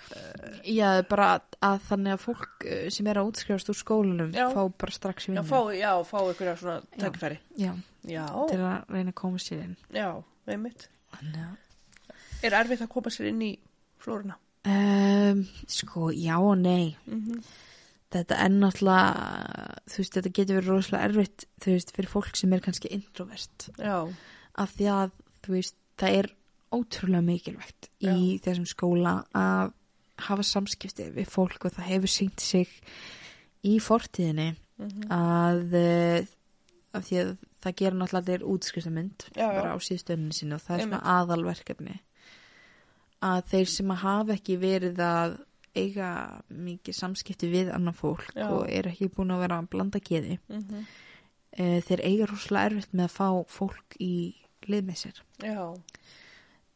A: eh,
B: Já, bara að- að þannig að fólk eh, sem er að útskrifast úr skólanum
A: Já.
B: fá bara strax í
A: Já,
B: vinnu
A: fá, já, fá ykkur að svona tækifæri.
B: Já,
A: Já,
B: til að reyna að koma sér inn
A: já, nei, mitt.
B: Þannig að
A: Er erfitt að koma sér inn í flóruna?
B: Um, sko, já og nei
A: Mm
B: þetta er náttúrulega þú veist, þetta getur verið rosalega erfitt þú veist, fyrir fólk sem er kannski introvert
A: Já,
B: af því að, þú veist, það er ótrúlega mikilvægt í þessum skóla að hafa samskipti við fólk og það hefur sýnt sig í fortíðinni
A: Mhm.
B: að eh, af því að það gera náttúrulega allir útskriftamynd
A: Já, já.
B: bara á síðstöðunni sinni og það er svona
A: Einmitt.
B: aðalverkefni að þeir sem að hafa ekki verið að eiga mikið samskipti við annan fólk
A: Já.
B: og eru ekki búin að vera að blanda geði
A: mm
B: e, þeir eiga rosalega erfitt með að fá fólk í lið með sér
A: já,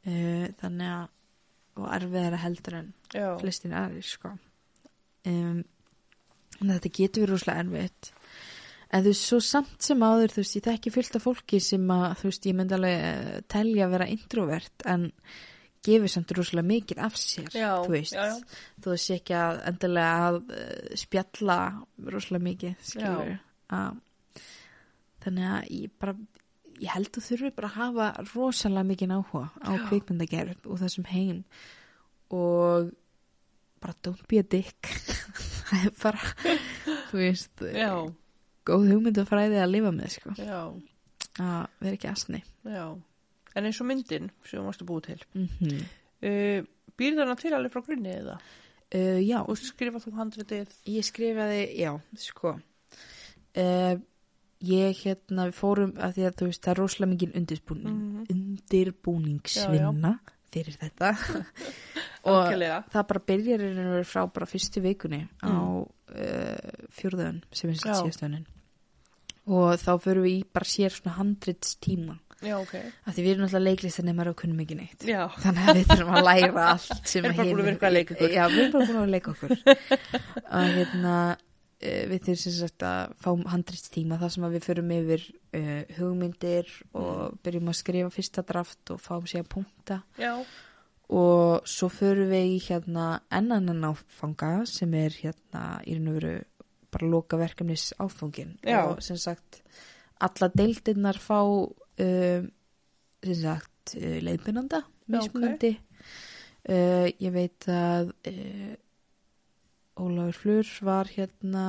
B: e, þannig að og erfiðara heldur en
A: já.
B: flestin aðrir sko um, en þetta getur verið rosalega erfitt en þú veist svo samt sem áður þú veist ég þekki fullt af fólki sem að þú veist ég myndi alveg eh, telja að vera introvert en gefur samt rosalega mikið af sér
A: Já,
B: þú veist
A: já, já.
B: þú veist ekki að endilega að eh, spjalla rosalega mikið skilur að, þannig að ég bara ég held þú þurfi bara að hafa rosalega mikið áhuga á
A: Já.
B: kvikmyndagerð og þessum heim og bara don't be a dick (laughs) það er
A: (laughs)
B: bara þú veist,
A: Já,
B: góð hugmyndafræði að lifa með sko,
A: já,
B: að vera ekki asni
A: já. En eins og myndin sem þú mást að búa til,
B: mm
A: uh, býr þarna til alveg frá grunni eða?
B: uh, já,
A: Og skrifa þú handritið?
B: Ég skrifaði, já, sko uh, Ég hérna, við fórum að því að þú veist það er rosalega mikið undirbúning,
A: Mhm.
B: undirbúningsvinna fyrir þetta
A: (laughs)
B: og
A: Algjörlega.
B: það bara byrjar í raun og veru frá bara fyrstu vikunni á uh, fjórðun sem er
A: Mm. Já.
B: síðastöðunin og þá förum við í bara sér svona handritstíma
A: Já, ok.
B: af því við erum alltaf leiklistanemar og kunnum ekki neitt
A: Já,
B: þannig að við þurfum að læra allt sem
A: Erum bara búin
B: að
A: að
B: hinir-
A: vera eitthvað að leika ykkur.
B: já, við erum bara búin að leika okkur og hérna eh, við þurfum sem sagt að fá handrýttstíma þar sem að við förum yfir uh, hugmyndir
A: Mm.
B: og byrjum að skrifa fyrsta draft og fáum sér að punkta
A: já,
B: og svo förum við í hérna ennannan áfanga sem er hérna í raun og veru bara loka verkefnis áfangin
A: Já.
B: og sem sagt alla deildinnar fá um, sem sagt uh, leiðbyrnanda
A: Já, ok.
B: mismunandi uh, ég veit að uh, Ólafur Flur var hérna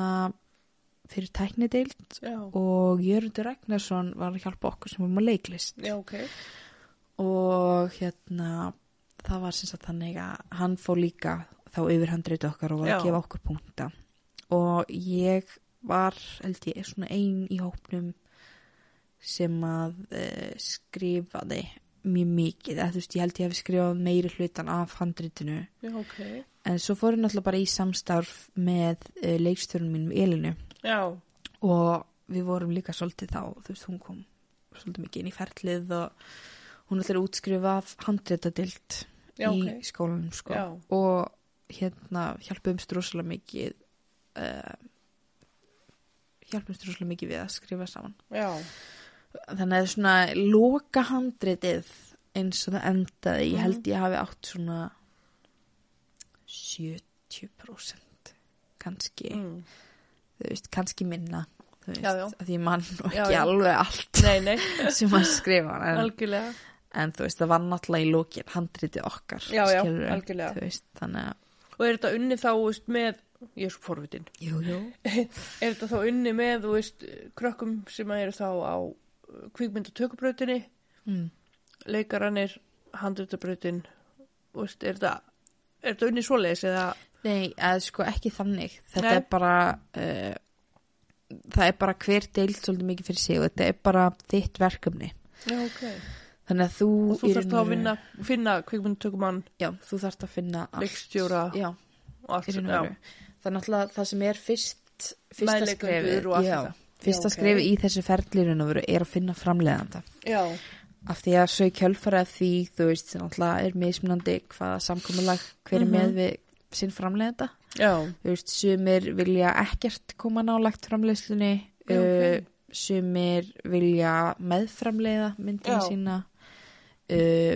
B: fyrir tæknideild
A: já,
B: og Jörundur Ragnarsson var að hjálpa okkur sem vorum að leiklist
A: já, ok.
B: og hérna það var sem sagt þannig að hann fór líka þá yfir handrið okkar og var
A: Já.
B: að gefa okkur punkta og ég var held ég svona ein í hópnum sem að uh, skrifaði mjög mikið eða þú veist ég held ég hefði skrifað meiri hlutan af handritinu
A: Já, ok.
B: en svo fór ég náttúrulega bara í samstarf með uh, leikstjörnum mínum Elinu
A: Já,
B: og við vorum líka svolítið þá, þú veist, hún kom svolítið mikið inn í ferlið og hún ætlar að útskrifa handréttadilt
A: já,
B: í
A: ok.
B: skólanum, sko
A: Já,
B: og hérna hjálpumst rosalega mikið uh, hjálpumst rosalega mikið við að skrifa saman
A: já,
B: þannig að svona loka handréttið eins og það endaði,
A: Mhm.
B: ég held ég hafi átt svona 70% kannski
A: mm.
B: þú veist, kannski minna þú veist,
A: Já, já.
B: að því mann og ekki
A: Já, já.
B: alveg
A: (laughs)
B: allt
A: Nei, nei,
B: sem að skrifa en,
A: algjörlega.
B: en þú veist, það var náttúrulega í lókin handritið okkar
A: Já, já,
B: skilurðu,
A: algjörlega.
B: þú veist, þannig að
A: Og er þetta unni þá, þú veist, með, ég er svo forvitin,
B: jú, jú.
A: er þetta þá unni með, þú veist, krökkum sem eru þá á uh, kvíkmyndatökubrautinni
B: Mm.
A: leikaranir, handritabrautin og veist, er þetta er þetta unni svoleiðis eða
B: nei, eða sko ekki þannig þetta
A: Nei.
B: er bara uh, það er bara hver deild svolítið mikið fyrir sig og þetta er bara þitt verkefni
A: já, okay.
B: þannig að þú,
A: og þú
B: í
A: þarfst þá
B: raun og
A: að
B: veru-
A: vinna, finna kvikmyndutökumann,
B: já, þú þarft að finna allt.
A: leikstjóra
B: já,
A: og allt
B: í raun og
A: já,
B: veru. Það er náttúrulega það sem er fyrst fyrsta
A: meðleikendur
B: skrefið
A: og allt
B: já,
A: þetta
B: fyrsta
A: Já, ok.
B: skrif í þessu ferlirun og veru er að finna framleiðanda
A: Já,
B: af því að svo í kjölfara því þú veist, náttúrulega er mismunandi hvaða samkomulag hver er
A: Mhm.
B: með við sinn framleiðanda
A: já,
B: þú veist, sumir vilja ekkert koma nálagt framleiðslunni
A: Já, ok.
B: uh, sumir vilja meðframleiða myndina
A: Já.
B: sína uh,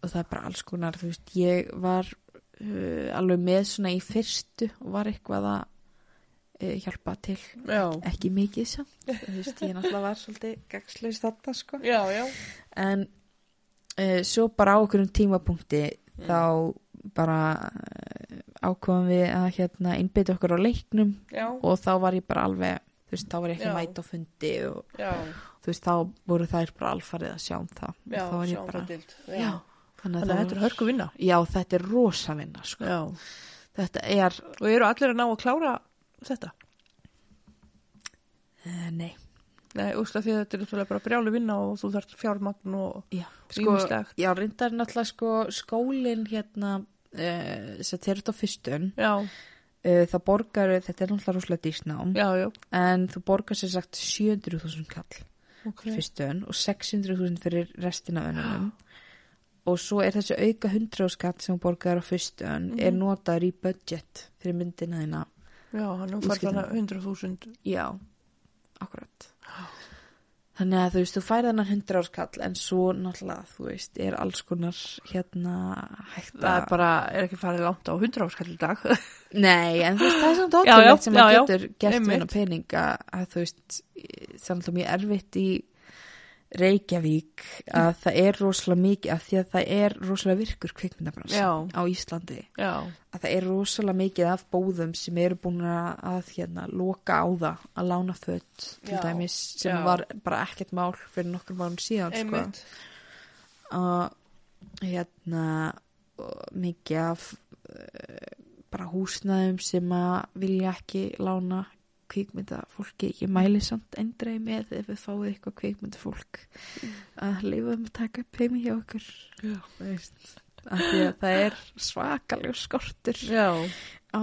B: og það er bara alls konar þú veist, ég var uh, alveg með svona í fyrstu og var eitthvað að uh, hjálpa til
A: já,
B: ekki mikið samt þú veist, ég náttúrulega var svolítið gagslaus þetta sko
A: já, já,
B: en uh, svo bara á okkur um tímapunkti
A: Mm.
B: þá bara uh, ákvaðum við að hérna innbytja okkur á leiknum
A: já,
B: og þá var ég bara alveg þú veist, þá var ég ekki
A: Já.
B: mæt á fundi og
A: já,
B: þú veist, þá voru þær bara alfarið að sjá um það
A: já,
B: þá var ég
A: sjáum
B: bara,
A: það dild.
B: já, þannig
A: Þannig að
B: það
A: þetta er hörku vinna.
B: já, þetta er rosa vinna sko.
A: Já.
B: þetta er,
A: Og eru allir að ná að klára þetta?
B: uh, nei
A: Nei, úrslega því að þetta er náttúrulega bara brjálu vinna og þú þarft fjármagn og
B: já, sko,
A: rýmislegt.
B: já, reyndar náttúrulega sko, skólin hérna uh, sem þeir eru þetta á fyrstun
A: Já,
B: uh, það borgar, þetta er náttúrulega rosalega dísnám
A: já, já.
B: en þú borgar sér sagt 700.000 kall
A: Ok.
B: fyrir fyrstun og 600.000 fyrir restina af
A: (gasps)
B: önunum og svo er þessi auka 100 skatt sem þú borgar á fyrstun
A: Mhm.
B: er notaður í budget fyrir myndina þína
A: Já, hann er farið
B: Útskiptum.
A: hana 100.000.
B: já, akkurat (gasps) þannig að þú veist, þú færð hennar 100 skall en svo náttúrulega, þú veist, er alls konar hérna hægt
A: Það
B: að
A: er bara, er ekki farið langt á 100 áskall í dag.
B: Nei, en þú veist, það er svona
A: Já, já,
B: ótrúlegt sem
A: já,
B: maður
A: já,
B: getur gert
A: einmitt.
B: með hennar pening að að þú veist, það er alltaf mjög erfitt í Reykjavík að það er rosalega mikið af því að það er rosalega virkur
A: (laughs)
B: kvikmyndabrans
A: Já.
B: á Íslandi
A: Já,
B: að það er rosalega mikið af bóðum sem eru búin að að, hérna loka á það að lána fött til
A: Já,
B: dæmis sem
A: já.
B: var bara ekkert mál fyrir nokkur mánum síðan sko
A: einmitt.
B: að hérna og mikið af eh, bara húsnæðum sem að vilja ekki lána kvikmynda fólki, ég mæli samt endrei með ef við fáið eitthvað kvikmynda fólk að leifa um að taka upp heimi hjá okkur
A: Já.
B: Þú veist, af því að það er svakalega skortur
A: Já,
B: á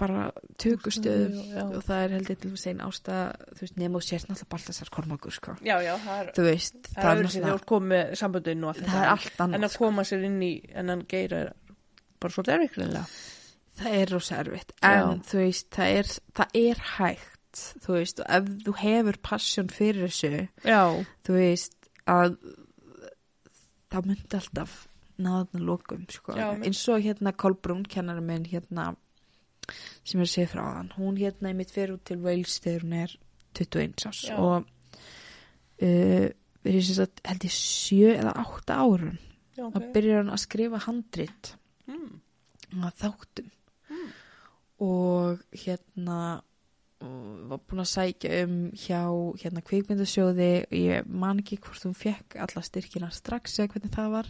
B: bara tökustöðum
A: Húsnæði og- já.
B: og það er heldur til þess einn ástæða þú veist, nema og sért náttúrulega Baltasar Kormákur sko.
A: já, já, það er...
B: þú veist,
A: Það er öðru sér þegar þú komið með samböndinu og allt sko.
B: það er allt annað
A: En að koma sér inn í ennan geira er bara svolítið erfiðklinlega.
B: það er rosa erfitt en
A: Já.
B: þú veist, það er, það er hægt þú veist, og ef þú hefur passion fyrir þessu,
A: Já,
B: þú veist að það myndi alltaf náðan lokum, sko,
A: Já, einmitt.
B: eins og hérna Kolbrún kennari minn hérna sem er að segja frá hann, hún hérna í mitt fyrir út til Wales þegar hún er 21 árs
A: Já.
B: og uh, við erum sem sagt held ég sjö eða átta árun
A: já,
B: þá byrjar hann að skrifa handrit
A: Mm.
B: að þáttum og hérna og var búin að sækja um hjá hérna kvikmyndasjóði og ég man ekki hvort hún fekk alla styrkina strax eða hvernig það var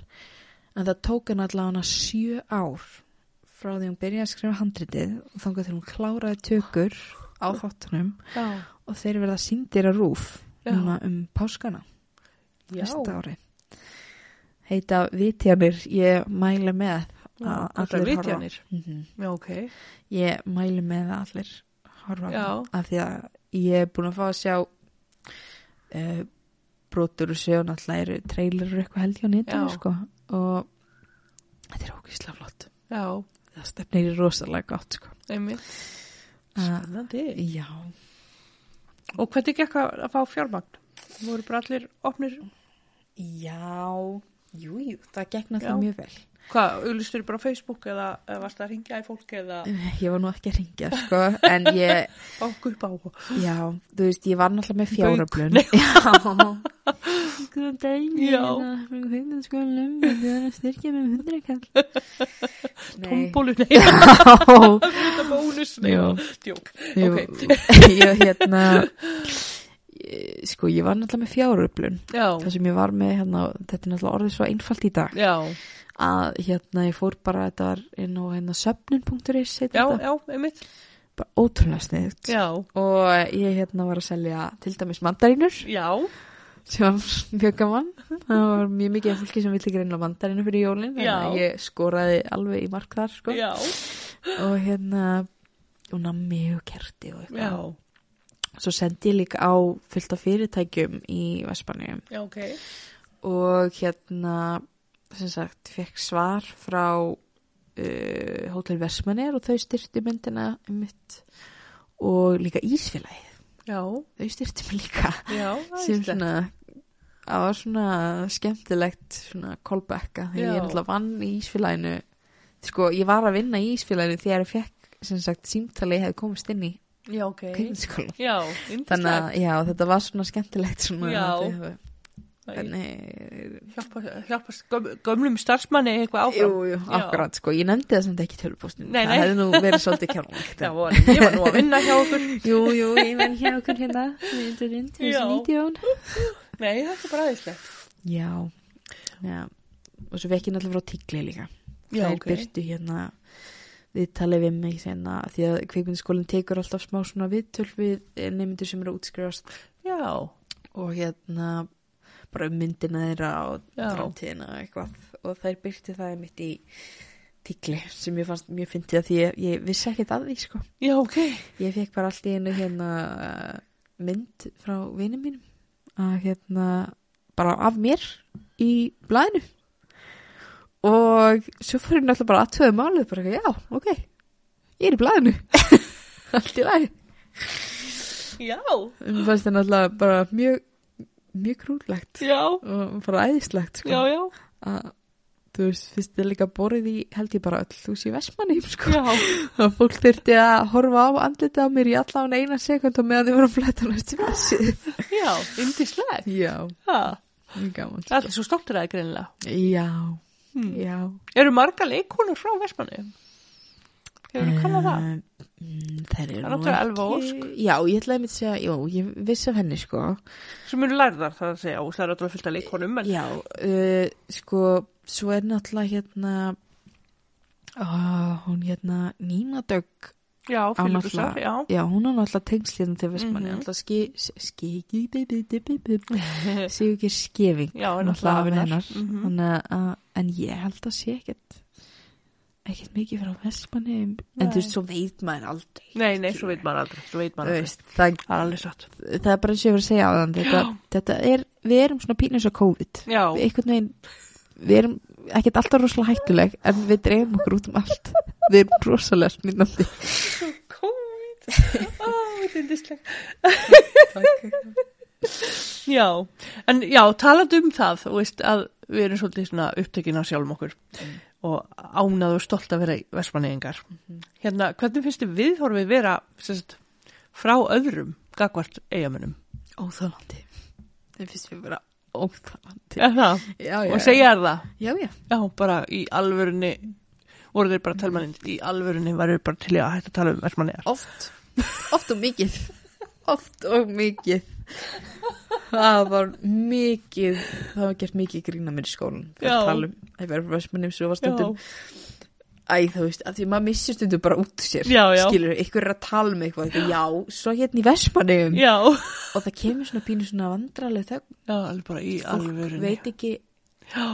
B: en það tók hann allavega sjö ár frá því hún byrjaði að skrifa handritið og þangað til hún kláraði tökur á þáttunum
A: Já,
B: og þeir verða síndir að rúf
A: Já.
B: núna um páskana
A: já.
B: næsta ári heita vitjanir ég mæli með að
A: allir
B: allir horfa
A: vitjanir.
B: Mhm.
A: Já, ok.
B: ég mæli með að allir horfa á
A: Já.
B: hana, af því að ég er búin að fá að sjá uh, brotur og sjö og náttúrulega eru trailer og eitthvað held hjá nýttan
A: Já.
B: sko. og þetta er ókvíslega flott
A: Já,
B: það stefnir í rosalega gott sko.
A: einmitt. Sko.
B: uh,
A: Spennandi.
B: já,
A: Og hvernig gekk að að fá fjármagn? Voru bara allir opnir?
B: já jú, jú, það gekk náttúrulega
A: Já.
B: mjög vel
A: Hvað, auðlistur bara á Facebook eða eða varst það að ringja í fólk eða
B: Eh, ég var nú ekki að ringja sko, en ég,
A: banku upp á?
B: já, þú veist ég var náttúrulega með
A: Bauk.
B: fjáröflun já
A: Góðan daginn.
B: Já.
A: Já,
B: Hugnaskólum, við erum að styrkja með um hundrakall. (laughs)
A: tómbólu, (laughs) nei, þetta
B: Já,
A: er bónus, nei,
B: Já.
A: djók.
B: jú,
A: Ok.
B: (laughs) ég hérna, ég- sko ég var náttúrulega með fjáröflun.
A: Já,
B: Það sem ég var með hérna, þetta er náttúrulega orðið svo einfalt í dag,
A: já,
B: að hérna ég fór bara, þetta var inn á hérna söfnun.is,
A: já,
B: þetta,
A: já, einmitt.
B: bara ótrúlega sniðut.
A: Já,
B: Og ég hérna var að selja til dæmis mandarínur
A: já,
B: sem var mjög gaman það var mjög mikið af fólki sem villi greinlega mandarinu fyrir jólin þannig að
A: Já.
B: ég skoraði alveg í mark þar sko.
A: já,
B: og hérna og nammi og kerti og
A: já,
B: eitthvað svo sendi ég líka á fullt af fyrirtækjum í Vespanjum
A: Já, ok.
B: og hérna sem sagt, fekk svar frá uh, Hotel Versmanir og þau styrtu myndina um mitt og líka Ísfélagið
A: Já,
B: þau styrtu mig líka
A: já,
B: sem
A: æðislegt.
B: svona það var svona skemmtilegt svona callbacka
A: Já.
B: þegar ég náttúrulega vann í Ísfélaginu sko ég var að vinna í Ísfélaginu þegar ég fekk sem sagt símtali ég hefði komist inn í
A: Já, ok.
B: kveikmyndaskóla
A: Já,
B: þannig
A: yndislegt.
B: að já þetta var svona skemmtilegt svona
A: Já.
B: að þau hafi-
A: Þannig
B: þannig
A: hjálpa, hjálpa göm- gömlum starfsmanni eitthvað áfram.
B: Jú, jú,
A: Já.
B: akkurat, sko, ég nefndi það samt ekki í tölvupóstinu,
A: Nei,
B: það
A: nei.
B: hefði nú verið svolítið kjánulegt.
A: Já, voru, ég var nú að vinna hjá okkur.
B: Jú, jú, ég menn hér okkur hérna, 2019,
A: Já.
B: 2019.
A: Nei, þetta er bara aðeinslegt.
B: Já, já, og svo vekki náttúrulega frá tíkli líka.
A: Já,
B: Þær
A: ok.
B: byrtu hérna, við talið við mig hérna, því að kveikmyndaskólinn tekur alltaf smá svona viðtöl við nefndur sem eru að útskrifast
A: Já,
B: og hérna, bara um myndina þeirra og
A: Já.
B: framtíðina og eitthvað og þær byrtu það mitt í tíkli sem ég fannst mjög fyndið að því ég, ég vissi ekkert að því sko
A: já, ok.
B: Ég fekk bara allt í einu hérna eh, mynd frá vinum mínum að hérna bara af mér í blæðinu og svo fór ég náttúrulega bara aðtöðu málið bara já, ok, ég er í blæðinu allt í lagi
A: Já,
B: Mér fannst það náttúrulega bara mjög mjög krúllegt
A: já,
B: og bara æðislegt
A: já,
B: sko.
A: já,
B: að þú veist, fyrst er líka borið í held ég bara öll hús í Vestmanni sko.
A: já,
B: að fólk þurfti að horfa á andlita á mér í allan eina sekund og meðan þið voru að fletta næstu messið.
A: já, yndislegt.
B: Já,
A: Já,
B: mjög gaman.
A: það er svo stoltur aðeins greinilega.
B: Já,
A: Hmm.
B: já.
A: Eru margar leikonur frá Vestmanni? Hefur þú kannað það?
B: Mm, Þær
A: Það er
B: eru Eh, nú
A: náttúrulega Elva
B: ekki- Já, ég ætlaði að mitt segja, jú, ég vissi af henni sko.
A: Sem eru lærðar það að segja og það er alltaf fullt af leikonum en...
B: Já, uh, sko, svo er náttúrulega hérna, oh, hún hérna Nína Dögg
A: Já, Filipusar,
B: náttúrulega-
A: já.
B: Já, hún er náttúrulega tengslíðan til Vestmanni,
A: Mhm.
B: alltaf ski, ski, ski, bi- bi- bi- bi- bi- sigur ekki skefing,
A: Já, er
B: náttúrulega
A: náttúrulega
B: afinn hennar.
A: hennar. Mhm.
B: Þannig að, en ég held að sé ekkert, ekkert mikið frá Vestmanni, en
A: Nei.
B: þú veist, svo veit maður aldrei.
A: Nei, nei, svo veit maður aldrei, svo veit
B: Þú
A: maður aldrei.
B: veist, það,
A: Það er alveg satt.
B: það er bara eins og ég var að segja á þann, þetta, þetta er, við erum svona pínus á COVID.
A: Já,
B: Við einhvern veginn, við erum ekkert alltaf rosalega hættuleg, en við dreifum okkur út um allt. Við erum rosalega smínandi.
A: (laughs) COVID Ó, þetta er dislegt Já, en já, talandi um það þú veist að við erum svolítið svona upptekin af sjálfum okkur og ánað og stolt að vera versmanningar Hérna, hvernig finnst þið viðhorfið vera sem sagt, frá öðrum gagvart eigamönnum?
B: Óþálandi. Það finnst við bara óþálandi.
A: Er það?
B: Já,
A: Og segja þér það?
B: Já, já.
A: Já, bara í alvörunni voru þeir bara að tala manni í alvörunni varu þeir bara til í að hætta að tala um versmanningar
B: Oft, oft og mikið Oft og mikið Það var mikið Það var gert mikið grína mér í skólan
A: Já.
B: Það talum, það verður versmennum svo var stundum um Æ, þú veist, af því maður missir stundum bara út úr sér
A: Já, já.
B: Skilur, ykkur er að tala um eitthvað eitthvað, Já, svo hérna í versmannum
A: Já,
B: Og það kemur svona pínu svona vandraleg þögn
A: já, alveg bara í
B: Fólk
A: alvörunni
B: veit ekki,
A: Já,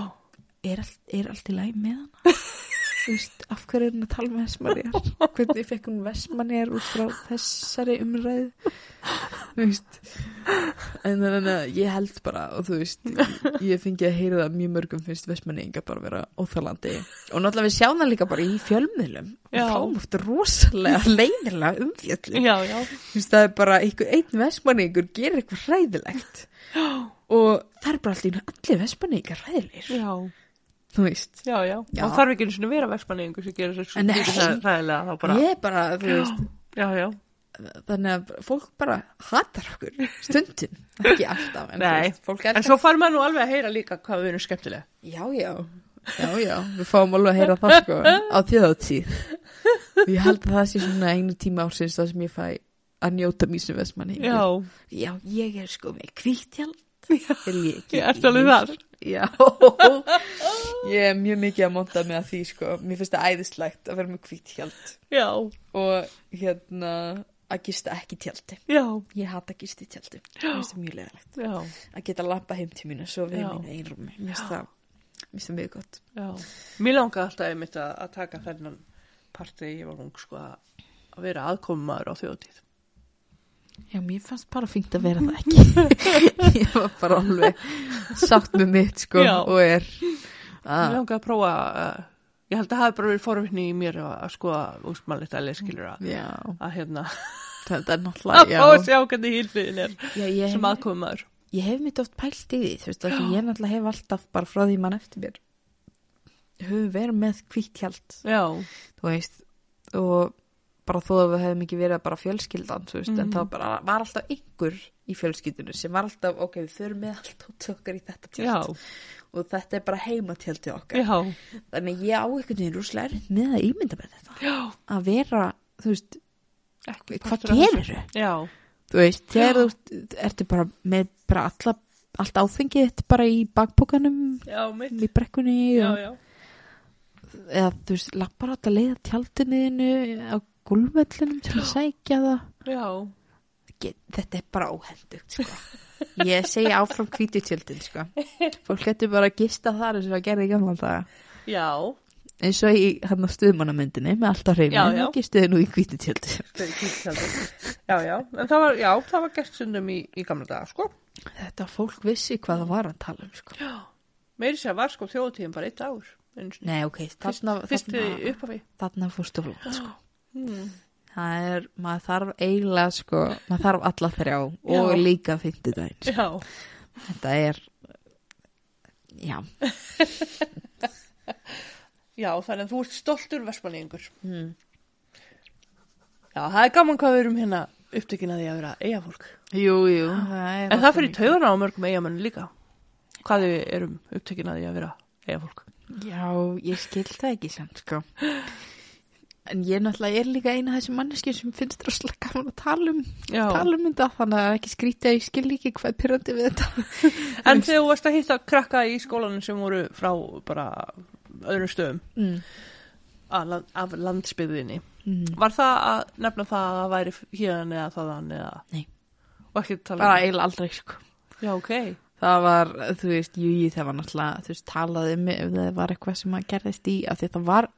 B: er allt, er allt í læg með hana? (laughs) Þú veist, af hverju er hún að tala um versmannir? Hvernig fekk hún versmannir út frá þessari umræð? Þú veist, en þannig að ég held bara, og þú veist, ég fengi að heyra það mjög mörgum finnst versmanninga bara vera óþalandi. Og náttúrulega við sjáum það líka bara í fjölmiðlum.
A: Já.
B: Við fáum oft rosalega (laughs) leiðilega umfjöllum.
A: já, já,
B: Þú veist, það er bara einhver, einn versmanningur gerir eitthvað hræðilegt. Og það er bara allt í einu allir versmanningar hræðilegir.
A: já,
B: Þú veist.
A: já, já.
B: Já.
A: Og þarf ekki einu sinni að vera versmanningu sem gerir þessu
B: Nei.
A: ræðilega þá bara.
B: Ég er bara, þú veist,
A: Já, já.
B: þannig að bara- fólk bara hatar okkur stundum, ekki alltaf en þú
A: Nei.
B: veist, fólk
A: En
B: elskar,
A: svo fær maður nú alveg að heyra líka hvað við erum skemmtilega.
B: já, já já, já, við fáum alveg að heyra það sko á þjóðatíð og ég held að það sé svona einu tíma ársins það sem ég fæ að njóta mín sem vestmanni
A: Já,
B: já, ég er sko með kvíttjald
A: ég
B: ég
A: ert alveg þar.
B: Já, ég er mjög mikið að monta með að því sko, mér finnst það æðislegt að vera með kvíttjald
A: Já,
B: og hérna að gista ekki í tjaldi
A: já,
B: ég hata að gista í tjaldi mér finnst það mjög leðalegt
A: já,
B: að geta lappa heim til mín og sofa í
A: Já.
B: mínu einrúmi mér finnst það mér finnst það mjög gott
A: já. Mér langaði alltaf einmitt að, að taka þennan part þegar ég var ung sko að að vera aðkomumaður á þjóðtíð.
B: Já, mér fannst bara fínt að vera það (laughs) ekki. ég var bara alveg sátt með mitt, sko,
A: Já.
B: og er... Ah,
A: Mér
B: að-
A: langaði að prófa, uh, ég held að hafi bara verið forvinni í mér að, að skoða úsmannlítali skilur að,
B: Já,
A: að hérna,
B: þetta er
A: að fá að
B: náttúrulega, já.
A: sjá hvernig hýlfiðin er
B: já ég,
A: sem
B: hef,
A: aðkomaður.
B: ég hef mitt oft pælt í því, þú veist, af því ég náttúrulega hef alltaf bara frá því mann eftir mér. Höfum verið með kvíttjald,
A: Já,
B: þú veist, og bara þó að við hefum ekki verið bara fjölskyldan, þú veist, en
A: Mhm.
B: þá bara var alltaf einhver í fjölskyldinu sem var alltaf, ok, við förum með allt og okkar í þetta
A: já,
B: tjald og þetta er bara heimatjaldið okkar.
A: já,
B: þannig að ég á einhvern veginn rúslega erfitt með að ímynda með þetta
A: já,
B: að vera, þú veist,
A: ekki.
B: hvað
A: partur af þessu.
B: gerir
A: Já,
B: þú veist,
A: Já.
B: þegar þú ertu bara með bara alla, allt áfengið þetta bara í bakbókanum
A: já, mitt,
B: í brekkunni
A: já,
B: og,
A: já,
B: eða þú veist, lappar alltaf leiða tjaldinniðinu á gulvöllinum til að sækja það
A: já,
B: Get, þetta er bara óhendugt sko. ég segi áfram hvítu tjöldin sko. fólk getur bara að gista þar eins og að gera í gamla daga
A: já,
B: eins og í hann á stuðmannamyndinni með allt á hreinu,
A: Já, já.
B: ekki stuði nú í hvítu tjöldin
A: fyrir kýrkjaldur. Já, já, en það var, já, það var gert sundum í, í gamla daga, sko.
B: Þetta fólk vissi hvað það var að tala um sko.
A: Meiri sér var sko þjóðtíðin bara eitt ár. einu sinni.
B: Nei, ok,
A: Fyrst,
B: þarna,
A: fyrst við
B: þarna,
A: upphafi.
B: þarna fórstu flótt sko.
A: Hmm.
B: Það er, maður þarf eiginlega sko, maður þarf alla þrjá og
A: Já.
B: líka fimmtudaginn sko.
A: Já,
B: Þetta er, já
A: já, þannig að þú ert stoltur versmanningur.
B: mm.
A: Já, það er gaman hvað við erum hérna upptökin að því að vera eigafólk.
B: Jú, jú það
A: En það fyrir taugana á mörgum eigamönnum líka. Hvað við erum upptökin að því að vera eigafólk.
B: Já, ég skil það ekki samt sko En ég náttúrulega er líka eina af þessum manneskjum sem finnst rosslega gaman að tala um,
A: Já,
B: tala um þetta þannig að það er ekki skrítið að ég skil ekki hvað er pyrrandi við þetta
A: en þegar þú varst að hitta krakka í skólanum sem voru frá bara öðrum stöðum
B: mm.
A: að land- af landsbyðinni.
B: Mm.
A: Var það að nefna það að það væri hérna eða þaðan eða?
B: Nei.
A: Og ekki tala
B: Bara
A: um?
B: eiginlega aldrei sko
A: Já, ok.
B: það var, þú veist, jú, jú, það var náttúrulega, þú veist, talaði um ef það var eitthvað sem að gerðist í, af því að þetta var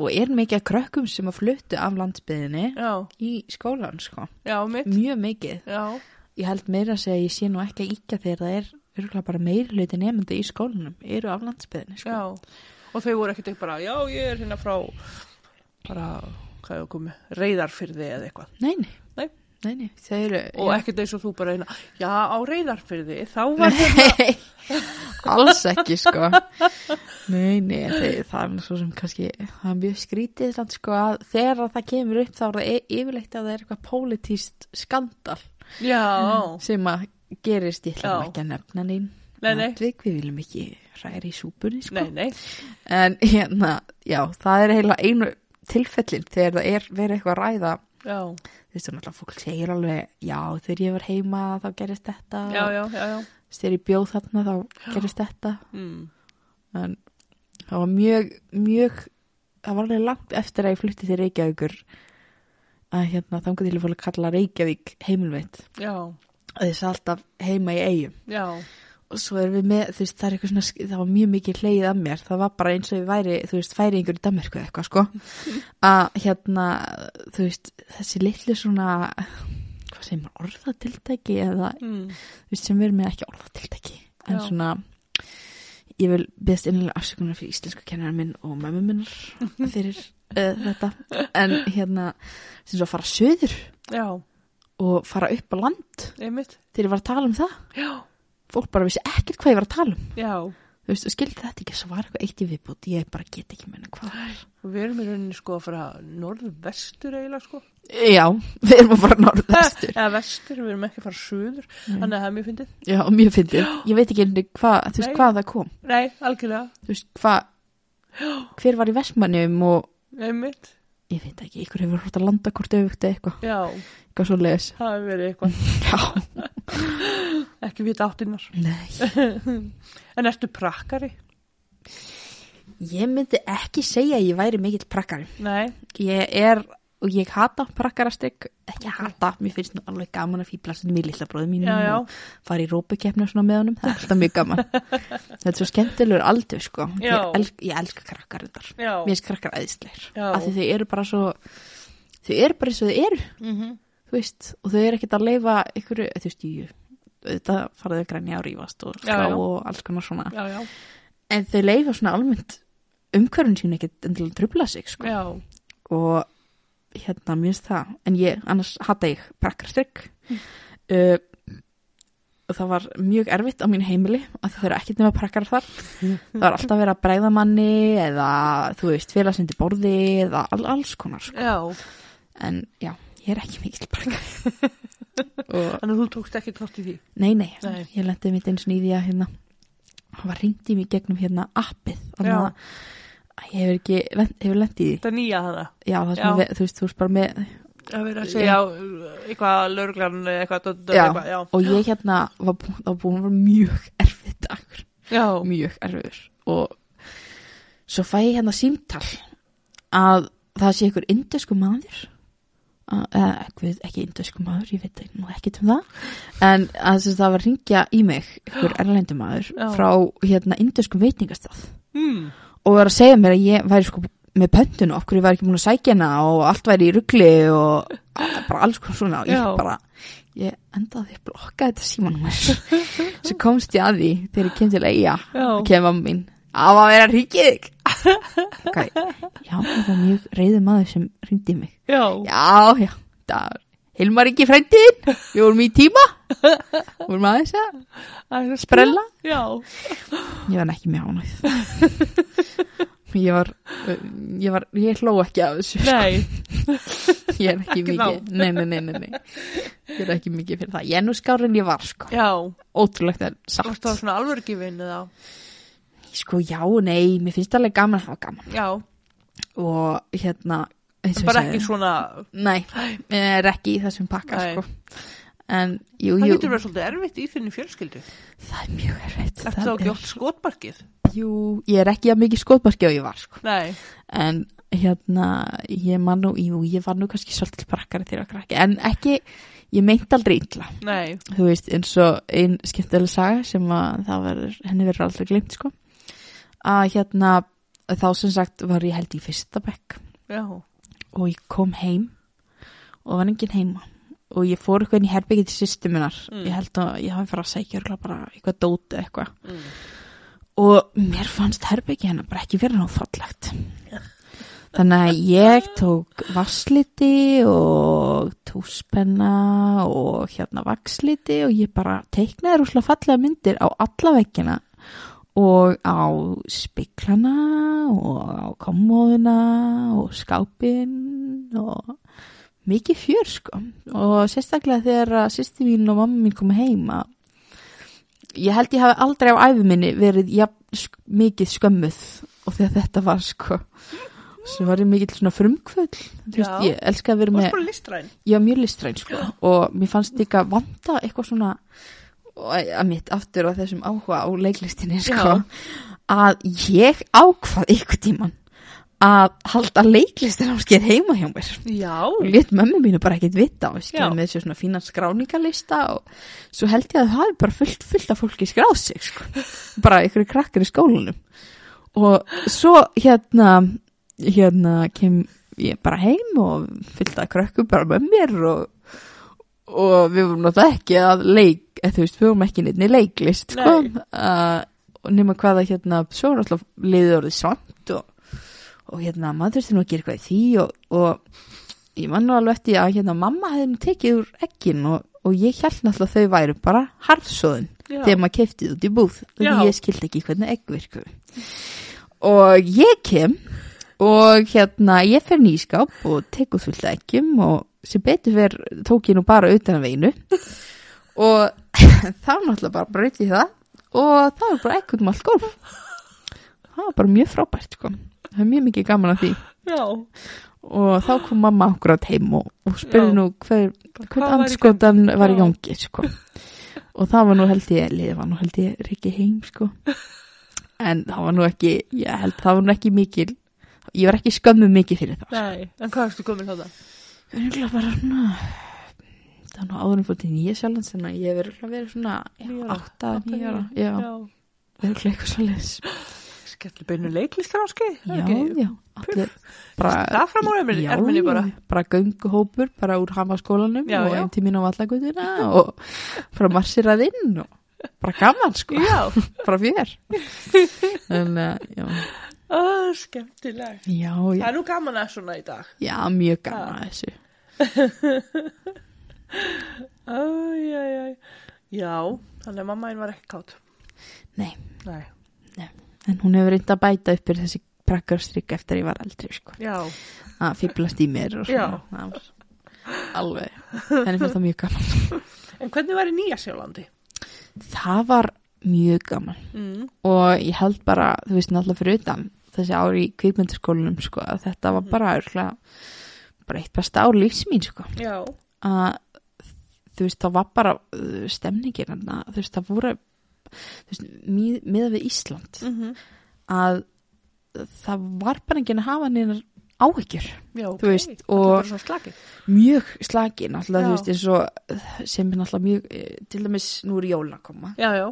B: og er mikið að krökkum sem að fluttu af landsbyðinni
A: Já,
B: í skólan, sko,
A: já, mitt.
B: mjög mikið
A: Já,
B: ég held meira að segja að ég sé nú ekki að íkja þegar það er virkulega bara meiri hluti nefndi í skólanum, eru af landsbyðinni, sko
A: já. Og þau voru ekkert ekki bara, já, ég er hérna frá bara, hvað er að koma, reyðarfyrði eða eitthvað.
B: Nei, nei,
A: Nei.
B: nei, nei, þau eru
A: og
B: já.
A: ekkert eins og þú bara eina já á reyðarfyrði þá
B: (laughs)
A: var
B: Nei, alls ekki sko Nei, nei, þeir, það er nú svo sem kannski það er mjög skrítið samt, sko, að þegar að það kemur upp þá er það e- yfirleitt að það er eitthvað pólitíst skandal
A: já,
B: sem að gerist, ég ætla
A: Já.
B: nú ekki að nefna neinn
A: Nei, nei.
B: atvik, við viljum ekki ræri í súpunni sko
A: nei nei
B: en hérna, já, það er heila einu tilfellin þegar það er verið eitthvað að ræða
A: já,
B: þú veist, og náttúrulega fólk segir alveg já, þegar ég var heima þá gerist þetta
A: já, já, já, já.
B: þegar ég bjóð þarna þá gerist þetta
A: Mm.
B: en það var mjög, mjög það var alveg langt eftir að ég flutti til Reykjavíkur að hérna þangar til ég fór að kalla Reykjavík heimilveit
A: já,
B: og þess alltaf heima í eigum
A: já
B: og svo erum við með, þú veist, það er eitthvað svona sk- það var mjög mikið hleyið að mér, það var bara eins og ég væri, þú veist, færi einhverju Danmarku eða eitthvað, sko að hérna, þú veist, þessi litlu svona hvað segir maður, orðatiltæki eða,
A: mm.
B: þú veist, sem við erum með ekki orðatiltæki
A: Já.
B: en svona ég vil beðast innlega afsökunar fyrir íslensku kennarar minn og mömmu minnar fyrir uh, þetta en hérna, sem svo að fara söður
A: já,
B: og fara upp á land
A: einmitt
B: þegar ég var að tala um það
A: já,
B: fólk bara vissi ekkert hvað ég var að tala um
A: já,
B: þú veist, og skildi þetta ekki, svo var eitthvað eitt í viðbútt, ég bara get ekki menna hvað.
A: og við erum í rauninni sko að fara norðvestur eiginlega sko
B: Já, (laughs) við erum að fara (laughs) norðvestur.
A: eða vestur, við erum ekki að fara suður þannig að það er mjög fyndið,
B: Já, og mjög fyndið. (gasps) Ég veit ekki einnig hvað, þú veist,
A: Nei.
B: hvað það kom.
A: nei, algjörlega
B: Þú veist, (gasps) hvað, hver var í Vestmannum og,
A: einmitt,
B: ég veit ekki, ykkur hefur hort að landa hvort auðvögt eða eitthvað,
A: já,
B: eitthvað svo leiðis.
A: það hefur verið eitthvað
B: (laughs) Já.
A: ekki vita áttinnar,
B: Nei.
A: en ertu prakkari
B: (laughs) Ég myndi ekki segja að ég væri mikill prakkari.
A: nei,
B: Ég er, og ég hata prakkarastrygg, ekki hata, mér finnst nú alveg gaman að fýbla sem mér lilla bróðum mínum
A: já, já,
B: og fara í rópukefni og svona með honum, það er alltaf mjög
A: (laughs)
B: gaman þetta er svo skemmtilegur aldur sko
A: Já.
B: ég, elsk, ég elska krakkar þar
A: já
B: mér finnst krakkar æðisleir
A: Já.
B: af því þau eru bara svo þau eru bara eins og þau eru
A: mm -hmm.
B: þú veist, og þau eru ekkert að leifa ykkur, þú veist, jú, þetta faraðu grænja að rífast og skrá
A: Já, já.
B: og alls konar svona.
A: já, já,
B: En þau leifa svona almennt umhverfin sín ekkert endilega að trubla sig, sko.
A: já,
B: Og hérna, mér finnst það, en ég, annars hata ég prakkarstrygg.
A: Mm.
B: Uh, og það var mjög erfitt á mín heimili að þau eru ekkert nema prakkar
A: (laughs)
B: þar. það var alltaf verið að bræða manni eða, þú veist, félagsindir borði eða all, alls konar, sko.
A: já.
B: En já, ég er ekki mikill prakkar.
A: (laughs)
B: og
A: Þannig að þú tókst ekki tótt í því.
B: Nei, nei,
A: Nei.
B: ég lendi mitt eins og nýði að hérna, það var ringt í mig gegnum hérna appið, þannig
A: Já.
B: að að ég hefur ekki, lent- hefur lendið í því
A: Þetta er nýja það.
B: já, það
A: Já.
B: sem við, þú veist, þú veist bara með
A: Að vera að segja já. eitthvað lögreglan, eitthvað, eitthvað,
B: Já.
A: eitthvað, já.
B: og ég hérna var búin, það var búin að vera mjög erfið dagur,
A: Já,
B: mjög erfiður og svo fæ ég hérna símtal að það sé ykkur indesku maður að- eða ekki, ekki indesku maður, ég veit ekki, ekki um það en að þess að það var að ringja í mig ykkur erlendumaður
A: Já.
B: frá hérna indeskum veitingastað
A: mm.
B: og var að segja mér að ég væri sko með pöntun og okkur ég væri ekki múin að sækja hana og allt væri í ruggli og bara alls konar svona og ég
A: Já.
B: bara ég endaði að blokka þetta símanúmer (laughs) svo komst ég að því þegar ég kem til eiga
A: já,
B: kem mamma mín á að vera ríkið þig okay. já, það var mjög reyðið maður sem ringdi mig
A: já,
B: já, já, það var Hilmar ekki frændiðinn, við vorum í tíma við vorum aðeins að
A: Það er að
B: brella
A: Já,
B: Ég var ekki mjög ánægð Ég var, uh, ég var, ég hló ekki af þessu sko.
A: nei,
B: Ég er
A: Ekki
B: ekki, mikið, nei, nei, nei, nei, nei Ég er ekki mikið fyrir það Ég er nú skár en ég var, sko
A: já,
B: Ótrúlegt en
A: þú veist
B: satt
A: það svona alvörgifin eða,
B: Sko, já, nei, mér finnst alveg gaman að hafa gaman
A: já,
B: Og hérna eins og ég
A: bara
B: sagði-
A: ekki svona,
B: Nei, ég er ekki í þessum pakka,
A: Nei.
B: sko En, jú,
A: það
B: jú
A: getur verið svolítið erfitt í þinni fjölskyldu.
B: Það er mjög erfitt
A: Ertu
B: Það
A: þá ekki
B: er-
A: oft skotbarkið?
B: Jú, ég er ekki að mikið skotmarki og ég var, sko
A: Nei,
B: en hérna ég man nú, jú, ég var nú kannski svolítið brakkari þegar ég var krakki, en ekki ég meint aldrei illa,
A: nei,
B: þú veist eins og einn skemmtileg saga sem að það verður, henni verður aldrei glimt sko, að hérna þá sem sagt var ég held í fyrsta bekk
A: já,
B: og ég kom heim og var enginn heima og ég fór eitthvað inn í herbyggið til systuminar
A: Mm.
B: ég held að ég hafi farið að segja örugglega bara eitthvað dóti eitthvað
A: mm.
B: og mér fannst herbyggi hennar bara ekki verið nóg fallegt þannig að ég tók vassliti og túspenna og hérna vaksliti og ég bara teiknaði rúslega fallega myndir á alla vekkina og á spiklana og á kommóðuna og skápin og mikið fjör sko og sérstaklega þegar sýsti mín og mamma mín koma heima ég held ég hafi aldrei á æfi minni verið jafn, sk mikið skömmuð og þegar þetta var sko svo var ég mikill svona frumkvöld Þú veist,
A: Já.
B: ég elska að vera
A: og
B: með
A: spara listræn.
B: ég var mjög listræn sko og mér fannst líka vanda eitthvað svona og að mitt aftur á þessum áhuga á leiklistinni sko að ég ákvað ykkur tíman að halda leiklistin á skeið heima hjá mér
A: Já,
B: og létt mömmu mínu bara ekkert vita og
A: Já.
B: skilja með þessu svona fína skráningalista og svo held ég að það hafi bara fullt, fullt af fólki skráð sig sko. bara ykkur krakkar í skólanum og svo hérna hérna kem ég bara heim og fullt af krökkum bara með mér og, og við vorum náttúrulega ekki að leik, eða þú veist, við vorum ekki neitt leiklist sko,
A: Nei.
B: uh, og nema hvað að hérna, svo er náttúrulega liðið orðið svant og, og hérna, maður þurfti nú að gera eitthvað í því og, og ég man nú alveg eftir að hérna, mamma hefði nú tekið úr ekkin og, og ég held náttúrulega að þau væru bara harfsóðin
A: já,
B: þegar maður keftið út í búð því
A: Já.
B: ég skildi ekki hvernig egg virku og ég kem og hérna ég fer nýskáp og tek út fullt af eggjum og sem betur fer tók ég nú bara utan að veinu og (laughs) þá náttúrulega bara braut ég það og það var bara egg út um allt golf það var bara mjög frábært sko það er mjög mikið gaman að því
A: já,
B: og þá kom mamma akkurat heim og, og spurði
A: Já.
B: nú hver, hvern
A: hvað var í
B: anskotan var í
A: Já.
B: gangi sko. og það var nú held ég liðið var nú held ég Rikki heim sko. en það var nú ekki ég held það var nú ekki mikil ég var ekki skömmu mikið fyrir það sko.
A: nei, en hvað erstu komin þarna?
B: Ég var örugglega bara svona það var nú áðurinn fór til nýja sjálfans þannig að ég verið verið svona
A: Níu ára,
B: 8-9
A: átta,
B: ára
A: níu.
B: já,
A: Já,
B: verið eitthvað svo leis
A: skemmtileg beinu leiklistaránski
B: Já, já, allir bara,
A: það fram á erminni, erminni bara
B: bara gönguhópur bara úr hamaskólanum
A: Já,
B: og
A: já.
B: einn tímin á vallagutina og bara marsirað inn og bara gaman sko,
A: já,
B: bara fjör en uh, já,
A: Ó, skemmtileg
B: já,
A: það
B: já,
A: er nú gaman að svona í dag
B: já mjög gaman að þessu
A: Æj, æj, æj. já, þannig að mamma einn var ekki kátt
B: Nei.
A: Nei.
B: en hún hefur reynda að bæta upp fyrir þessi prakkarstrykk eftir að ég var eldri sko,
A: já,
B: að fýblast í mér og
A: Já.
B: svona, það var alveg, henni fannst það mjög gaman
A: en hvernig var í Nýja Sjálandi?
B: það var mjög gaman
A: Mm.
B: og ég held bara, þú veist náttúrulega fyrir utan þessi ár í kvikmyndaskólanum sko, að þetta var bara örgulega bara eitt besta ár lífs mín sko.
A: já,
B: að þú veist, það var bara uh, stemningin þarna, þú veist, það voru þú veist, mið, miða við Ísland
A: mm
B: að það var bara enginn að hafa neinar áhyggjur
A: já ok.
B: Þú veist,
A: Allir
B: og-
A: bara svona slakir.
B: mjög slagi náttúrulega,
A: Já.
B: þú veist, eins og sem er náttúrulega mjög, eh, til dæmis nú er jólin að koma
A: já, já,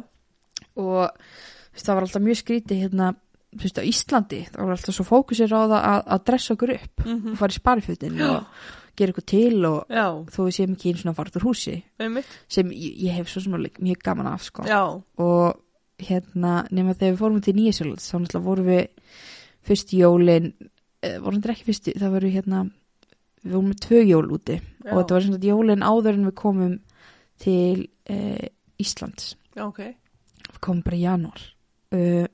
B: og þú veist, það var alltaf mjög skrítið hérna, þú veist, á Íslandi það var alltaf svo fókusir á það að, að dressa okkur upp
A: Mhm.
B: og fara í sparifjötin og gera eitthvað til og
A: já,
B: þó við séum ekki einu svona fara út úr húsi
A: einmitt
B: sem ég, ég hef svo sem alveg mjög gaman af sko.
A: já,
B: og hérna nema þegar við fórum til Nýjasjöland þá náttúrulega vorum við fyrst jólin eh, vorum þetta ekki fyrst það voru hérna, við vorum með tvö jól úti
A: já,
B: og þetta var sem sagt jólin áður en við komum til eh, Íslands
A: já, ok
B: við komum bara í janúar uh,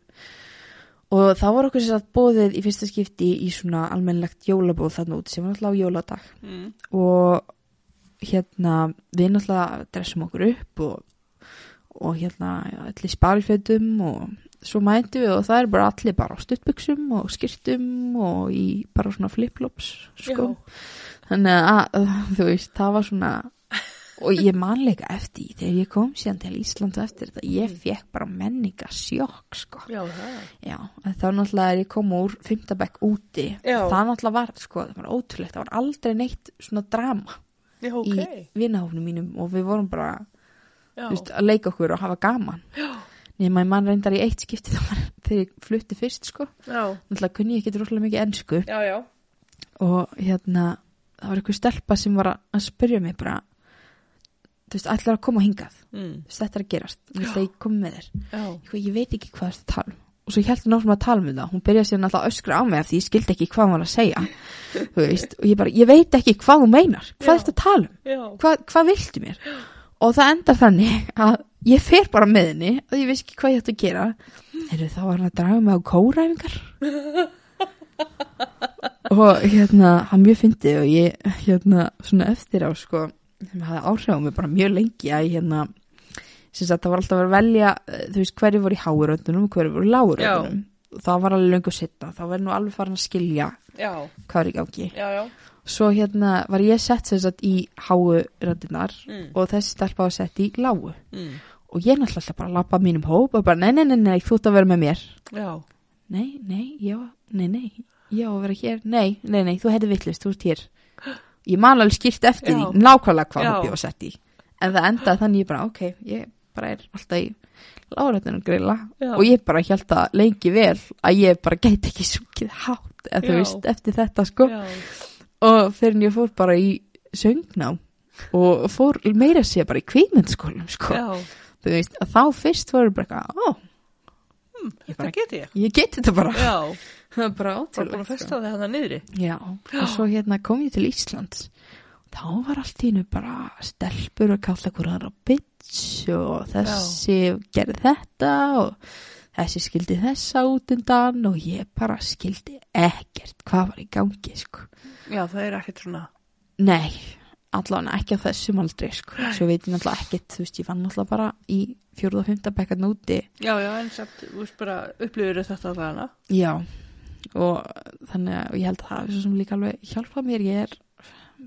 B: og það var okkur sér að bóðið í fyrsta skipti í svona almennlegt jólabóð þannig út sem var náttúrulega á jóladag
A: mm.
B: og hérna við náttúrulega dressum okkur upp og, og hérna já, allir sparifötum og svo mætum við og það er bara allir bara á stuttbuxum og skirtum og í bara svona flipflops sko þannig að þú veist, það var svona og ég man líka eftir því þegar ég kom síðan til Íslandu eftir þetta ég
A: Mm.
B: fekk bara menninga sjokk sko.
A: já, já, það
B: já, en þá náttúrulega er ég kom úr fymtabæk úti
A: Já.
B: það náttúrulega var, sko, það var ótrúlegt það var aldrei neitt svona drama
A: já, ok
B: í vinahófnum mínum og við vorum bara
A: já,
B: þú veist, að leika okkur og hafa gaman
A: já,
B: nema ég man reyndar í eitt skipti (laughs) það var þegar ég flutti fyrst sko
A: já,
B: náttúrulega kunni ég ekki rosalega mikið ennsku
A: já, já
B: og hérna það var einhver stelpa sem var að- að spyrja mig bara þú veist, ætlar að koma hingað
A: mm.
B: Þú veist, þetta er að gerast, þú veist, ég kom með þér
A: já,
B: ég, ég veit ekki hvað þetta tala um og svo ég held náttúrulega að tala um það, hún byrjaði síðan alltaf að öskra á mig af því ég skildi ekki hvað hún var að segja þú veist, og ég bara, ég veit ekki hvað hún meinar hvað
A: Já.
B: þetta tala um,
A: já,
B: hvað, hvað viltu mér og það endar þannig að ég fer bara með henni og ég veist ekki hvað ég ætti að gera Heru, þá var hann að draga mig á kóræfingar og hérna hann mjög fyndi og ég hérna svona eftir á sko sem hafði áhrif á mig bara mjög lengi að ég hérna sem sagt það var alltaf að vera að velja eh, þú veist hverju voru í háuröndunum og hverju voru í láguröndunum það var alveg löngu setna þá var nú alveg farin að skilja
A: já,
B: hvað er í gangi
A: já, já
B: svo hérna var ég sett sem sagt í háuröndunar
A: mm.
B: og þessi stelpa var sett í lágu
A: Mm.
B: og ég náttúrulega alltaf bara að lappa mínum hóp og bara nei, nei, nei, nei, þú ert að vera með mér
A: já,
B: nei, nei, já, nei, nei já, að vera hér, nei, nei, nei, þú heitir vittlust, þú ert hér ég man alveg skýrt eftir
A: Já.
B: því nákvæmlega hvað
A: Já.
B: hóp ég var sett í en það endaði þannig ég bara, ok, ég bara er alltaf í lárættunum grilla
A: Já.
B: og ég bara held að lengi vel að ég bara gæti ekki sungið hátt eða þú
A: Já.
B: veist, eftir þetta sko
A: já,
B: og fyrir en ég fór bara í söngnám og fór meira sér bara í kvíkmyndskólum sko
A: já
B: þú veist, að þá fyrst voru bara eitthvað, ó,
A: Hm, þetta
B: bara-
A: geti ég
B: ég get þetta bara
A: já,
B: (laughs) það er bara
A: bara búin
B: ótrúlegt
A: að
B: sko.
A: festa það hann niðri
B: já, og svo hérna kom ég til Íslands þá var allt í hennu bara stelpur að kalla hverju aðra bitch og þessi gerði þetta og þessi skildi þessa út undan og ég bara skildi ekkert hvað var í gangi sko.
A: já, það er ekkert svona
B: nei, allavega ekki á þessum aldrei sko. svo veit ég náttúrulega ekkert þú veist, ég fann náttúrulega bara í fjórða og fymta bekkarn úti
A: já, já, en samt, þú veist bara upplifir þetta að hana
B: Já, og þannig að og ég held að það er svo sem líka alveg hjálpa mér, ég er,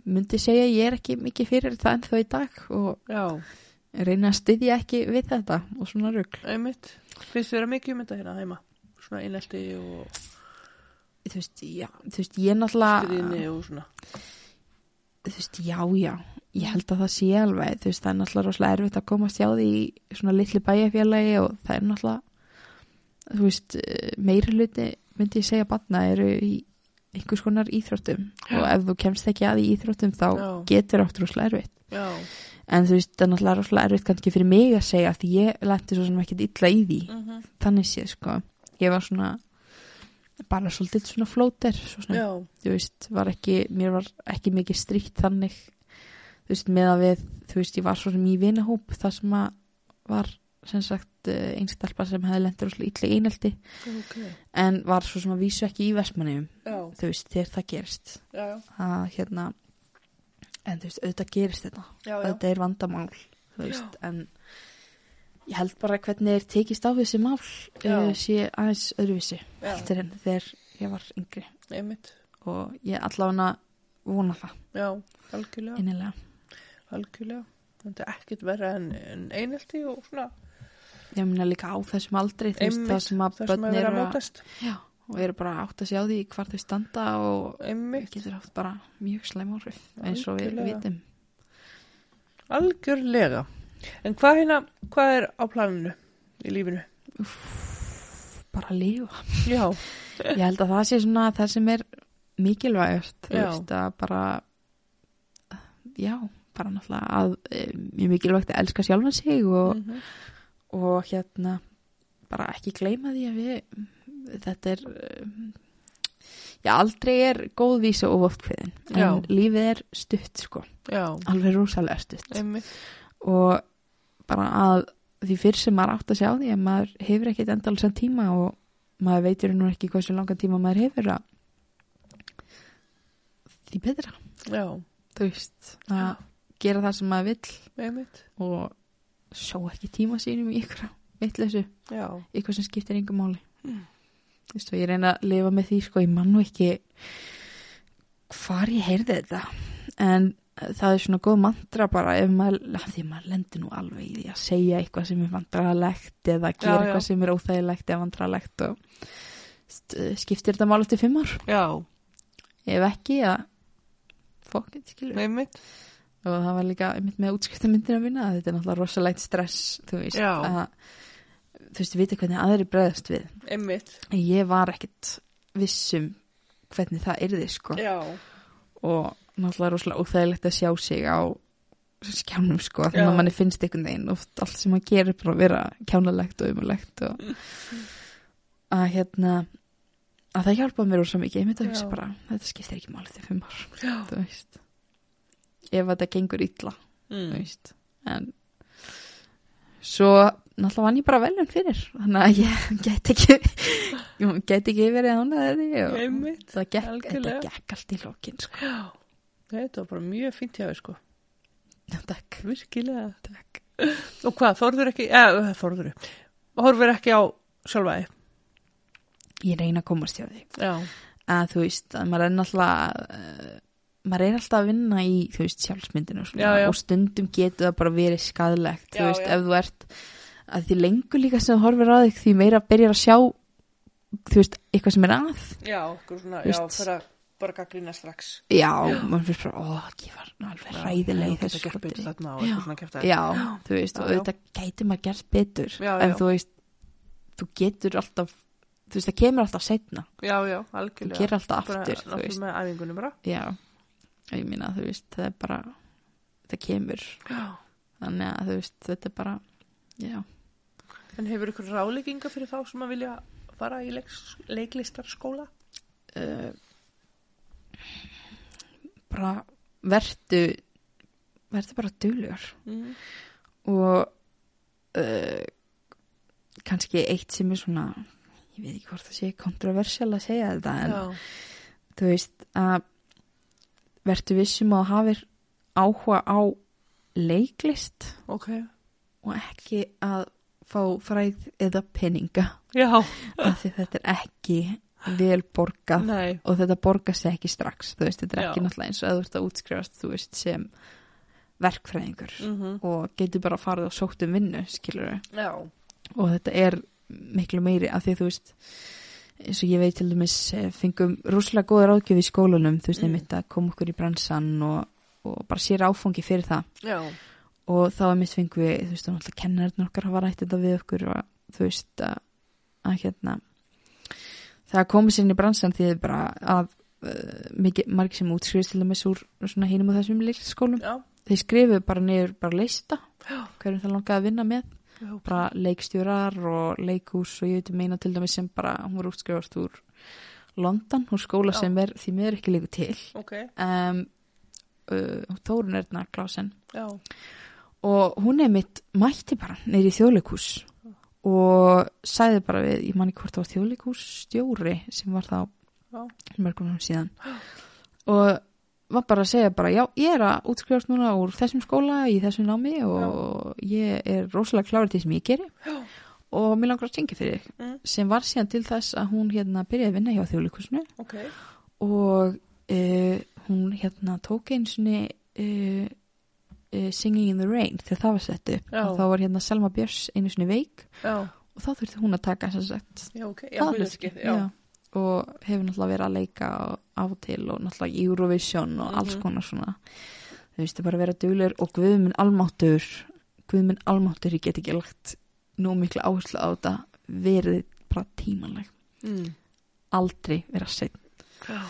B: myndi segja að ég er ekki mikið fyrir það ennþá í dag og
A: já,
B: reyna að styðja ekki við þetta og svona rugl.
A: einmitt finnst þér að mikið um þetta hérna heima svona innelti og
B: Þú veist, já, þú veist, ég
A: skriðinni
B: náttúrulega,
A: og svona
B: þú veist, já, já, ég held að það sé alveg, þú veist, það er náttúrulega rosalega erfitt að komast hjá því í svona litlu bæjarfélagi og það er náttúrulega, þú veist, eh, meiri hluti myndi ég segja batna eru í einhvers konar íþróttum og ef þú kemst ekki að í íþróttum þá
A: Já.
B: getur átt rosalega erfitt
A: já,
B: en þú veist, það er náttúrulega rosalega erfitt kannski fyrir mig að segja því ég lendi svo sem ekkert illa í því
A: mhm,
B: þannig séð sko ég var svona bara svolítið svona flóter svo sem,
A: já,
B: þú veist, var ekki, mér var ekki mikið strikt þannig þú veist, með að við, þú veist, ég var svo sem í vinahóp það sem að var sem sagt einstalpa sem hefði lendur og illa í einelti
A: ok,
B: en var svo sem að vísu ekki í vestmannum
A: já,
B: þú veist, þegar það gerist
A: já, já,
B: að hérna en þú veist, auðvitað gerist þetta
A: já, já,
B: þetta er vandamál þú veist, en ég held bara að hvernig er tekist á þessi mál
A: Já.
B: eh, sé aðeins öðruvísi
A: Já.
B: heldur en þegar ég var yngri
A: einmitt,
B: og ég allavega vona það
A: já, algjörlega,
B: innilega
A: algjörlega, þetta er ekkit verra en, en einelti og svona,
B: ég meina líka á þessum aldrei þú veist,
A: Einmitt,
B: það sem að
A: það sem
B: börn
A: að vera
B: eru
A: að
B: að-
A: mótast,
B: já, og eru bara að átta sig á því hvar þau standa og
A: einmitt,
B: getur átt bara mjög slæm orð eins og við
A: Algjörlega.
B: vitum
A: algjörlega, en hvað hérna, hvað er á planinu í lífinu?
B: bara að lifa
A: (laughs) Já,
B: Ég held að það sé svona það sem er mikilvægast þú
A: Já.
B: veist að bara já, bara náttúrulega að eh, mjög mikilvægt að elska sjálfan sig og,
A: mhm,
B: og hérna bara ekki gleyma því að við þetta er eh, já, aldrei er góð vísa og oft kveðin, en
A: Já.
B: lífið er stutt sko,
A: já,
B: alveg rosalega stutt
A: einmitt,
B: og bara að því fyrr sem maður átt að sjá því að maður hefur ekkit endalsan tíma og maður veitur nú ekki hversu langan tíma maður hefur að því betra
A: já,
B: þú veist að gera það sem maður vill
A: einmitt,
B: og sjá ekki tíma sínum í ykkur vitleysu,
A: já,
B: ykkur sem skiptir yngur máli
A: Hmm.
B: þú veist og ég reyna að lifa með því sko, ég man nú ekki hvar ég heyrði þetta en eh, það er svona góð mantra bara ef maður, af því maður lendir nú alveg í því að segja eitthvað sem er vandralegt eða gera
A: já.
B: eitthvað sem er óþægilegt eða vandralegt og st- eh, skiptir þetta mál eftir fimm ár
A: já,
B: ef ekki að fokk, skilur
A: einmitt,
B: og það var líka einmitt með útskriftamyndina mína að þetta er náttúrulega rosalegt stress þú veist
A: Já.
B: að þú veist, vita hvernig aðri bregðast við
A: einmitt,
B: en ég var ekkit vissum hvernig það yrði sko
A: já,
B: og náttúrulega rosalega óþægilegt að sjá sig á skjánum
A: Já.
B: sko þannig að manni finnst einhvern veginn oft allt sem maður gerir bara að vera kjánalegt og umulegt og
A: Mm.
B: að hérna að það hjálpaði mér úr svo mikið, ég myndi að hugsa
A: Já.
B: bara þetta skiptir ekki málið til fimm ár,
A: já,
B: þú veist ef þetta gengur illa, þú
A: mm.
B: veist en svo náttúrulega vann ég bara velun fyrir þannig að ég (laughs) get ekki get ekki verið ánaði og
A: einmitt,
B: það gekk, þetta
A: Algjörlega.
B: gekk allt í lokin sko. (laughs)
A: já, þetta var bara mjög fínt hjá þér sko,
B: takk,
A: virkilega.
B: takk
A: Og hvað, þorður ekki, eða eh, þorður, horfur ekki á sjálfa þig?
B: ég reyna að komast hjá því
A: Já,
B: að þú veist, að maður er náttúrulega uh, maður er alltaf að vinna í þú veist, sjálfsmyndinu og svona,
A: Já, já.
B: og stundum getur það bara verið skadlegt þú
A: Já,
B: veist,
A: já.
B: ef þú ert að því lengur líka sem þú horfir á þig því meira byrjar að sjá þú veist, eitthvað sem er að
A: já, okkur svona,
B: Þú veist.
A: já, fyrir að bara gaglina strax.
B: já, mann finnst bara, ó, ég var nú alveg ræðileg í
A: Þetta
B: þessu
A: gert betur
B: skoti.
A: þarna og
B: Já.
A: eitthvað svona kæft að.
B: já, þú
A: Já,
B: veist, og
A: já.
B: auðvitað gæti maður gert betur
A: Já,
B: en
A: já.
B: þú veist, þú getur alltaf þú veist, það kemur alltaf setna
A: Já, já,
B: þú
A: algjörlega.
B: gerir alltaf
A: bara,
B: aftur, þú veist
A: Náttúrulega með æfingunum bara.
B: Já, og ég meina þú veist, það er bara, það kemur,
A: Já.
B: þannig að þú veist, þetta er bara, já.
A: En hefur ykkur ráleikinga fyrir þá sem að vilja fara í leiks, leiklistarskóla?
B: Uh, bara verðu, verðu bara duglegur
A: Mm.
B: og uh, kannski eitt sem er svona, ég veit ekki hvort það sé kontroversial að segja þetta, en
A: Já,
B: þú veist að verðu vissum að þú hafir áhuga á leiklist
A: ok.
B: og ekki að fá fræð eða peninga
A: Já,
B: af því þetta er ekki vel borgað
A: nei,
B: og þetta borgar sig ekki strax þú veist, þetta er ekki
A: Já.
B: náttúrulega eins og að þú ert að útskrifast þú veist, sem verkfræðingur
A: mhm,
B: og getur bara að fara og sótt um vinnu skilur
A: já,
B: og þetta er miklu meiri af því að þú veist eins og ég veit til dæmis eh, fengum rúslega góða ráðgjöf í skólanum þú veist,
A: Mm.
B: einmitt að koma okkur í bransan og, og bara sér áfangi fyrir það
A: já,
B: og þá er mitt fengið við, þú veist, og náttúrulega kennarinn okkar hafa rætt þetta við okkur og þú veist að að hérna það komið sér inn í bransan því bara að uh, mikið, margir sem útskrifist til dæmis úr svona hinum og þessum leikskólum
A: Já,
B: þeir skrifuðu bara niður bara leista hverjum það langaði að vinna með
A: já,
B: bara leikstjórar og leikhús og ég veit meina til dæmis sem bara hún var útskrifast úr London úr skóla
A: Já.
B: sem er því miður ekki leiku til
A: ok,
B: um, uh, Þórun Erna Klausen
A: já,
B: og hún er mitt mætti bara neyri í þjóðleikhús og sagði bara við, ég manni hvort það var þjóðleikhússtjóri sem var þá
A: já,
B: mörgum hún síðan og var bara að segja bara já, ég er að útskrifast núna úr þessum skóla í þessum námi og ég er rosalega klárið til sem ég geri
A: Já.
B: og mér langar að syngja fyrir þig
A: Mm.
B: sem var síðan til þess að hún hérna byrjaði að vinna hjá þjóðleikusinu
A: ok,
B: og uh, hún hérna tók einu sinni uh, uh, Singing in the Rain þegar það var sett upp
A: Já.
B: og þá var hérna Selma Björns einu sinni veik
A: já,
B: og þá þurfti hún að taka sem sagt
A: já, ok, já,
B: Það
A: hlutskið,
B: hlutskipti,
A: já,
B: já. og hefur náttúrulega verið að leika á og til og náttúrulega Eurovision og alls
A: Mhm.
B: konar svona þau vistu bara að vera duglur og guðminn almáttur guðminn almáttur, ég get ekki lagt nú mikla áherslu á þetta verið bara tímanleg
A: mm.
B: aldrei vera seitt
A: já,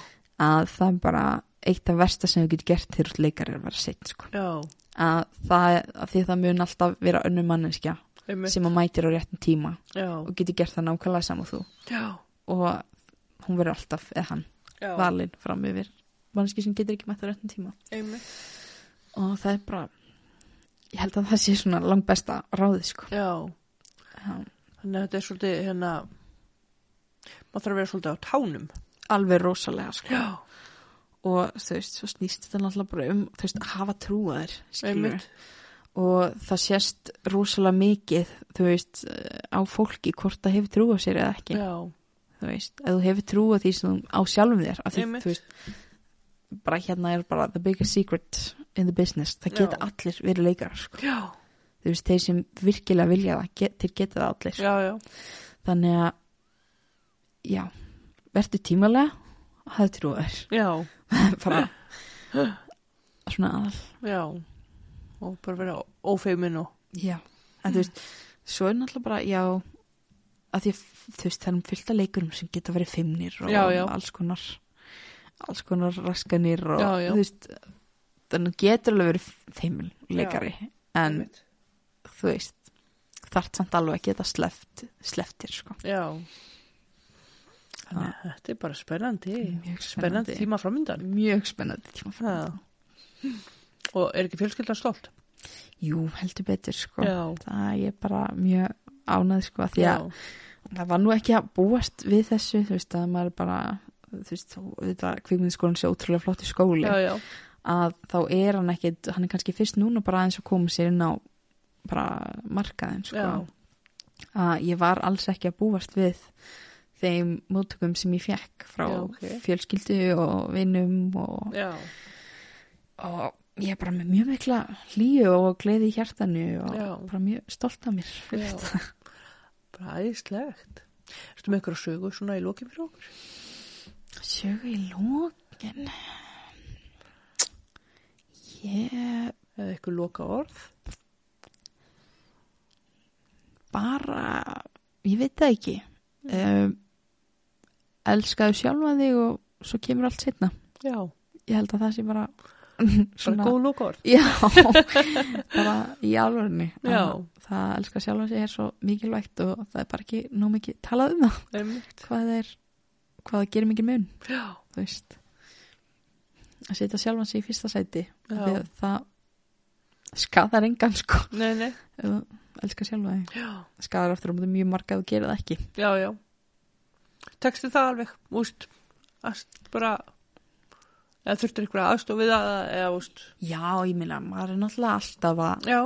B: að það er bara eitt af versta sem þú getur gert þegar þú ert leikari er að vera seitt sko.
A: já,
B: að, það, að því það mun alltaf vera önnum manneskja
A: einmitt,
B: sem að mætir á réttin tíma
A: já,
B: og getur gert það nákvæmlega saman þú
A: já,
B: og hún verður alltaf, eða hann
A: já,
B: valin fram yfir mannski sem getur ekki mætt á réttum tíma
A: einmitt,
B: og það er bara ég held að það sé svona langt besta ráði sko
A: já,
B: Já,
A: þannig að þetta er svolítið, hérna, maður þarf að vera svolítið á tánum,
B: alveg rosalega sko
A: já,
B: og þú veist, svo snýst þetta náttúrulega bara um þú veist, að hafa trúaðir
A: einmitt,
B: og það sést rosalega mikið þú veist, eh, á fólki hvort það hefur trúað sér eða ekki
A: já,
B: þú veist, ef þú hefur trúað því sem þú- á sjálfum þér af því,
A: Einmitt.
B: þú veist, bara hérna er bara the biggest secret in the business það
A: Já.
B: geta allir verið leikar sko
A: já,
B: þú veist, þeir sem virkilega vilja það, get, þeir geta það allir.
A: já, já,
B: Þannig að, já, verður tímalega, það trúar,
A: já,
B: (laughs)
A: (laughs)
B: bara svona aðal.
A: já, og bara vera ófeimin og,
B: Já. En þú veist, svo er náttúrulega bara, já, að því að, þú veist, það er um fylta leikurum sem geta verið fimmnir og
A: Já, já.
B: alls konar, alls konar raskanir og,
A: Já, já.
B: þú veist, þannig getur alveg verið fimmil leikari, en
A: einmitt,
B: þú veist, þart samt alveg að geta sleft, sleftir, sko.
A: já, þannig að þetta er bara spennandi,
B: Mjög
A: spennandi tíma framindan,
B: mjög spennandi tíma
A: já, og er ekki fjölskyldan stolt,
B: Jú, heldur betur sko
A: já,
B: það er bara mjög ánæð sko af því að það var nú ekki að búast við þessu þú veist að maður er bara þú veist, þú veit að kvikmyndiskólan sé ótrúlega flott í skóli
A: já, já,
B: að þá er hann ekkit, hann er kannski fyrst núna bara aðeins að koma sér inn á bara markaðin sko
A: Já.
B: að ég var alls ekki að búast við þeim móttökum sem ég fekk frá
A: Já, ok.
B: fjölskyldu og vinum og
A: já,
B: og ég er bara með mjög mikla hlýju og gleði í hjartanu og
A: Já.
B: bara mjög stolt af mér
A: já, (laughs) bara æðislegt, ertu með ykkur að sögu svona í loki fyrir okkur?
B: sögu í lókin ég
A: eða eitthvað loka orð
B: bara ég veit það ekki um, elskaðu sjálfa þig og svo kemur allt setna
A: já,
B: ég held að það sé bara
A: (laughs) bara góð loka orð
B: já, bara í alvörni
A: (laughs) Já.
B: það að elska sjálfa sig er svo mikilvægt og það er bara ekki nóg mikið talað um það
A: einmitt,
B: hvað það er hvað það gerir mikið mun
A: já,
B: þú veist að setja sjálfan sig í fyrsta sæti af því
A: já
B: að það skadar engan sko
A: nei, nei,
B: ef þú elskar sjálfa þig
A: já,
B: skadar aftur á móti mjög marga að þú gerir það ekki
A: já, já tekstu það alveg, úst að bara eða þurftir ykkur aðstof við það eða úst,
B: já, ég meina, maður er náttúrulega alltaf að
A: já,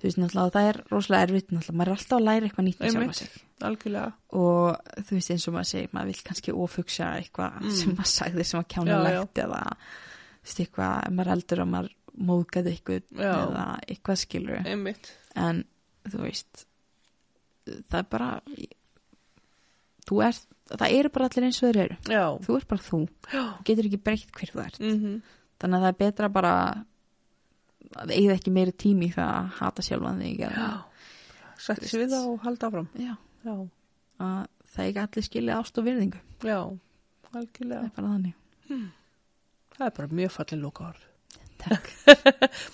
B: þú veist, náttúrulega það er rosalega erfitt náttúrulega, maður er alltaf að læra eitthvað nýtt með
A: Einmitt.
B: sjálfa sig
A: algjörlega
B: og þú veist, eins og maður segir, maður vil kannski ofugsa eitthvað
A: Mm.
B: sem maður sagði sem var kjánulegt eða, þú veist, eitthvað, ef maður er eldur og maður móðgæði eitthvað
A: Já.
B: eða eitthvað skilur
A: einmitt,
B: en þú veist það er bara þú ert, það eru bara allir eins og þeir eru
A: já,
B: þú ert bara þú,
A: já
B: þú getur ekki breytt hver þú ert
A: mhm,
B: þannig að það er betra bara að eigið ekki meiri tími í það að hata sjálfan þig eða,
A: já setti sig við það og halda áfram
B: já,
A: já,
B: að
C: það er ekki allir skilja ást og virðingu
A: Já,
C: það
A: algjörlega.
C: er bara þannig
A: Það er bara mjög fallið lóka orð. (laughs)
C: takk,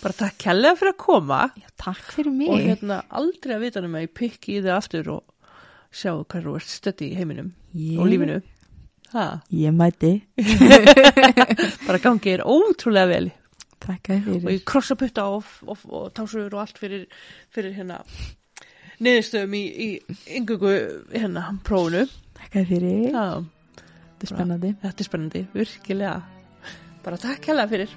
A: Bara takk kærlega fyrir að koma
C: já, takk fyrir mig
A: og hérna aldrei að vita nema ég pikki í þig aftur og sjá hvað þú ert stödd í heiminum
C: ég,
A: og lífinu. Ha,
C: ég mæti,
A: bara gangið er ótrúlega vel
C: takk fyrir
A: og ég krossa putta og, og, og tásur og allt fyrir, fyrir hérna niðurstöðum í, í yngungu hérna prófunu.
C: takk fyrir,
A: Já,
C: þetta er spennandi
A: þetta er spennandi, virkilega. Bara takk hella fyrir.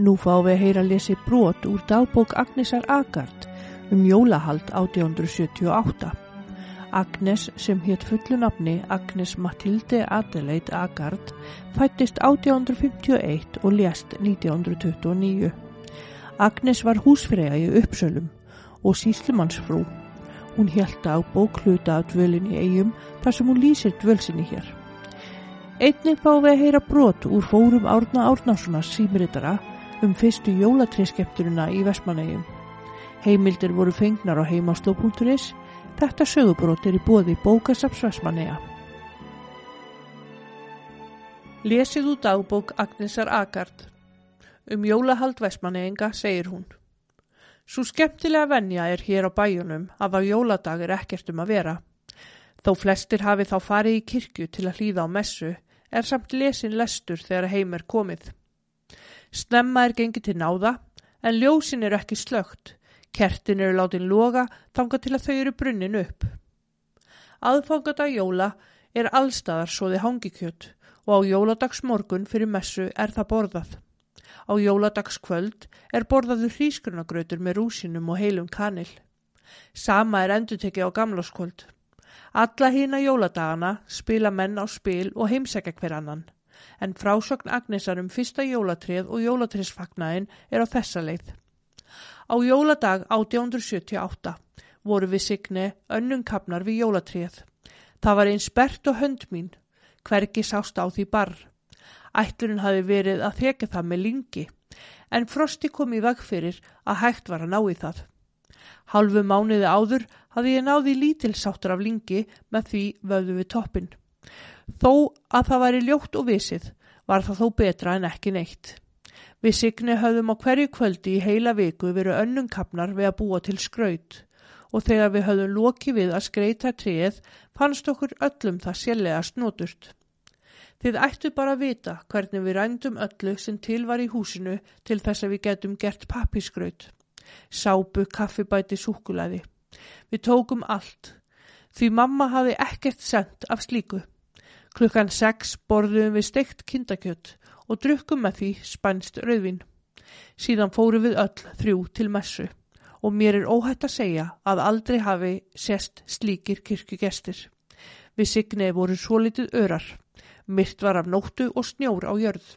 A: Nú fáum við að heyra lesi brot úr dagbók Agnesar Agard um jólahald 1878. Agnes sem hétt fullu nafni Agnes Matilde Adelaide Agard fættist 1851 og lést 1929. Agnes var húsfreyja í uppsölum og síslumannsfrú. Hún held dagbók hluta af dvölin í eigum þar sem hún lýsir dvölsinni hér. Einnig fá við að heyra brot úr fórum Árna Árnássonar símritara um fyrstu jólatrískepturina í Vestmannegjum. Heimildir voru fengnar á heimasló.is, þetta sögubrot er í bóði bókasaps Vestmannegja. Lesið úr dagbók Agnesar Agard. Um jólahald Vestmannegjenga segir hún. Svo skemmtilega venja er hér á bæjunum að á jóladag er ekkert um að vera. Þó flestir hafi þá farið í kirkju til að hlýða á messu, er samt lesin lestur þegar heim er komið. Snemma er gengið til náða, en ljósin eru ekki slögt. Kertin eru látin loga þangað til að þau eru brunnin upp. Aðfangadag jóla er allstaðar svoði hangikjöt og á jóladagsmorgun fyrir messu er það borðað. Á jóladagskvöld er borðaður hrísgrunagrautur með rúsinum og heilum kanil. Sama er endutekið á gamláskvöld. Alla hína jóladagana spila menn á spil og heimsækja hver annan. En frásögn Agnesar um fyrsta jólatrið og jólatriðsfagnaðin er á þessa leið. Á jóladag 1878 voru við signi önnum kapnar við jólatrið. Það var eins bert og hönd mín, hvergi sást á því barr. Ætlurinn hafi verið að þekja það með lingi, en Frosti kom í veg fyrir að hægt var að ná í það. Halfu mánuði áður hafði ég náði lítilsáttur af lingi með því vöðu við toppin. Þó að það væri ljótt og visið var það þó betra en ekki neitt. Við signi höfðum á hverju kvöldi í heila viku verið önnum kapnar við að búa til skraut og þegar við höfðum loki við að skreita tríið fannst okkur öllum það sérlega snoturt. Þið ættu bara að vita hvernig við rændum öllu sem til var í húsinu til þess að við getum gert pappiskraut sápu, kaffibæti, súkulæði. Við tókum allt. Því mamma hafi ekkert sendt af slíku. Klukkan sex borðum við steikt kindakjött og drukkum með því spænst rauðvin. Síðan fórum við öll þrjú til messu og mér er óhætt að segja að aldrei hafi sest slíkir kirkjugestir. Við signið voru svolítið örar. Myrt var af nóttu og snjór á jörð.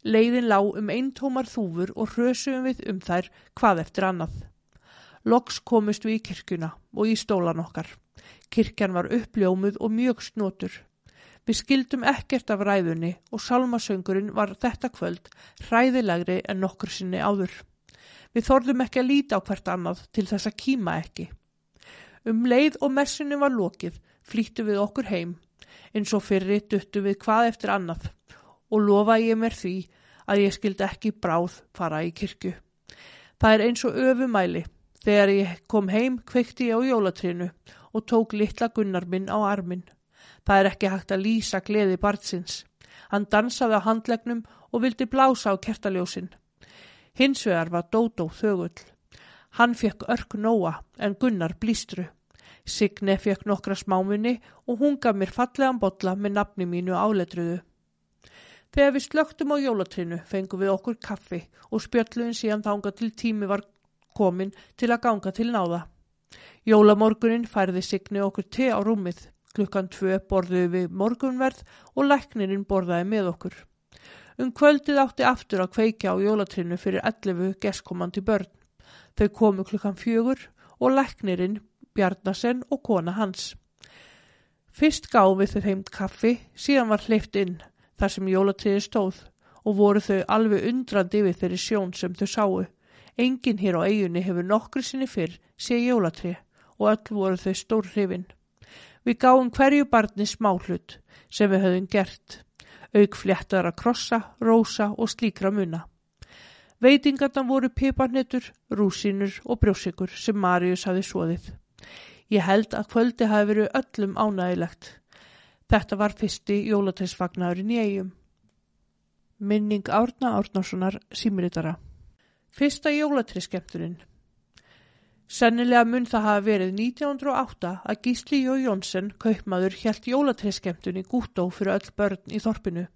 A: Leiðin lá um eintómar þúfur og hrösum við um þær hvað eftir annað. Loks komust við í kirkjuna og í stólan okkar. Kirkjan var uppljómuð og mjög snotur. Við skildum ekkert af ræðunni og salmasöngurinn var þetta kvöld hræðilegri en nokkur sinni áður. Við þorðum ekki að líta á hvert annað til þess að kýma ekki. Um leið og messunni var lokið flýttum við okkur heim, eins og fyrri duttum við hvað eftir annað og lofa ég mér því að ég skildi ekki bráð fara í kirkju. Það er eins og öfumæli. Þegar ég kom heim kveikti ég á jólatrinu og tók litla gunnar minn á arminn. Það er ekki hægt að lýsa gleði barnsins. Hann dansaði á handlegnum og vildi blása á kertaljósin. Hins vegar var Dótó þögull. Hann fekk örk nóa en Gunnar blístru. Signe fekk nokkra smámunni og hún gaf mér fallegan bolla með nafni mínu áletruðu. Þegar við slögtum á jólatrinu fengum við okkur kaffi og spjöllum síðan þanga til tími var komin til að ganga til náða. Jólamorgunin færði signi okkur te á rúmið. Klukkan tvö borðuðu við morgunverð og læknirinn borðaði með okkur. Um kvöldið átti aftur að kveikja á jólatrinu fyrir 11 gestkomandi börn. Þau komu klukkan fjögur og læknirinn, Bjarnasen og kona hans. Fyrst gáfum við þau heimt kaffi, síðan var hleypt inn þar sem jólatíði stóð og voru þau alveg undrandi yfir þeirri sjón sem þau sáu. Engin hér á eigunni hefur nokkru sinni fyrr sé jólatri og öll voru þau stór hrifin. Við gáum hverju barni smáhlut sem við höfðum gert, auk fléttar að krossa, rósa og slíkra muna. Veitingarnar voru piparnetur, rúsinur og brjósikur sem Marius hafi svoðið. Ég held að kvöldi hafi verið öllum ánægilegt. Þetta var fyrsti jólateinsvagnarinn í eigum. Minning Árna Árnarssonar símritara. Fyrsta jólatriskepturinn. Sennilega mun það hafa verið 1908 að Gísli Jó Jónsson, kaupmaður, hjælt jólatriskeptun í Gútó fyrir öll börn í þorpinu.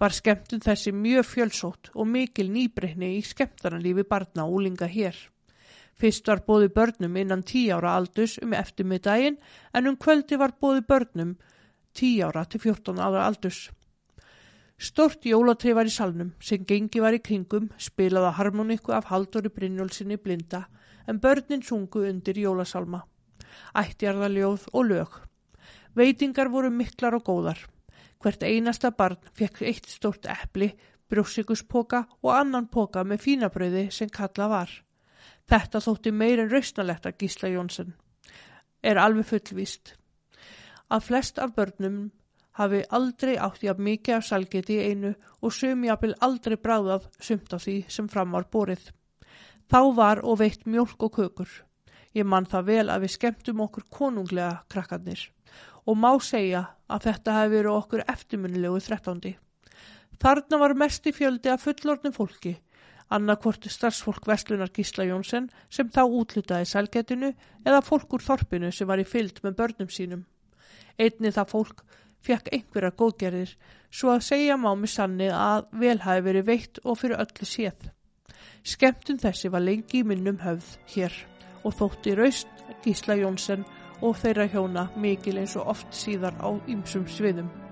A: Var skemmtun þessi mjög fjölsótt og mikil nýbreytni í skemmtarnalífi barna og úlinga hér. Fyrst var bóði börnum innan 10 ára aldurs um eftirmiddaginn en um kvöldi var bóði börnum 10 ára til 14 ára aldurs. Stort jólatri var í salnum sem gengi var í kringum spilaða harmoniku af Halldóri Brynjólsinni blinda en börnin sungu undir jólasalma, ættjarðaljóð og lög. Veitingar voru miklar og góðar. Hvert einasta barn fekk eitt stort epli, brjósikuspoka og annan poka með fínabröði sem kalla var. Þetta þótti meir en rausnalegt að Gísla Jónsson. Er alveg fullvíst. Að flest af börnum hafi aldrei átt jafn mikið af salgeti í einu og sumjafnvel aldrei bráðað sumt af því sem fram var borið. Þá var og veitt mjólk og kökur. Ég man það vel að við skemmtum okkur konunglega krakkarnir og má segja að þetta hefði verið okkur eftirmunilegu þrettándi. Þarna var mesti fjöldi af fullorðnum fólki, annarkvorti starfsfólk Vestlunar Gísla Jónsson sem þá útlutaði sælgetinu eða fólk úr þorpinu sem var í fylgd með börnum sínum. Einni það fólk fekk einhverja góðgerðir, svo að segja mámi sanni að vel hafi verið veitt og fyrir öllu séð. Skemmtun þessi var lengi í minnum höfð hér og þótti raust Gísla Jónsson og þeirra hjóna mikil eins og oft síðar á ymsum sviðum.